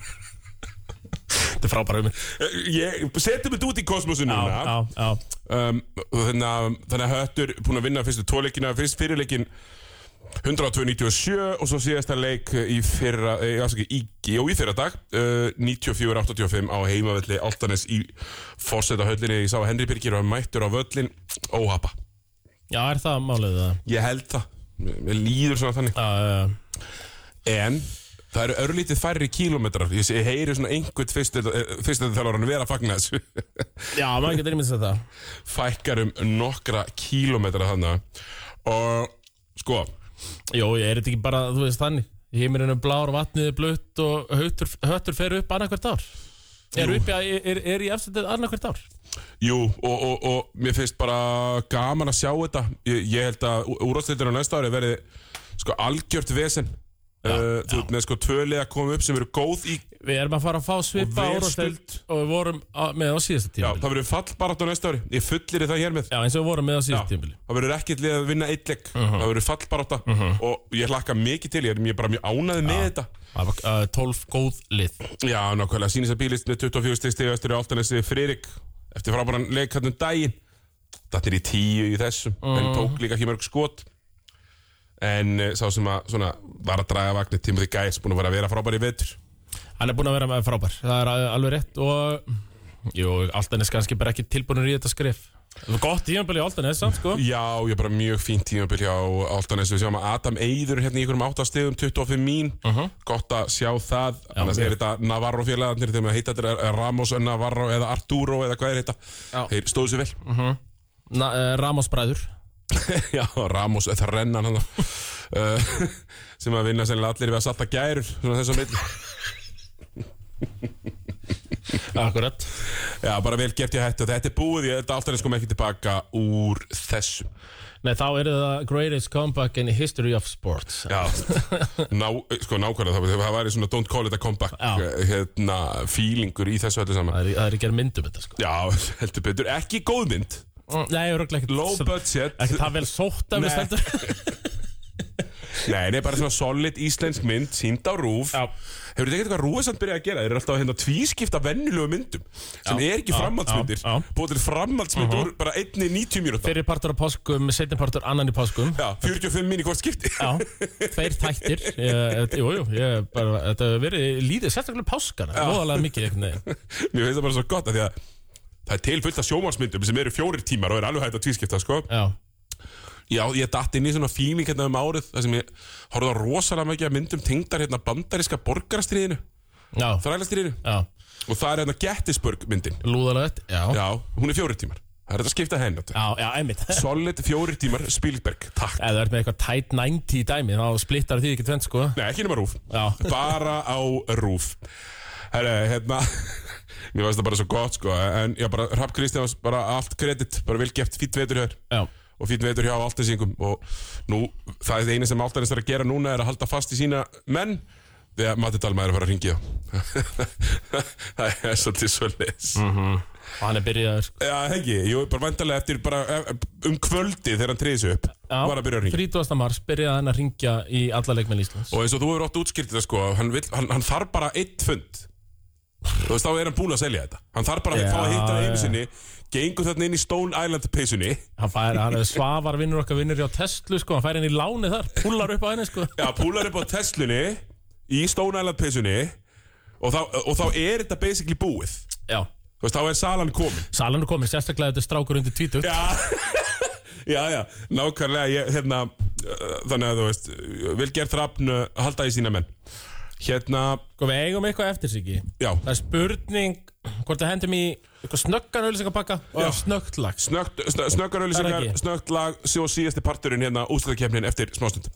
Speaker 3: þetta er frábæra um
Speaker 2: Eh, ég setjum þetta út í kosmosu
Speaker 3: Já,
Speaker 2: núna
Speaker 3: já, já
Speaker 2: um, og þannig, að, þannig að Höttur búin að vinna fyrstu tóleikina fyrst fyrirleikin 102.97 og svo síðasta leik í fyrra, eh, afsakið, í, í, og í fyrra dag uh, 94.85 á heimavelli Altanes í fórseta höllinni ég sá að Henry Birgir var mættur á völlin óhapa,
Speaker 3: Já, er það málið það?
Speaker 2: ég held það Mér- mér líður svona þannig
Speaker 3: Já, já, já
Speaker 2: en það eru örlítið færri kílómetrar ég, sé- ég heyri svona einhvern fyrstu þjálfarinn vera að fagna þessu <laughs>
Speaker 3: Já, maður getur einmitt þetta
Speaker 2: fækkar um nokkra kílómetra þannig og sko
Speaker 3: Jó, ég er þetta ekki bara, þú veist þannig Hímirinn er blár, vatnið er blött og höttur, höttur fer upp annarkvært ár Er, upp, í- er, er í efstendið annarkvært ár
Speaker 2: Jú, og, og, og mér finnst bara gaman að sjá þetta Ég, ég held að úrvarsleitur á næsta ári verði sko algjört vesen uh, þú veit með sko tvölið að koma upp sem eru góð í
Speaker 3: Við erum að fara að fá svipa
Speaker 2: Og vel
Speaker 3: úrvarsdeild og við vorum á, með á síðasta
Speaker 2: já,
Speaker 3: tímabili.
Speaker 2: það verður fallbarátt á næsta ári ég fullir það hér með
Speaker 3: Já, eins og við vorum með á
Speaker 2: Já,
Speaker 3: síðasta tímabili.
Speaker 2: það verður ekkert lið að vinna eitt leik það verður fallbarátt og ég hlakka mikið til ég er mér bara mjög ánaði með þetta
Speaker 3: Það var uh, 12 góð lið.
Speaker 2: já, nákvæmlega, sínist að bílist með 24 stig stegu eftir áltanesi Fririk eftir frábæran leik hann um daginn þetta er í tíu í þessum en tók líka ekki mörg skot en uh, sá sem að svona, var að draga vagnir Timothy Gæs búin að vera að vera frábær í vetur
Speaker 3: Hann er búinn að vera með frábær. Það er al- alveg rétt og... Jú, Altanes kannski bara ekki tilbúinur í þetta skrif. Það var gott tímabili í Altanes, samt sko.
Speaker 2: Já, ég er bara mjög fínt tímabil hjá Altanes Við sjáum að Adam Eyður hérna í einhverjum áttastegum 25 mín, gott að sjá það annars er þetta Navarro félagarnir þegar maður heita þetta er- er Ramos, Navarro eða Arturo eða hvað er þetta, þeir stóðu sér vel
Speaker 3: Na, uh, Ramos bræður.
Speaker 2: Já, Ramos, það rennan hann uh, sem að vinna sennilega allir við að salta gærur, svona þess að milli
Speaker 3: Akkurat.
Speaker 2: Já, bara vel gert ég hætti og þetta er búið, ég held að Altanes kom ekki tilbaka úr þessu
Speaker 3: Nei, þá er það greatest comeback in the history of sports.
Speaker 2: Já, Ná, sko nákvæmlega það, það væri svona don't call it a comeback
Speaker 3: Já.
Speaker 2: hérna, fílingur í þessu öllu saman
Speaker 3: Það er, það er ekki að myndum þetta sko.
Speaker 2: Já, heldur betur, ekki góð mynd
Speaker 3: Mm. Nei, öruglega ekkert.
Speaker 2: Low budget
Speaker 3: Ekkert það vel sótt af
Speaker 2: Nei.
Speaker 3: mér stendur.
Speaker 2: Nei, nei, bara svona solid íslensk mynd, sínd á rúf
Speaker 3: Já.
Speaker 2: Hefur þetta ekkert eitthvað rúðsamt byrjað að gera? Þeir eru alltaf að hérna tvískipta vennilegu myndum sem er ekki framhaldsmyndir
Speaker 3: já, já.
Speaker 2: Búið til framhaldsmynd úr bara einni 90 mínúta
Speaker 3: Fyrir partur á páskum, setjum partur annan í páskum.
Speaker 2: Já, 45 mín í hvort skipti <laughs>
Speaker 3: Já, tveir þættir Ég- þetta- Jú, jú, ég bara, þetta hefur verið líðið sérstaklega páskana, loðalega mikið einhvern veginn
Speaker 2: Mér finnst það bara svo gott að því að Það er til fullt af sjómarsmyndum sem eru fjórir tímar og er alveg hægt að tvískipta, sko
Speaker 3: Já,
Speaker 2: Já, ég datt inn í svona fíling hérna um árið þar sem ég horfði á rosalega mikið af myndum tengdar hérna bandaríska borgarastriðinu
Speaker 3: já,
Speaker 2: þrælastriðinu
Speaker 3: já,
Speaker 2: og það er hérna Gettysburg myndin
Speaker 3: lúðalegt Já,
Speaker 2: Já, hún er fjórir tímar Það er þetta að skipta henni þetta.
Speaker 3: já, já, einmitt Ef
Speaker 2: Solid fjórir tímar Spielberg, takk
Speaker 3: þú ert með eitthvað tight 90 í dæmi þá splittar því ekki tvend sko
Speaker 2: Nei, ekki nema rúf
Speaker 3: Já.
Speaker 2: Bara á rúf Herra, hérna Mér finnst það bara svo gott sko En já, bara Rapp Kristjáns, bara allt kredit Bara vel geft, fýtt vetur hér
Speaker 3: Já,
Speaker 2: og fýtt vetur hjá Altanesingum og nú, það er það eina sem Altanes er að gera núna er að halda fast í sína menn þegar Matti Dalma er að fara að ringja <laughs> það er svolítið svo leis
Speaker 3: Mhm. og hann er byrjaður sko
Speaker 2: Já, ekki, jú, bara vantarlega eftir bara eh, um kvöldi þegar hann treyði sig upp
Speaker 3: Já,
Speaker 2: var að byrja að ringja
Speaker 3: 30. mars byrjaði hann að ringja í alla leikmenn Íslands
Speaker 2: og eins og þú hefur ótt útskýrt þetta sko hann, vill, hann, hann þarf bara eitt fund þú veist, þá er hann búin að selja þetta hann þarf bara að
Speaker 3: Já,
Speaker 2: fá að hitta það
Speaker 3: já.
Speaker 2: einu sinni gengur þarna inn í Stone Island peysunni
Speaker 3: Hann fær, hann er svafar vinnur okkar vinnur hjá Tesla sko, hann fær henni í láni þar, púlar upp á henni sko
Speaker 2: Já, púlar upp á Teslunni í Stone Island peysunni og, þá- og þá er þetta basically búið
Speaker 3: Já,
Speaker 2: Þú veist, þá er salan komin
Speaker 3: salan er komin sérstaklega þetta er strákur undir tvítugt
Speaker 2: Já, <laughs> já, já, nákvæmlega ég, hérna, uh, þannig að þú veist vil gerð þrafn uh, halda í sína menn Hérna,
Speaker 3: Sko við eigum eitthvað eftir sig ekki
Speaker 2: já,
Speaker 3: Það er spurning hvort það hendum í eitthvað snöggan auðlýsingapakka
Speaker 2: Já.
Speaker 3: og snöggt lags.
Speaker 2: snöggt, snö, snöggar
Speaker 3: Það er
Speaker 2: auðlýsingar
Speaker 3: ekki.
Speaker 2: snöggt lag, svo síðasti parturinn hérna úslæðakefnin eftir smástund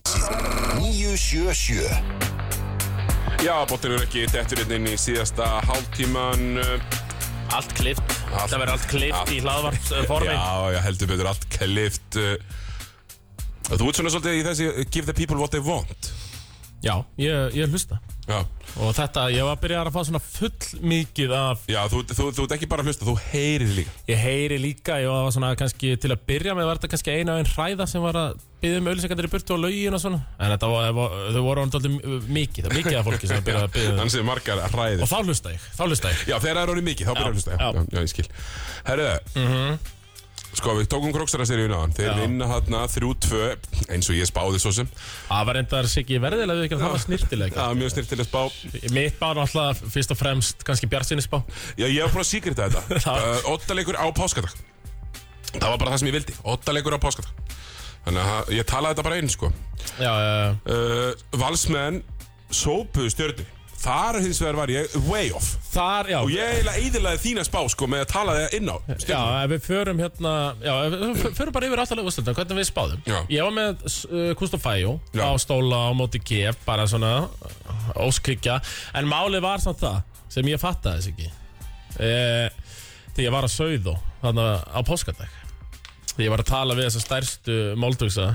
Speaker 7: 977
Speaker 2: Já, bóttir eru ekki dettur hérna inn í síðasta hálftíman uh,
Speaker 3: Allt klift.
Speaker 2: Allt-
Speaker 3: Það verður allt klift í hlaðvarpsformi.
Speaker 2: Já, já, heldur betur allt klift uh, Þú ert svona svolítið í þessi uh, give the people what they want
Speaker 3: Já, ég, ég hlusta.
Speaker 2: Já,
Speaker 3: Og þetta, ég var að byrja að fá svona full mikið af,
Speaker 2: já þú, þú, þú, ert ekki bara að hlusta, þú heyrir líka
Speaker 3: ég heyri líka, ég var svona kannski til að byrja með var þetta kannski eina og einn hræða sem var að byggja um auðlýsingandir í burtu og laugin og svona. En þetta var, var- þau voru hann alltaf mikið, það var mikið af fólki sem að byrja að byggja um.
Speaker 2: Þannig sem margar hræðir
Speaker 3: Og þá hlusta ég, þá hlusta ég.
Speaker 2: Já, þegar það er orðið mikið, þá byrjar að hlusta já,
Speaker 3: já.
Speaker 2: já,
Speaker 3: Mhm.
Speaker 2: já, ég skil Herðu Sko, við tókum kroksaraseríun á hann Þeir vinna hérna 3-2 Eins og ég spáði svo sem
Speaker 3: Það var endar sig í verðilega við ekki að það var snirtilega.
Speaker 2: Það er mjög snirtilega spá
Speaker 3: Mitt bár alltaf fyrst og fremst kannski bjartsinnisbá.
Speaker 2: Já, ég var búin að síkrita þetta
Speaker 3: Já.
Speaker 2: uh, Óttaleikur á páskadag Það var bara það sem ég vildi Óttaleikur á páskadag Þannig að það- ég talaði þetta bara einn sko
Speaker 3: Já, já, já.
Speaker 2: uh, Valsmenn sópuðu stjörnu Þar hins vegar var ég way off
Speaker 3: Þar, já
Speaker 2: Og ég eiginlega eðilaði þína spá sko með að tala það inn á <laughs>
Speaker 3: Já,
Speaker 2: stjörnu
Speaker 3: ef við förum hérna Já, ef við f- förum bara yfir alltaf úrslutin Hvernig við spáðum
Speaker 2: Já.
Speaker 3: Ég var með uh, Kustofæjó
Speaker 2: Já.
Speaker 3: Á stóla á móti GF Bara svona uh, óskikja En málið var samt það Sem ég fattaði þess ekki eh, Því ég var að sauðu Þannig á páskadag Því ég var að tala við þessa stærstu Móldugsa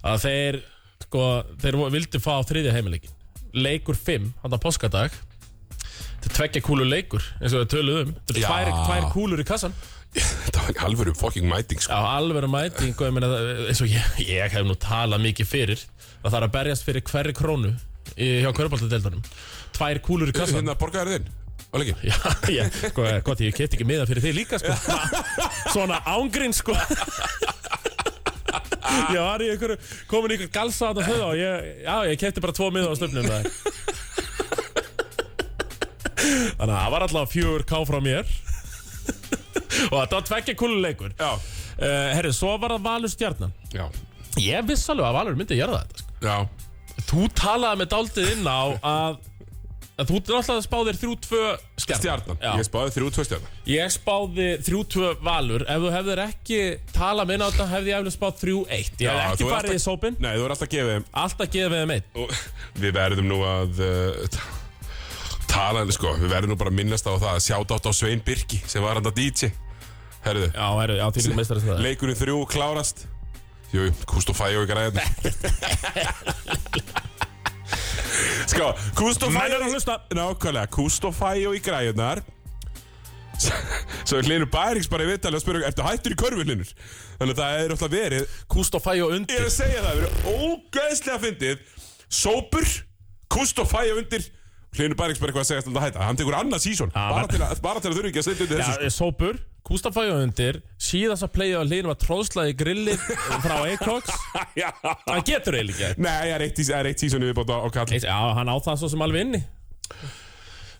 Speaker 3: Að þeir sko, þeir vo- vildu fá þriðja heimileikin leikur 5, hann það páskadag þetta er tveggja kúlu leikur eins og við töluðum, um. þetta
Speaker 2: Já.
Speaker 3: er tvær, tvær kúlur í kassan
Speaker 2: Það var alvöru fucking mæting sko
Speaker 3: á alveg mæting og ég meina það- eins og ég, ég hef nú talað mikið fyrir það þarf að berjast fyrir hverri krónu í, hjá köruboltadeildunum tvær kúlur í kassan
Speaker 2: Hérna borgaður þinn Var ekki?
Speaker 3: Já, já, sko, gott, ég kefti ekki miða fyrir þig líka, sko Svona ángrinn, sko Ég var í einhverju, komin í einhverju galsa á þetta þau og ég, já, ég kefti bara tvo miða á stöfnum það Þannig að það var alltaf fjögur ká frá mér Og þetta var tveggja kúluleikur uh,
Speaker 2: Já
Speaker 3: Herri, svo var það Valur stjarnan
Speaker 2: Já
Speaker 3: Ég viss alveg að Valur myndi að gera þetta, sko
Speaker 2: Já
Speaker 3: Þú talaði með dálítið inn á að, að þú náttúrulega spáðir 3-2 stjarnan
Speaker 2: Stjarnan
Speaker 3: Já.
Speaker 2: Ég spáði þrjú tvö stjarnan
Speaker 3: Ég spáði 3-2 valur Ef þú hefðir ekki talað minna á þetta hefði ég eflið spáð 3-1 Ég
Speaker 2: Já,
Speaker 3: hefði
Speaker 2: þú
Speaker 3: ekki
Speaker 2: er
Speaker 3: farið
Speaker 2: alltaf-
Speaker 3: í sópin
Speaker 2: Nei, þú er alltaf að gefa þeim
Speaker 3: Alltaf geðið við þeim eitt
Speaker 2: og Við verðum nú að uh, ta- Tala henni sko Við verðum nú bara að minnast á það Sjátt átt á Svein Birki Sem var hann að DJ Herðu
Speaker 3: Já, heru, já, því líka meistarist það
Speaker 2: Leikurinn þrjú klárast Jú, Kustofæ og ykkur aðeins Sko, Kustofæ
Speaker 3: Menn eru að hlusta.
Speaker 2: Nákvæmlega, Kustofæ og í græðunar Svo hlinur Bærings bara í viðtali og spyrir Ertu hættur í körfunlinur? Þannig að það er alltaf verið
Speaker 3: Kúst og fæ og
Speaker 2: Ég er
Speaker 3: undir
Speaker 2: að segja það, það er ógæðslega fyndið Sópur, Kustofæ og undir Hlinur Bærings bara eitthvað að segja alltaf að hætta Hann tekur annað sísón bara,
Speaker 3: var-
Speaker 2: til að- bara til að þurfi ekki að setja undir þessu sko.
Speaker 3: Já, eh, sópur Kúst og fæ og undir Síðast að playa á liðinu var tróðslaði grillið <laughs> frá <laughs> Acox Það getur eiginlega ekki
Speaker 2: Nei, það er eitt, í- það er eitt sísón viðbót á, á kall
Speaker 3: Eitt- Já, hann á það svo sem alveg inni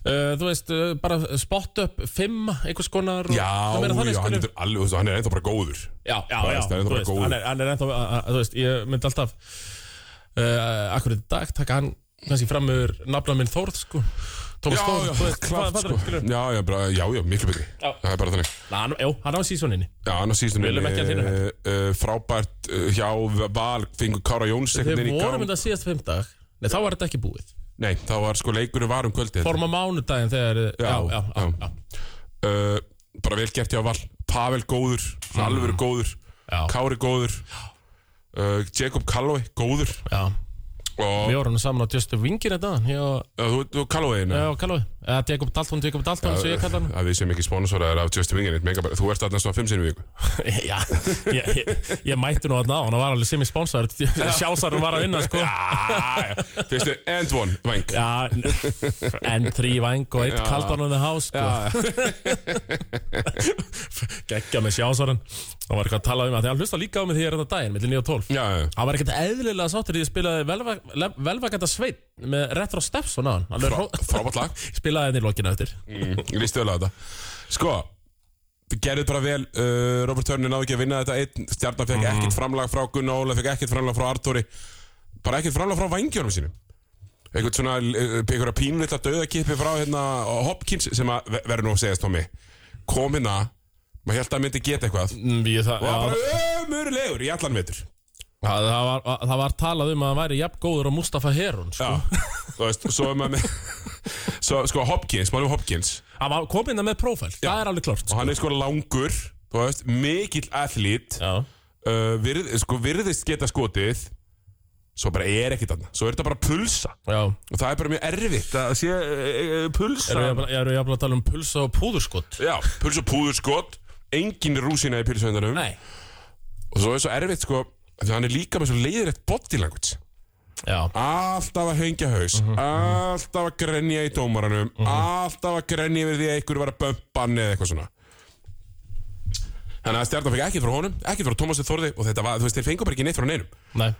Speaker 3: Uh, þú veist, uh, bara spott upp fimm, einhvers konar og-
Speaker 2: Já,
Speaker 3: Það meira þannig,
Speaker 2: já, hann
Speaker 3: skilur.
Speaker 2: er, alveg, þú veist, hann er ennþá bara góður
Speaker 3: Já,
Speaker 2: Þú
Speaker 3: já, já,
Speaker 2: veist, hann er ennþá
Speaker 3: þú
Speaker 2: bara
Speaker 3: veist,
Speaker 2: góður.
Speaker 3: hann er, hann er ennþá, að- að- þú veist, ég myndi alltaf uh, Akkur í dag taka hann kannski fram yfir nafna minn Þórð, sko Tómas
Speaker 2: Já,
Speaker 3: Þórð,
Speaker 2: já,
Speaker 3: þú veist,
Speaker 2: klart
Speaker 3: hvað-
Speaker 2: sko
Speaker 3: hvað er það,
Speaker 2: Já, já, bara, já, já, miklu betri
Speaker 3: Já.
Speaker 2: Það er bara þannig
Speaker 3: Ná, hann, jú, hann á sísoninni
Speaker 2: Já, hann á síðustunni
Speaker 3: Viljum ekki að þínu
Speaker 2: uh, uh, Frábært uh, hjá Val Fengur Kára Jóns einhvern
Speaker 3: Þegar
Speaker 2: veginn í gang.
Speaker 3: vorum þetta síðast fimmdag Nei, þá var þetta ekki búið
Speaker 2: Nei, þá var sko leikurinn var um kvöldi
Speaker 3: Forma mánudaginn þegar Já, já, já, já, já.
Speaker 2: Uh, Bara vel gert hjá Val Pavel góður, mm. alvöru góður
Speaker 3: Mhm. Já.
Speaker 2: Kári góður uh, Jacob Calloway góður
Speaker 3: Við
Speaker 2: Og
Speaker 3: vorum nú saman á Just Wingin þetta Já,
Speaker 2: uh, þú, þú Callowayinn
Speaker 3: já, kallaðu Eða Jakob Dalton, Jakob Dalton, svo ég kalla hann
Speaker 2: Að við sem ekki spónsoraðir af Justin Wingin Þú ert alltaf svona fimm sinni í
Speaker 3: <laughs>
Speaker 2: viku
Speaker 3: Já, ég, ég, ég mætti nú þarna á Hann var alveg sem í sponsor Sjálfsarinn var að vinna, sko
Speaker 2: Ah, já. Fyrstu, and one, vang
Speaker 3: Já, en þrý væng og eitt
Speaker 2: Já.
Speaker 3: kaldan on the house sko. Gekkja með sjásaran Það var eitthvað að tala um að því hann hlusta líka á mig því ég er þetta daginn, millir 9 og 12
Speaker 2: Já, já.
Speaker 3: Hann var ekkert eðlilega sáttur því ég spilaði velvæ- velvæganda sveit með retro steps og náðan Alveg
Speaker 2: Frá,
Speaker 3: hró-
Speaker 2: frábært lag
Speaker 3: <laughs> Spilaði henni í lokinu eftir
Speaker 2: Mm, Ég líst vel á þetta Sko Þið gerðið bara vel uh, Robert Turner náðu ekki að vinna þetta einn Stjarnar fekk ekkert framlag frá Gunnar Óla Fekk ekkert framlag frá Artúri Bara ekkert framlag frá vangjónum sínum Eitthvað svona uh, Einhverja pínlita döðakipi frá hérna Hopkins Sem að ve- verður nú að segja stómi Kom hérna Maður held að hann myndi geta eitthvað Og
Speaker 3: Mm, ég, það,
Speaker 2: það var
Speaker 3: já,
Speaker 2: bara ömurlegur í allan veitur
Speaker 3: það, það, var, það var talað um að hann væri jafn góður og Mustafa Herun sko.
Speaker 2: Já Þú veist Svo er maður með <laughs> Svo sko Hopkins Málum Hopkins
Speaker 3: Hann var komin það með prófæl, það er alveg klart
Speaker 2: Og
Speaker 3: sko.
Speaker 2: hann er sko langur Þú veist Mikill athlít
Speaker 3: Já,
Speaker 2: uh, virð, sko, virðist geta skotið svo bara er ekkert annað svo er þetta bara pulsa
Speaker 3: já
Speaker 2: og það er bara mjög erfitt að sé uh, uh, pulsa
Speaker 3: Erum við jafn- erum við jafn að tala um pulsa og púðurskott?
Speaker 2: já, pulsa og púður skot engin rúsina í pilsvendunum
Speaker 3: Nei
Speaker 2: og svo er svo erfitt sko af því að hann er líka með svo leiðrætt body language
Speaker 3: Já,
Speaker 2: alltaf að hengja haus alltaf að grenja í dómaranum alltaf að grenja yfir því að einhver var að bömpa hann eða eitthvað svona þannig að stjarnan fekk ekkert frá honum ekkert frá Tómasi Þorði og þetta var, þú veist, þeir fengur bara ekki neitt frá neinum
Speaker 3: nei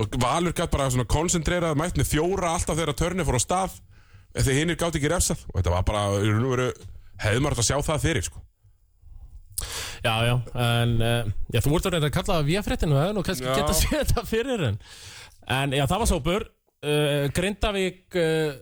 Speaker 2: og Valur gætt bara svona koncentrerað mætt með fjóra alltaf þegar törni fór á stað þegar hinnir gátt ekki refsað og þetta var bara, í raun og veru, hefði maður átt að sjá það fyrir sko.
Speaker 3: Já, já, en uh, já, þú ert að reynda að kalla það via fréttinu hefði nú kannski
Speaker 2: Já.
Speaker 3: geta <laughs> að segja þetta fyrir en En já, það var sópur uh, Grindavík uh,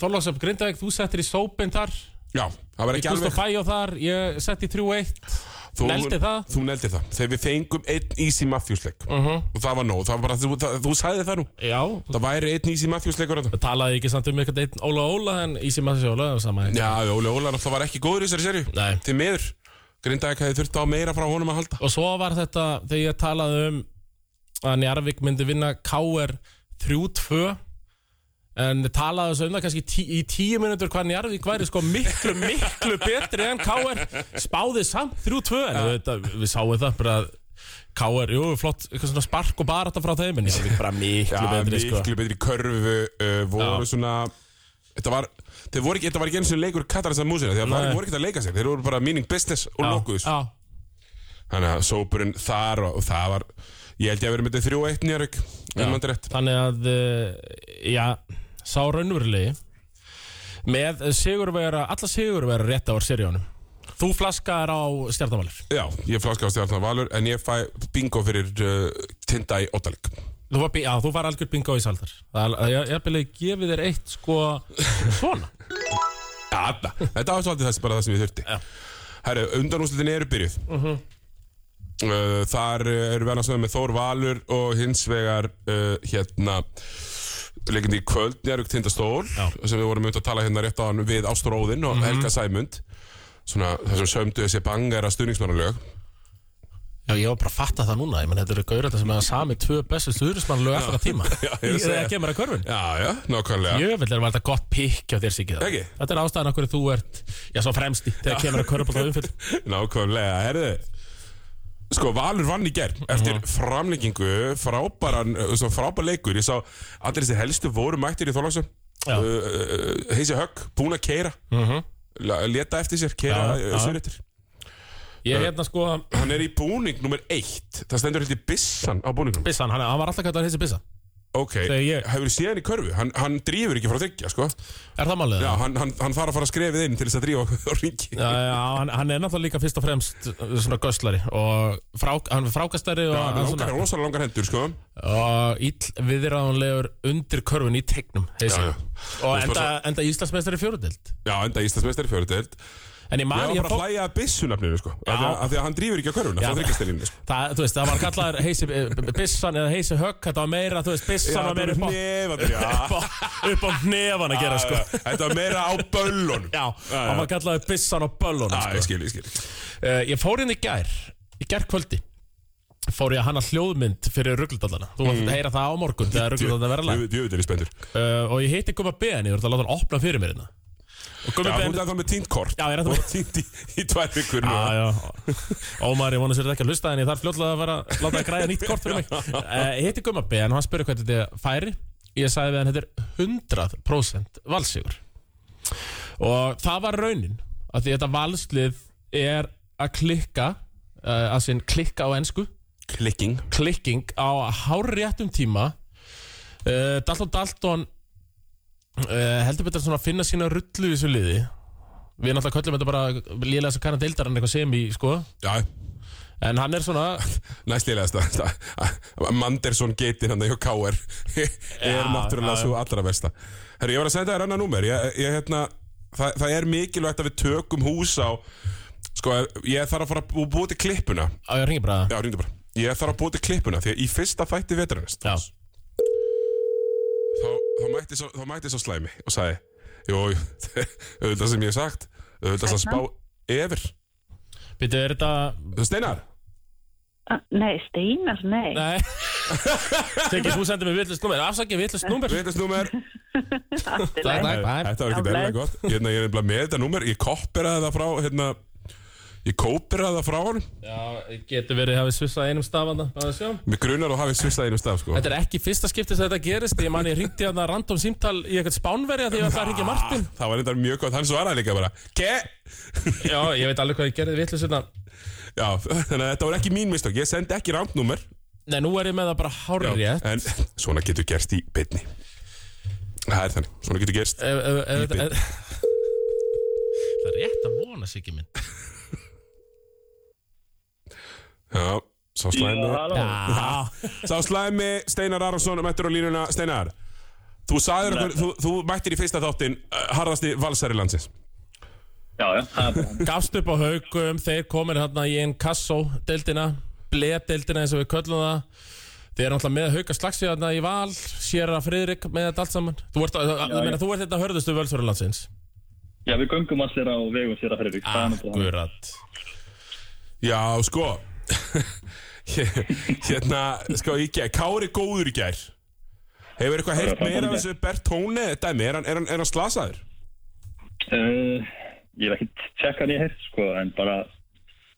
Speaker 3: Þorlóksöf Grindavík, þú settir í sópin þar
Speaker 2: já, það var
Speaker 3: Ég
Speaker 2: ekki
Speaker 3: gust að
Speaker 2: alveg
Speaker 3: fæja þar, ég sett í 3-1
Speaker 2: þú,
Speaker 3: Negldi það?
Speaker 2: þú neldi það, þegar við fengum einn Easy Matthews leik og það var nóg, það var bara, þú, það, þú sagði það nú
Speaker 3: Já,
Speaker 2: það væri einn Easy Matthews leikur þetta
Speaker 3: talaði ekki samt um eitthvað einn Óla Óla en Ísi Massi Óla er sama
Speaker 2: já, Óli Óla náttúrulega var ekki góður í þessari serju
Speaker 3: Nei.
Speaker 2: til miður, Grindavík hefði þurft á meira frá honum að halda
Speaker 3: Og svo var þetta þegar ég talaði um að Njarvík myndi vinna KR 3-2 en talaðu þessu um það kannski tí, í tíu minútur hvað Njarvík væri sko miklu, miklu betri en KR spáði samt 3-2 en við, við sáum það bara að KR, jú, flott, eitthvað svona spark og barata frá þeim en Njarvík bara miklu
Speaker 2: Já,
Speaker 3: betri sko
Speaker 2: miklu betri körfu uh, voru svona Þetta var, þeir voru ekki, þetta var ekki eins og leikur Katarins að músina, þeir var,
Speaker 3: Nei.
Speaker 2: voru ekki að leika sér þeir voru bara meaning business og
Speaker 3: Já,
Speaker 2: lokuðs
Speaker 3: Já,
Speaker 2: þannig að sópurinn þar og, og það var ég held ég að vera með þetta 3-1 njörg en mann rétt
Speaker 3: Þannig að, eh, já, sá raunverulegi með sigurvera, alla sigurvera rétt á seríunum. Þú flaskaðar á stjarnavalir.
Speaker 2: Já, ég flaskast í Arnar Valur en ég fæ bingo fyrir uh, Tindæ Óttalík
Speaker 3: Þú var, bi- já, þú var algjör bingo í saldar. Það er, ég er byrjaði að gefa þér eitt sko svona.
Speaker 2: Já, þetta þetta var svolítið þess bara það sem ég þurfti Herru, undanúslitin eru byrjuð uh, Þar uh, eru við annars vegar með Þór Valur og hins vegar uh, hérna leikindi í kvöld, Njárvík Tindastól sem við vorum auðvitað að tala hérna rétt á hann við Ástur Óðinn og Helga Sæmund svona þessum sömdu þessi bangera stuðningsmannalög
Speaker 3: Já, ég var bara að fatta það núna. Ég menn, þetta eru gaurata sem hefða sami tvö bestu stuðurismannlög eftir að <laughs> tíma.
Speaker 2: Já, ég er að
Speaker 3: Ég
Speaker 2: segja.
Speaker 3: það kemur að körfun.
Speaker 2: Já, já, nákvæmlega
Speaker 3: Jöfnveld er þetta gott pikk á þér sikið.
Speaker 2: Ekki?
Speaker 3: Þetta er ástæðan okkur þú ert, já, svo fremst í þegar kemur að körfun á umfyll.
Speaker 2: Nákvæmlega, herðu Sko, Valur vann í gerð eftir
Speaker 3: Mhm.
Speaker 2: framlengingu, frábæran uh, svo frábær leikur, ég sá allir þessi helstu voru mættir í Þorláksson
Speaker 3: Já. Mhm.
Speaker 2: uh, uh, Heisi Högg, búin að keira uh leta eftir sér, keira
Speaker 3: Já,
Speaker 2: uh,
Speaker 3: já.
Speaker 2: sunnettir
Speaker 3: Ég er hérna sko,
Speaker 2: Hann er í búning nummer eitt það stendur heldur bissan á búningnum
Speaker 3: Bissan, hann, hann var alltaf kættan hissi Bissa.
Speaker 2: Ok,
Speaker 3: Þegar ég-
Speaker 2: hefur séð hann í körfu hann, hann drífur ekki frá þryggja, sko
Speaker 3: Er það málið?
Speaker 2: Já, hann, hann, hann þarf að fara að skrefið inn til þess að drífa á ringi
Speaker 3: Já, já, hann, hann er náttúrulega líka fyrst og fremst uh, svona gösslari og frá, hann er frákastari og,
Speaker 2: Hann
Speaker 3: hann
Speaker 2: langar,
Speaker 3: svona,
Speaker 2: rosalega langar hendur, sko
Speaker 3: og ill viðræðanlegur undir körfun í tegnum
Speaker 2: Já, já.
Speaker 3: og
Speaker 2: Þú veist
Speaker 3: enda,
Speaker 2: bara
Speaker 3: enda Íslandsmeistari fjóruðild
Speaker 2: Já, enda Íslandsmeistari í fjörutöld
Speaker 3: en ég
Speaker 2: Ég
Speaker 3: man
Speaker 2: var
Speaker 3: ég
Speaker 2: bara að
Speaker 3: fó,
Speaker 2: hlæja að bissunafninu sko af því að, af því að hann drýfur ekki á körfuna
Speaker 3: Já.
Speaker 2: frá þryggjastelinni sko.
Speaker 3: það, þú veist, það var kallaður heisi eh, Bissan eða heisi högg, þetta var meira þú veist, Bissan var meira upp á,
Speaker 2: nefandir
Speaker 3: <laughs> upp á, upp á hnefan að gera sko
Speaker 2: Þetta var meira á böllunum
Speaker 3: Já,
Speaker 2: já.
Speaker 3: hann var kallaður Bissan á böllunum
Speaker 2: Já,
Speaker 3: sko.
Speaker 2: ég skil, ég skil
Speaker 3: Eh, Ég fór inn í gær Í gær kvöldi Fór ég að hanna hljóðmynd fyrir ruggludallana Þú vant að heyra það á morgun Þegar ruggludallana verða lag
Speaker 2: Djöfull er ég spendur Já,
Speaker 3: uh, Og ég heiti Guma Ben Ég voru að láta hann opna fyrir mér hérna Og
Speaker 2: þú
Speaker 3: Guma Ben
Speaker 2: ert ennþá með tínt kort
Speaker 3: Já, ég er
Speaker 2: Þú
Speaker 3: ennþá með-
Speaker 2: ert tínt í, í tvær vikur nú
Speaker 3: Já, já, Ah, <laughs> Ómar, ég vona sér þetta ekki að hlusta En ég þarf fljótlega að vera Láta að græða nýtt kort fyrir mig uh, Ég heiti Guma Ben Og hann spurði hvað þetta færi Ég sagði við hann Þetta er 100% valsígur Og það var raunin að Því þetta valslið er að klikka uh, Að sinn klikka á ensku
Speaker 2: Klikking
Speaker 3: klikking á hárréttum tíma uh, Dalton Dalton uh, heldur betur svona að finna sína rullu í þessu liði við náttúrulega köllum þetta bara lélega sem kannan deildar en eitthvað sem í sko
Speaker 2: Já,
Speaker 3: en hann er svona
Speaker 2: næstilegast Mandersson geitin hann hjá K.R. <laughs> er náttúrulega svo allra versta Herru, ég var að senda þér annað númer ég, ég, hérna, það, það er mikilvægt að við tökum hús á Sko, ég þarf að fara að bú- búa til klippuna
Speaker 3: á ég ringi bara
Speaker 2: Já, ringdu bara Ég þarf að búa til klippuna Því að í fyrsta þætti veturist
Speaker 3: Já.
Speaker 2: þá, þá, mætti svo, þá mætti svo slæmi og sagði Jó, jú, <laughs> auðvitað sem ég hef sagt Auðvitað sem spá yfir
Speaker 3: Býtu, er þetta
Speaker 2: Steinar,
Speaker 8: Ah, Nei, Steinar, nei.
Speaker 3: Nei <laughs> Siggi, þú sendir mér vitlust númer Afsakið vitlust númer
Speaker 2: veitast
Speaker 3: <laughs>
Speaker 2: númer
Speaker 8: Allt í
Speaker 3: Takk, takk,
Speaker 8: lagi.
Speaker 2: Þetta
Speaker 3: bæ
Speaker 2: var ekki
Speaker 8: Já,
Speaker 2: verðilega
Speaker 8: bless.
Speaker 2: gott hérna, Ég er nefnilega með þetta númer Ég koperaði það frá hérna, Ég koperaði það frá hann
Speaker 3: Já, getur verið hafið svissað einum stafanda Bara að sjá
Speaker 2: Mér grunar og hafið svistað einum staf sko.
Speaker 3: Þetta er ekki fyrsta skipti sem þetta gerist Ég man ég ringdi hann að random símtal í eitthvað spánverja Því ég ætlaði að ringja Martin
Speaker 2: Það var reyndar mjög gott Hann svaraði líka bara Ke
Speaker 3: Já, ég veit alveg hvað ég gerði hérna. vitlust
Speaker 2: Já, <laughs> þannig að þetta var ekki mín mistök Ég sendi ekki rámt númer
Speaker 3: Nei, nú er ég með það bara
Speaker 2: Já,
Speaker 3: hárrið Ef
Speaker 2: En svona getur gerst í beinni Það er þannig Svona getur gerst
Speaker 3: ef- ef- ef- ef- Það er rétt að vona sig ekki minn
Speaker 2: Já, sá slæmi
Speaker 3: Já,
Speaker 2: Sá slæmi Steinar Aronsson Mættur á línuna Steinar Þú sagðir okkur, þú, þú mættir í fyrsta þáttin uh, harðasti valsari landsins.
Speaker 6: Já, já, það er bara
Speaker 3: gafst upp á haugum Þeir komin hérna í einn kassó Deildina, bleb deildina eins og við köllum það Þeir eru náttúrulega með hauga slagsið hérna í val Séra Friðrik með þetta allt saman Þú ert, að, að,
Speaker 6: já.
Speaker 3: meina, þú ert þetta hörðustu völsverðarlandsins
Speaker 6: Já, við göngum allir á
Speaker 3: Ah.
Speaker 6: vegum sér að fyrir því
Speaker 3: Akkurat
Speaker 2: Já, sko, <laughs> Hérna, sko, í gær Kári góður í gær Hefur eitthvað heyrt meira af þessu Bertone dæmi? Er hann, er hann, er hann slasaður?
Speaker 9: Uh, ég hef ekkert tjekkað hann ég heyrt sko, en bara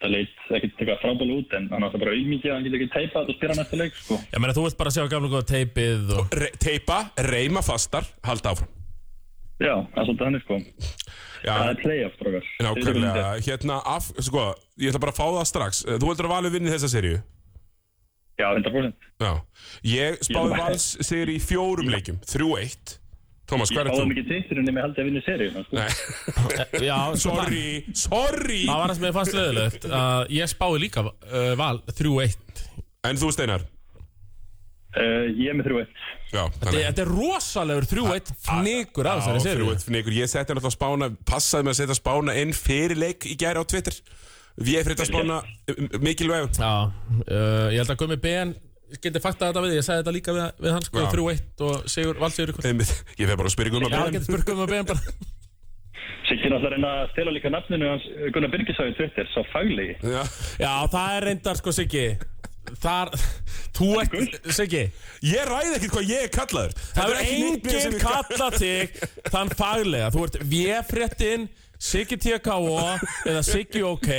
Speaker 9: það leit ekkert eitthvað frábæl út en hann átti bara auðmikið að hann getur ekki teipað þetta og spila næsta leik sko.
Speaker 3: Ég meina, þú vilt bara sjá gamla góða teipið og...
Speaker 2: Re teipa, reyma fastar, halda áfram
Speaker 9: Já, það er svolítið henni sko. Það
Speaker 2: Já,
Speaker 9: er playoff drókar.
Speaker 2: nákvæmlega Hérna, af, sko, ég ætla bara að fá það strax Eh, Þú heldur að valið vinni þessa seríu?
Speaker 9: Já, 100%.
Speaker 2: Já Ég spáði vals sigri í fjórum leikjum 3-1 Thomas, hvað er
Speaker 9: Fáðum
Speaker 2: þú?
Speaker 9: ekki titturinn nema ég held ég að vinna seríuna sko.
Speaker 2: Nei, <laughs>
Speaker 3: Já,
Speaker 2: sorry, sorry
Speaker 3: Það var það sem ég fannst leðilegt að ég spáði líka uh, val 3-1
Speaker 2: En þú Steinar
Speaker 9: Uh, ég er með 3-1.
Speaker 2: Já,
Speaker 3: Þe-
Speaker 2: þannig
Speaker 3: Þetta er rosalegur 3-1 fnikur
Speaker 2: Já,
Speaker 3: af þessari
Speaker 2: fyrir
Speaker 3: séri
Speaker 2: út fyrir ykkur. Ég setti náttúrulega spána Passaði með að setja spána inn fyrir leik í gæri á Twitter Við fyrir þetta spána eh, mikilvæg
Speaker 3: Já, uh, ég held að Gumi BN geti faktað þetta við, þig. ég sagði þetta líka við, við hans sko,
Speaker 2: Já.
Speaker 3: 3-1 og Sigur, valsigur ykkur
Speaker 2: Einmitt. Ég fer bara að spyrja um
Speaker 3: Já,
Speaker 2: að
Speaker 3: getur spurt Gumi BN <laughs> bara
Speaker 9: Siggi er alltaf að reyna að stela líka nafninu hans uh, Gunnar Birgis á í Twitter, sá faglegi.
Speaker 2: Já,
Speaker 3: Já, það er reyndar sko Siggi Þar, þú ert, Siggi
Speaker 2: Ég ræði ekkert hvað ég er kallaður Þetta
Speaker 3: Það er
Speaker 2: ekki neitt með sem
Speaker 3: enginn
Speaker 2: ég-
Speaker 3: kallað þig þann faglega Þú ert V-fréttin, Siggi TKO eða Siggi OK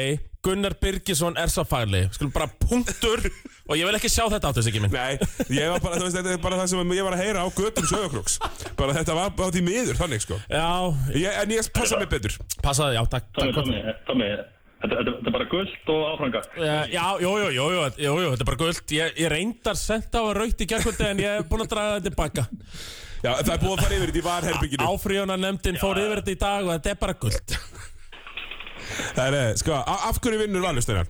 Speaker 3: Gunnar Birgisson er sá fagleg Skulum bara punktur og ég vil ekki sjá þetta áttu Siggi minn
Speaker 2: Nei, ég var bara, þú veist, þetta er bara það sem ég var að heyra á göttum sögakróks Bara þetta var bara því miður, þannig sko
Speaker 3: Já,
Speaker 2: ég, En ég passa mig betur
Speaker 3: passaði, já, takk,
Speaker 9: Tommi,
Speaker 3: takk
Speaker 9: Tommi, Tommi, þetta þetta- þetta er bara gullt og áfranga.
Speaker 3: Eh, Já, já, jú, jú, jú, jú, jú, jú, þetta er bara guld Ég, ég reyndar sent á að raut í gerkvöldi en ég er búin að draga þetta tilbaka
Speaker 2: Já, það er búið að fara yfir þetta í varherbygginu
Speaker 3: Áfríðunar nefndin fór yfir þetta í dag og þetta er bara guld
Speaker 2: Það er, sko, a- af hverju vinnur valusteinar?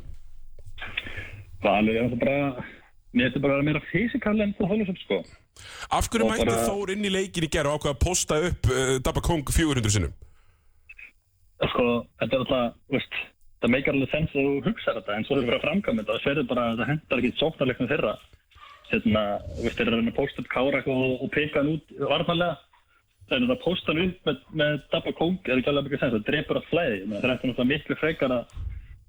Speaker 9: Valur er alltaf bara, mér finnst þetta bara að vera meira fysikall en þú hólus sko.
Speaker 2: Af hverju
Speaker 9: Og
Speaker 2: mætti
Speaker 9: bara-
Speaker 2: Þór inn í leikin í gerð og ákvað að posta upp uh, Dabba Kong 400 sinnum?
Speaker 9: Sko, þetta er alltaf, veist, það meikar alveg sens að þú hugsar þetta en svo þau verður að framkvæmja þetta og sverður bara að það hendar ekki sóknarleiknum þeirra. Hérna, veist, þeir eru að reyna að pósta upp kára eitthvað og, og peka hann út varnarlega. Það er að pósta hann upp með, með Dabba Kong er ekki alveg mikið sens, það drepur að flæði. Ég meina, Það er eftir náttúrulega miklu frekar að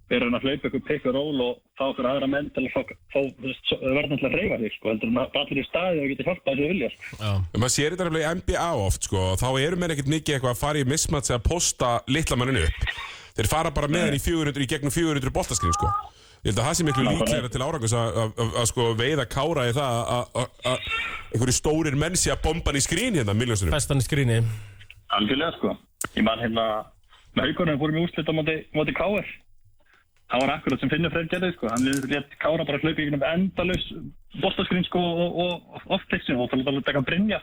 Speaker 9: við erum að hlaupa eitthvað pick and roll og fá okkur aðra menn til að fá, fá þú veist, svo- varnarlega að reyfa þig, sko, heldur en að bara allir í staði og geta hjálpað þessu vilja, sko.
Speaker 2: En maður sér þetta alveg í NBA oft, sko og Þá eru mér ekkert mikið eitthvað að fara í mismats eða posta litla manninu upp Þeir fara bara með hann í 400, í gegnum 400 boltaskrin, sko Ég held að það sé miklu líklega til árangurs að- að að- að, sko, veiða kára í það að- að að einhverju stórir menn sé að bomba hann í skrín hérna, miljónsunum
Speaker 3: Festan í skrýni
Speaker 9: Algjörlega sko Ég man hérna með haugunum fórum í úrslit á móti, móti K.R. Það var akkurat sem Finnur Freyr gerði sko Hann létt Kára bara hlaupi ykkur endalaus bóstaskrín sko og, og, og off-texin og það var alveg að brinja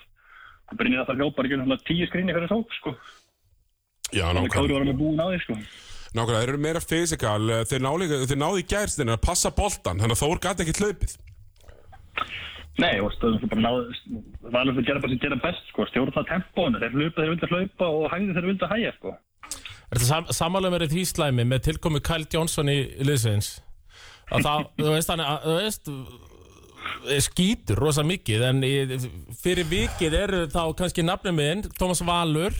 Speaker 9: Brinja það hljópar ekki um tíu skrýni fyrir sók sko
Speaker 2: Já,
Speaker 9: Þannig
Speaker 2: nákvæmlega
Speaker 9: Kári var alveg búinn á því sko
Speaker 2: Nákvæmlega, þeir eru meira fysikal eh, Þeir, ná líka- þeir náðu í gærstinn að passa boltan Þannig að Þór gæti ekkert hlaupið
Speaker 9: Nei, og stöðum svo bara náðu Það var alveg að gera bara sem gera best sko Stjórna tempóinu, þeir hlupa þeir vildi að hlaupa og hægði þeir vildi að hægja sko
Speaker 3: Er þetta sam samanlega verið því slæmi með tilkomi Kyle Johnson í liðsins að það, <laughs> þú veist hann að- þú veist, er skítur rosa mikið en í, fyrir vikið eru þá kannski nafnum minn Thomas Valur,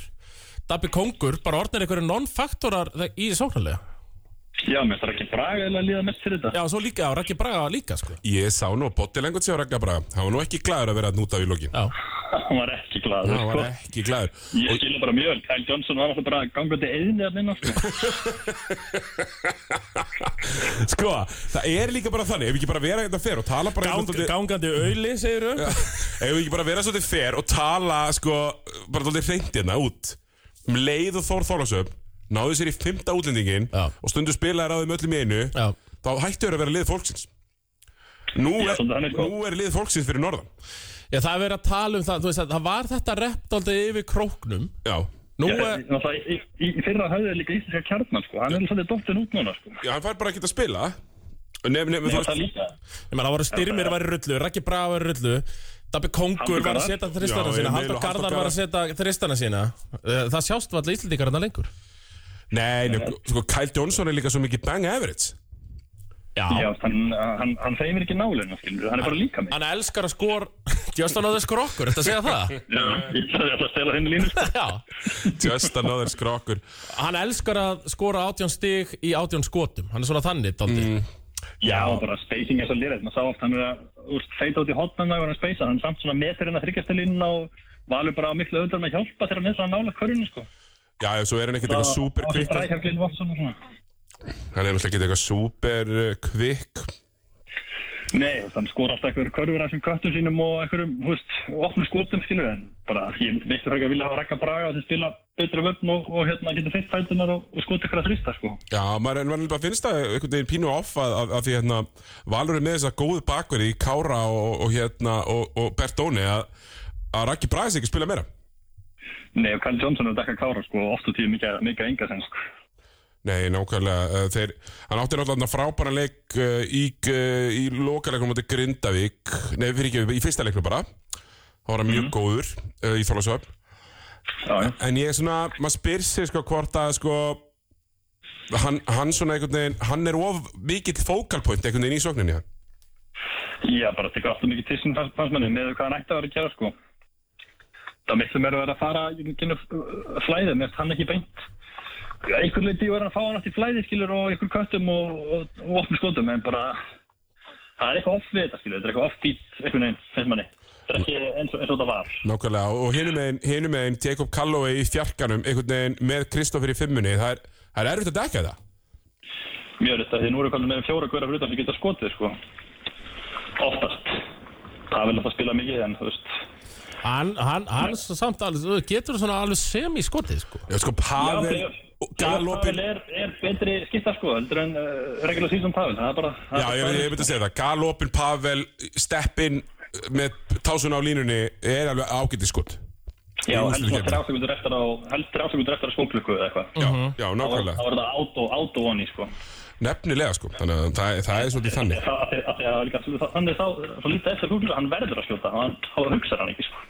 Speaker 3: Dabbi Kongur bara orðnir einhverju non-faktorar í sóknarlega.
Speaker 9: Já, mér þarf ekki braga eða líða mest fyrir þetta
Speaker 3: Já, og svo líka, og Raggi Braga bara líka sko.
Speaker 2: Ég sá nú að bótti lengur til að ragga bara Hann var nú ekki glæður að vera að núta við lokin
Speaker 3: Já,
Speaker 9: Hann var ekki glaður
Speaker 2: Hann
Speaker 9: sko
Speaker 2: var ekki glæður
Speaker 9: Ég skilja bara mjög vel, Kyle Johnson var alltaf bara gangandi eðinni að minna sko.
Speaker 2: Sko, það er líka bara þannig Ef við ekki bara vera þetta fer og tala bara hérna
Speaker 3: Gang,
Speaker 2: svolítið-
Speaker 3: gangandi auðli, segir þú?
Speaker 2: Ef við ekki bara vera svolítið fer og tala sko, bara þóttið hreintina út um leið og Þór Þórlasöf náðu sér í fymta útlendingin
Speaker 3: Já.
Speaker 2: og stundu spilaðar á þeim öllum í einu
Speaker 3: Já.
Speaker 2: þá hættu þeir að vera lið fólksins Nú
Speaker 9: Já,
Speaker 2: er,
Speaker 9: svolítið þannig, sko.
Speaker 2: nú er lið fólksins fyrir norðan
Speaker 3: Já, það er verið að tala um það, þú veist að það var þetta rept aldrei yfir króknum.
Speaker 2: Já,
Speaker 3: Nú
Speaker 9: Ég,
Speaker 3: er,
Speaker 9: náttúrulega, í, í, í fyrra hafði líka íslenska kjarnan sko. hann er svolítið dóttin út núna sko.
Speaker 2: Já hann fær bara ekki að spila Nefn, nefn,
Speaker 9: Ég
Speaker 2: þú
Speaker 9: var það líka
Speaker 3: Ég meina, það voru styrmir var í rullu, Raggi Braga var í rullu Dabbi Kongur
Speaker 9: Halldór
Speaker 3: var að
Speaker 9: Garðar.
Speaker 3: setja þristana
Speaker 2: Já,
Speaker 3: sína
Speaker 2: Emil
Speaker 3: Haldur
Speaker 2: og Halldór
Speaker 3: Garðar var að setja þristana sína Eh, Það sjást var allir íslendingarna lengur
Speaker 2: Nei, nei, sko, Kyle Johnson er líka svo mikið bang average
Speaker 9: Já, hann, hann, hann þeimir ekki nálinu skilur. hann er bara líka mig
Speaker 3: Hann elskar að skor <laughs> Justin Others skrokkur, þetta segja það
Speaker 9: <laughs> ég ætla að stela henni línu sko.
Speaker 3: Já,
Speaker 2: Just another skrokkur
Speaker 3: hann elskar að skora átjón stig í átjón skotum Hann er svona þannig, daldi
Speaker 2: Mm.
Speaker 9: Já, bara spacing er svo lirrið, maður sá oft hann er að úrst feita út í hotnum og hann spacea, hann samt svona metur inn að þryggjasta línuna og valur bara á miklu öðrum að hjálpa þegar hann er svona nála körunni, sko.
Speaker 2: Já, já, svo er hann ekkert eitthvað super kvikk Hann
Speaker 9: Rækjaflinn Watson og svona.
Speaker 2: er náttúrulega ekkert eitthvað super uh, kvikk
Speaker 9: Nei, þann skor alltaf einhverjum körfur af þessum köttum sínum og einhverjum, hú veist, opnum skotum skilur en bara, ég veist fyrir ekki að vilja hafa rækka braga og þeir spila betra vöfn og, og hérna geta fyrst fætunar og, og skota ykkur að þrista, sko.
Speaker 2: Já, maður, en maður bara finnst það einhvern veginn pínu off að, að, að því hérna Valur er með þessa góðu bakverði í Kára og, og hérna og, og Bertóni að, að Raki Braga sig ekki að spila meira
Speaker 9: Nei, og Karl Johnson er dekka kára, sko, oft og tíu mikið, mikið enga sem, sko.
Speaker 2: Nei, nákvæmlega, uh, þeir hann átti náttúrulega þarna frábæran leik uh, í, uh, í lokaleikunum átti Grindavík nei, fyrir ekki, í fyrsta leiknum bara þá var hann mjög góður uh, í Þólasöfn
Speaker 9: Já, já.
Speaker 2: En ég er svona, maður spyr sig sko hvort að sko hann, hann svona einhvern veginn, hann er of mikill fókalpoint einhvern veginn í sókninni hann.
Speaker 9: Já, bara tekur alltaf mikið tísin fannst fannst manni með hvað hann ætti að vera að gera sko. Það er miklu meira að vera að fara í kynnu flæði, mér finnst hann ekki beint. Einhvern leiti var hann að fá hann átt í flæði skilur og einhver köttum og, og, og opnum skotum en bara það er eitthvað off við þetta skilur, þetta er eitthvað off-beat einhvern veginn, finnst manni. Þetta er ekki eins og, eins og þetta var.
Speaker 2: Nákvæmlega, og hinum meginn, hinum meginn Jacob Calloway í fjarkanum einhvern veginn með Kristoffer í fimmunni, það er, það er erfitt að dekka það.
Speaker 9: Mjög er þetta því nú eru komin með fjóra hverja fyrir utan sem geta skotið sko. Oftast. Það vil alltaf spila mikið en þú veist.
Speaker 3: Hann, hann, hann samt alveg, þú getur svona alveg sem í skotið, sko.
Speaker 2: Já, sko, Pavel,
Speaker 9: Galopin
Speaker 2: Galopin,
Speaker 9: er, er betri skipta sko heldur en uh, regular season Pavel það er bara
Speaker 2: já, ég, ég myndi að segja það, Galopin, Pavel, Steppin með tásun á línunni er alveg ágætið skot.
Speaker 9: já
Speaker 2: Í
Speaker 9: heldur
Speaker 2: úrslitakeppni.
Speaker 9: svona þrjásekundur eftir á heldur þrjásekundur eftir á skólklukku eða eitthvað
Speaker 2: Já, já,
Speaker 9: það var
Speaker 2: nákvæmlega.
Speaker 9: það var þetta auto, auto on í sko
Speaker 2: Nefnilega, sko, þannig að það, það er svolítið þannig.
Speaker 9: það af því- af því að það var líka svo- það- hann er þá svo lítið eftir húklu hann verður að skjóta hann þá hugsar hann ekki sko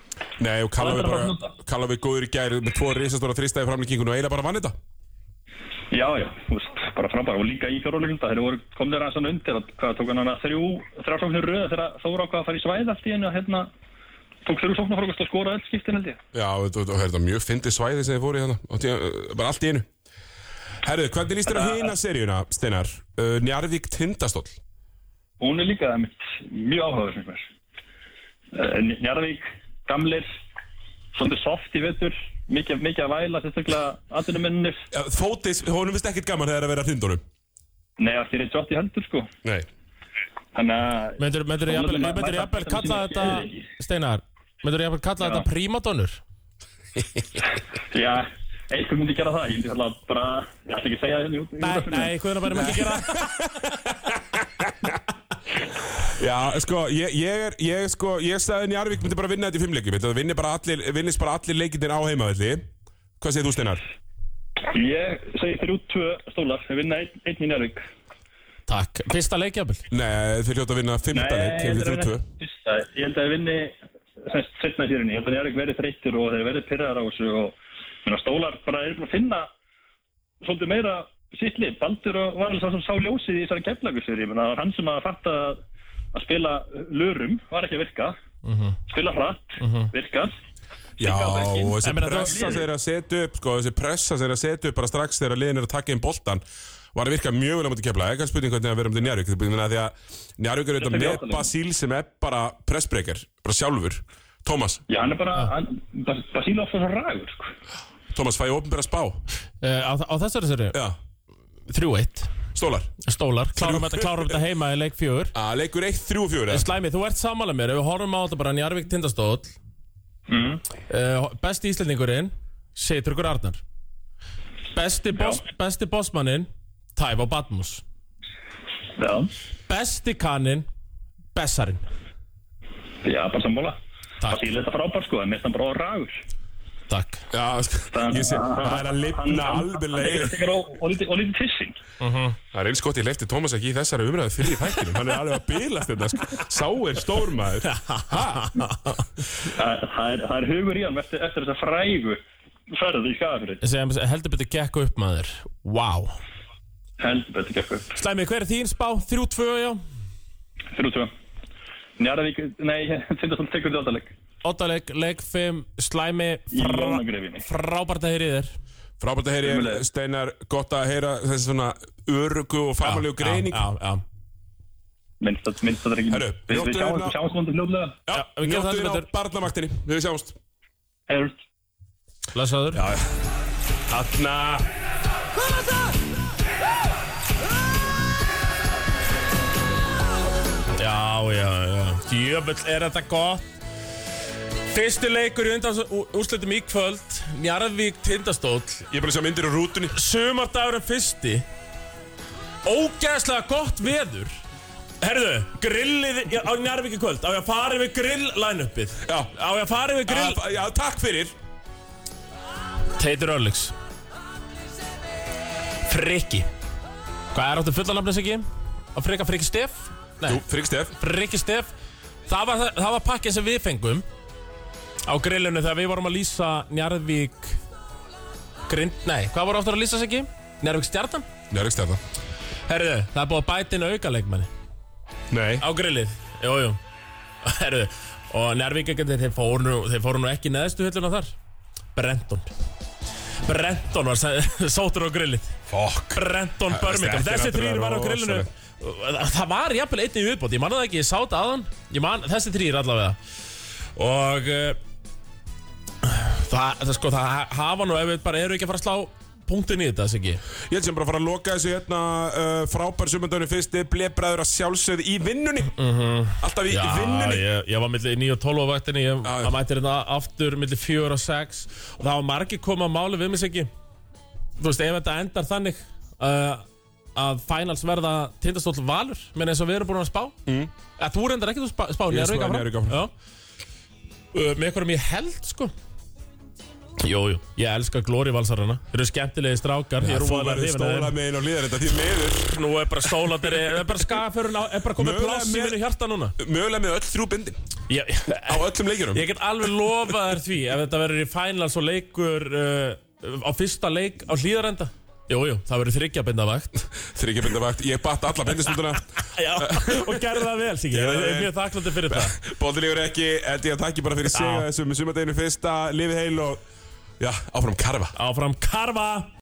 Speaker 2: Nei, og Kallavi
Speaker 9: Það er bara
Speaker 2: bara,
Speaker 9: að
Speaker 2: Kallavi góður í gæri með tvo risastóra þrýstæði framlíkingun og eiginlega bara vann þetta.
Speaker 9: já já þú veist bara frábæra og líka í fjóruleikum það þeir voru komnir aðeins hann undir að- hvað tók hann hana þrjú þrjásekundur röð þegar Þóra ákvað að fara í svæð allt í einu hérna tók þrjú sóknarfórgust og skora öll skiptin held ég
Speaker 2: Já, og þetta og þetta er mjög fyndið svæði sem þið fóru í þarna, og tí- bara allt í einu. Herðu, hvernig líst þér á hina seríuna, Steinar? Uh, Njarvík Tindastóll.
Speaker 9: hún er líka einmitt mjög áhugaður sem mér. Eh, Njarðvík, gamlir, svolítið soft í vettur, mikið, mikið að væla, sérstaklega atvinnumennir.
Speaker 2: Ja, Fótis, honum finnst ekkert gaman þegar að vera að tindunum.
Speaker 9: Nei, það er ekki í heldur sko.
Speaker 2: Nei.
Speaker 9: Þannig að,
Speaker 3: Myndur, myndur,
Speaker 9: Þá
Speaker 3: jafnvel,
Speaker 9: myndi maður
Speaker 3: myndur,
Speaker 9: mæta
Speaker 3: jafnvel
Speaker 9: sem
Speaker 3: kalla
Speaker 9: sem
Speaker 3: þetta,
Speaker 9: ekki
Speaker 3: Steinar, myndur, jafnvel kalla þetta prímadonur?
Speaker 9: já, einhver myndi gera það, ég myndi alltaf bara, ég ætla ekki að segja það hérna í út- í
Speaker 3: Nei,
Speaker 9: útvarpinu.
Speaker 3: nei, hvernig bara ekki gera það?
Speaker 2: Já, sko, ég, ég er, ég sko, ég sagði að Njarvík myndi bara vinna þetta í fimmleikum, þetta vinnir bara allir, vinnist bara allir leikindir á heimavelli. Hvað segir þú, Steinar?
Speaker 9: Ég segi þrjú tvö stólar, við vinna einn, einn í Njarðvík.
Speaker 3: <laughs> Takk, fyrsta leikjafl.
Speaker 2: Nei, þeir hljóta að vinna fimmtaleik,
Speaker 9: ég
Speaker 2: hefur
Speaker 9: held að
Speaker 2: þrjú tvö.
Speaker 9: vinna fyrsta. Ég held að við vinni semst setna í sérunni. Ég held að Njarðvík verið þreyttir og þeir verið pyrraðar á þessu og menna, stólar bara er búin að finna svolítið meira sitt lið. Baldur og var alveg sá sem sá ljósið í þessari keflagursýri. Það var hann sem að fatta að- að spila lurum, var ekki að virka.
Speaker 2: Mhm.
Speaker 9: Spila hratt, virkar.
Speaker 2: Já,
Speaker 9: Sigga á bekkinn.
Speaker 2: og þessi
Speaker 3: En meina, það-
Speaker 2: pressa sem þeir að setja upp, sko, þessi pressa sem þeir að setja upp bara strax þegar liðin er að taka inn boltan var að virka mjög vel á móti kefla, ekki að spurning hvernig að vera um til Njarvík, þetta er búin að því að Njarvík er auðvitað
Speaker 9: Þetta er
Speaker 2: með
Speaker 9: játalega.
Speaker 2: Basíl sem er bara pressbreykar, bara sjálfur. Tómas,
Speaker 9: Já, hann er bara, hann, Bas- Basíla ofta svo rægur, sko.
Speaker 2: Tómas, fæ ég opinbera spá?
Speaker 3: Uh, á, á þessari sér,
Speaker 2: Já,
Speaker 3: 3-1,
Speaker 2: stólar.
Speaker 3: stólar, klárum þetta, klárum þetta heima í leik 4.
Speaker 2: Að leikur 1, 3 og 4, eða?
Speaker 3: Slæmi, þú ert samanlega mér, ef við horfum á þetta bara Njarvík Tindastóll, mm. besti íslendingurinn, Seitryggur Arnar. Besti, boss, besti bossmannin, Tæfa Batmus.
Speaker 9: Já,
Speaker 3: Besti kannin, Bessarin.
Speaker 9: já, bara sammála.
Speaker 3: Takk,
Speaker 9: Basíla er þetta frábær, sko, en mér finnst hann bara rægur.
Speaker 3: takk.
Speaker 2: Já, sk- ég sé, það er að lifna alveg leið.
Speaker 9: Og, og, lítið- og lítið tissing.
Speaker 2: Það er eins gott ég leifti Tómas ekki í þessari umræðu fyrir í þættinum, hann er alveg að bilast þetta, sko. Sá er stórmaður.
Speaker 9: Það það er, það er hugur í hann eftir, eftir þessa frægu ferð í skafrið.
Speaker 3: Sem heldur betur gekk upp maður Vá wow.
Speaker 9: Heldur betur gekk upp.
Speaker 3: Slæmi, hver er þín spá? 3-2 já
Speaker 9: Þrjú tvö. Njarðavík, nei, <laughs> Tindastól tekur þetta leik.
Speaker 3: 8 leik, leik 5 Slæmi,
Speaker 9: Í
Speaker 3: frá,
Speaker 9: Jónagrifinni.
Speaker 3: frábært að heyri þér
Speaker 2: Frábært að heyri,
Speaker 9: Sömuleiðis.
Speaker 2: Steinar, gott að heyra þessi svona örugu og famalegu greining.
Speaker 3: Já, já, já
Speaker 9: minnst að minnst að það er ekki
Speaker 2: Herru,
Speaker 9: við,
Speaker 2: njóttu
Speaker 9: við sjáum
Speaker 2: hérna-
Speaker 9: við sjáum svona fljóðlega
Speaker 2: Já,
Speaker 3: við gerum
Speaker 2: njóttu
Speaker 3: það sem
Speaker 2: þér á
Speaker 3: betur.
Speaker 2: barnamaktinni, við sjáumst
Speaker 9: hefur
Speaker 3: Blessaður Já,
Speaker 2: Þarna
Speaker 3: já, já, já. Jöfull, er þetta gott Fyrsti leikur í undan úrslitum í kvöld Njarðvík tindastóll
Speaker 2: Ég er bara að sjá myndir á rútunni
Speaker 3: Sumardagurum fyrsti Ógæðslega gott veður Herðu, grillið í- á Njarðvík í kvöld Á ég að fara yfir grill line-upið
Speaker 2: Já.
Speaker 3: Á ég að fara yfir grill
Speaker 2: Já, Já, takk fyrir
Speaker 3: Teitur Örlíks Frikki Hvað er áttu fulla nafnis ekki? Að frika Frikki Steff? Nei,
Speaker 2: Jú, Frigg Steff
Speaker 3: Frikki Steff það var, það var pakkin sem við fengum á grillinu þegar við vorum að lýsa Njarðvík grind, nei, hvað voru oftar að lýsa sig ekki? Njarðvík stjartan?
Speaker 2: Nei, Frigg Steff
Speaker 3: Herðu, það er búið að bæta inn aukaleikmanni
Speaker 2: Nei
Speaker 3: á grillið, jú, jú <laughs> Herðu, og Njarðvíkagandi þeir fóru nú, þeir fóru nú ekki í neðstu hilluna þar Brenton Brenton var sæ- <laughs> sóttur á grillið
Speaker 2: Fokk
Speaker 3: Brenton
Speaker 2: Það-
Speaker 3: Birmingham
Speaker 2: þetta er
Speaker 3: Þessi þrýr var á
Speaker 2: náttúrulega
Speaker 3: grillinu Það var jafnvel einnig viðbót Ég man það ekki, ég sá þetta aðan Ég man þessi þrýr allavega Og uh, það, það, sko, það ha- hafa nú Ef við bara eru ekki að fara að slá punktin í þetta þess ekki
Speaker 2: Ég held sem bara að fara að loka þessu hérna uh, frábær sumandöðinu fyrsti blebræður að sjálfsögðu í vinnunni Alltaf í, í vinnunni
Speaker 3: Mhm. ég, ég var milli 9 og 12 á vaktinni Ég
Speaker 2: Já, já.
Speaker 3: að mætti hérna aftur milli 4 og 6 Og það var margir koma að máli við mig ekki Þú veist, ef þetta endar þannig uh, Að finals verða tindastóll valur Menn eins og við erum búin að spá mm. Að þú reyndar ekki þú spá, spá
Speaker 2: Ég
Speaker 3: Njarðvík
Speaker 2: spáði
Speaker 3: áfram.
Speaker 2: Njarðvík áfram.
Speaker 3: Já. Uh, Með hverjum ég held sko Jú, jú, ég elska Glóri Valsarana Þeir eru skemmtilegi strákar Ég er
Speaker 2: Þú
Speaker 3: rosalega
Speaker 2: verður
Speaker 3: hrifinn af þeim.
Speaker 2: stóla megin og líðar þetta því miður
Speaker 3: Nú er bara stólatir Er er bara skafurinn á- Er bara komið
Speaker 2: Mögulega
Speaker 3: plass í
Speaker 2: með-
Speaker 3: minu hjarta núna
Speaker 2: Mögulega með öll þrjú bindin
Speaker 3: Ég,
Speaker 2: á öllum leikjunum
Speaker 3: Ég get alveg lofað þér því ef þetta verður í finals og leikur uh, á fyrsta leik á hlýðarenda Jú, jú, það verður þryggjabinda vakt
Speaker 2: Þryggja bindavakt, ég batt alla bindistunduna
Speaker 3: <laughs> Já, og gerði það vel, Siggi
Speaker 2: Gerðu
Speaker 3: Ég
Speaker 2: það
Speaker 3: er
Speaker 2: vel.
Speaker 3: mjög þakklandi fyrir það
Speaker 2: Bóðilegur ekki, held ég að takki bara fyrir sig
Speaker 3: Já.
Speaker 2: þessum sumandöðinu fyrsta, lifið heil og já, áfram karfa
Speaker 3: Áfram Karfa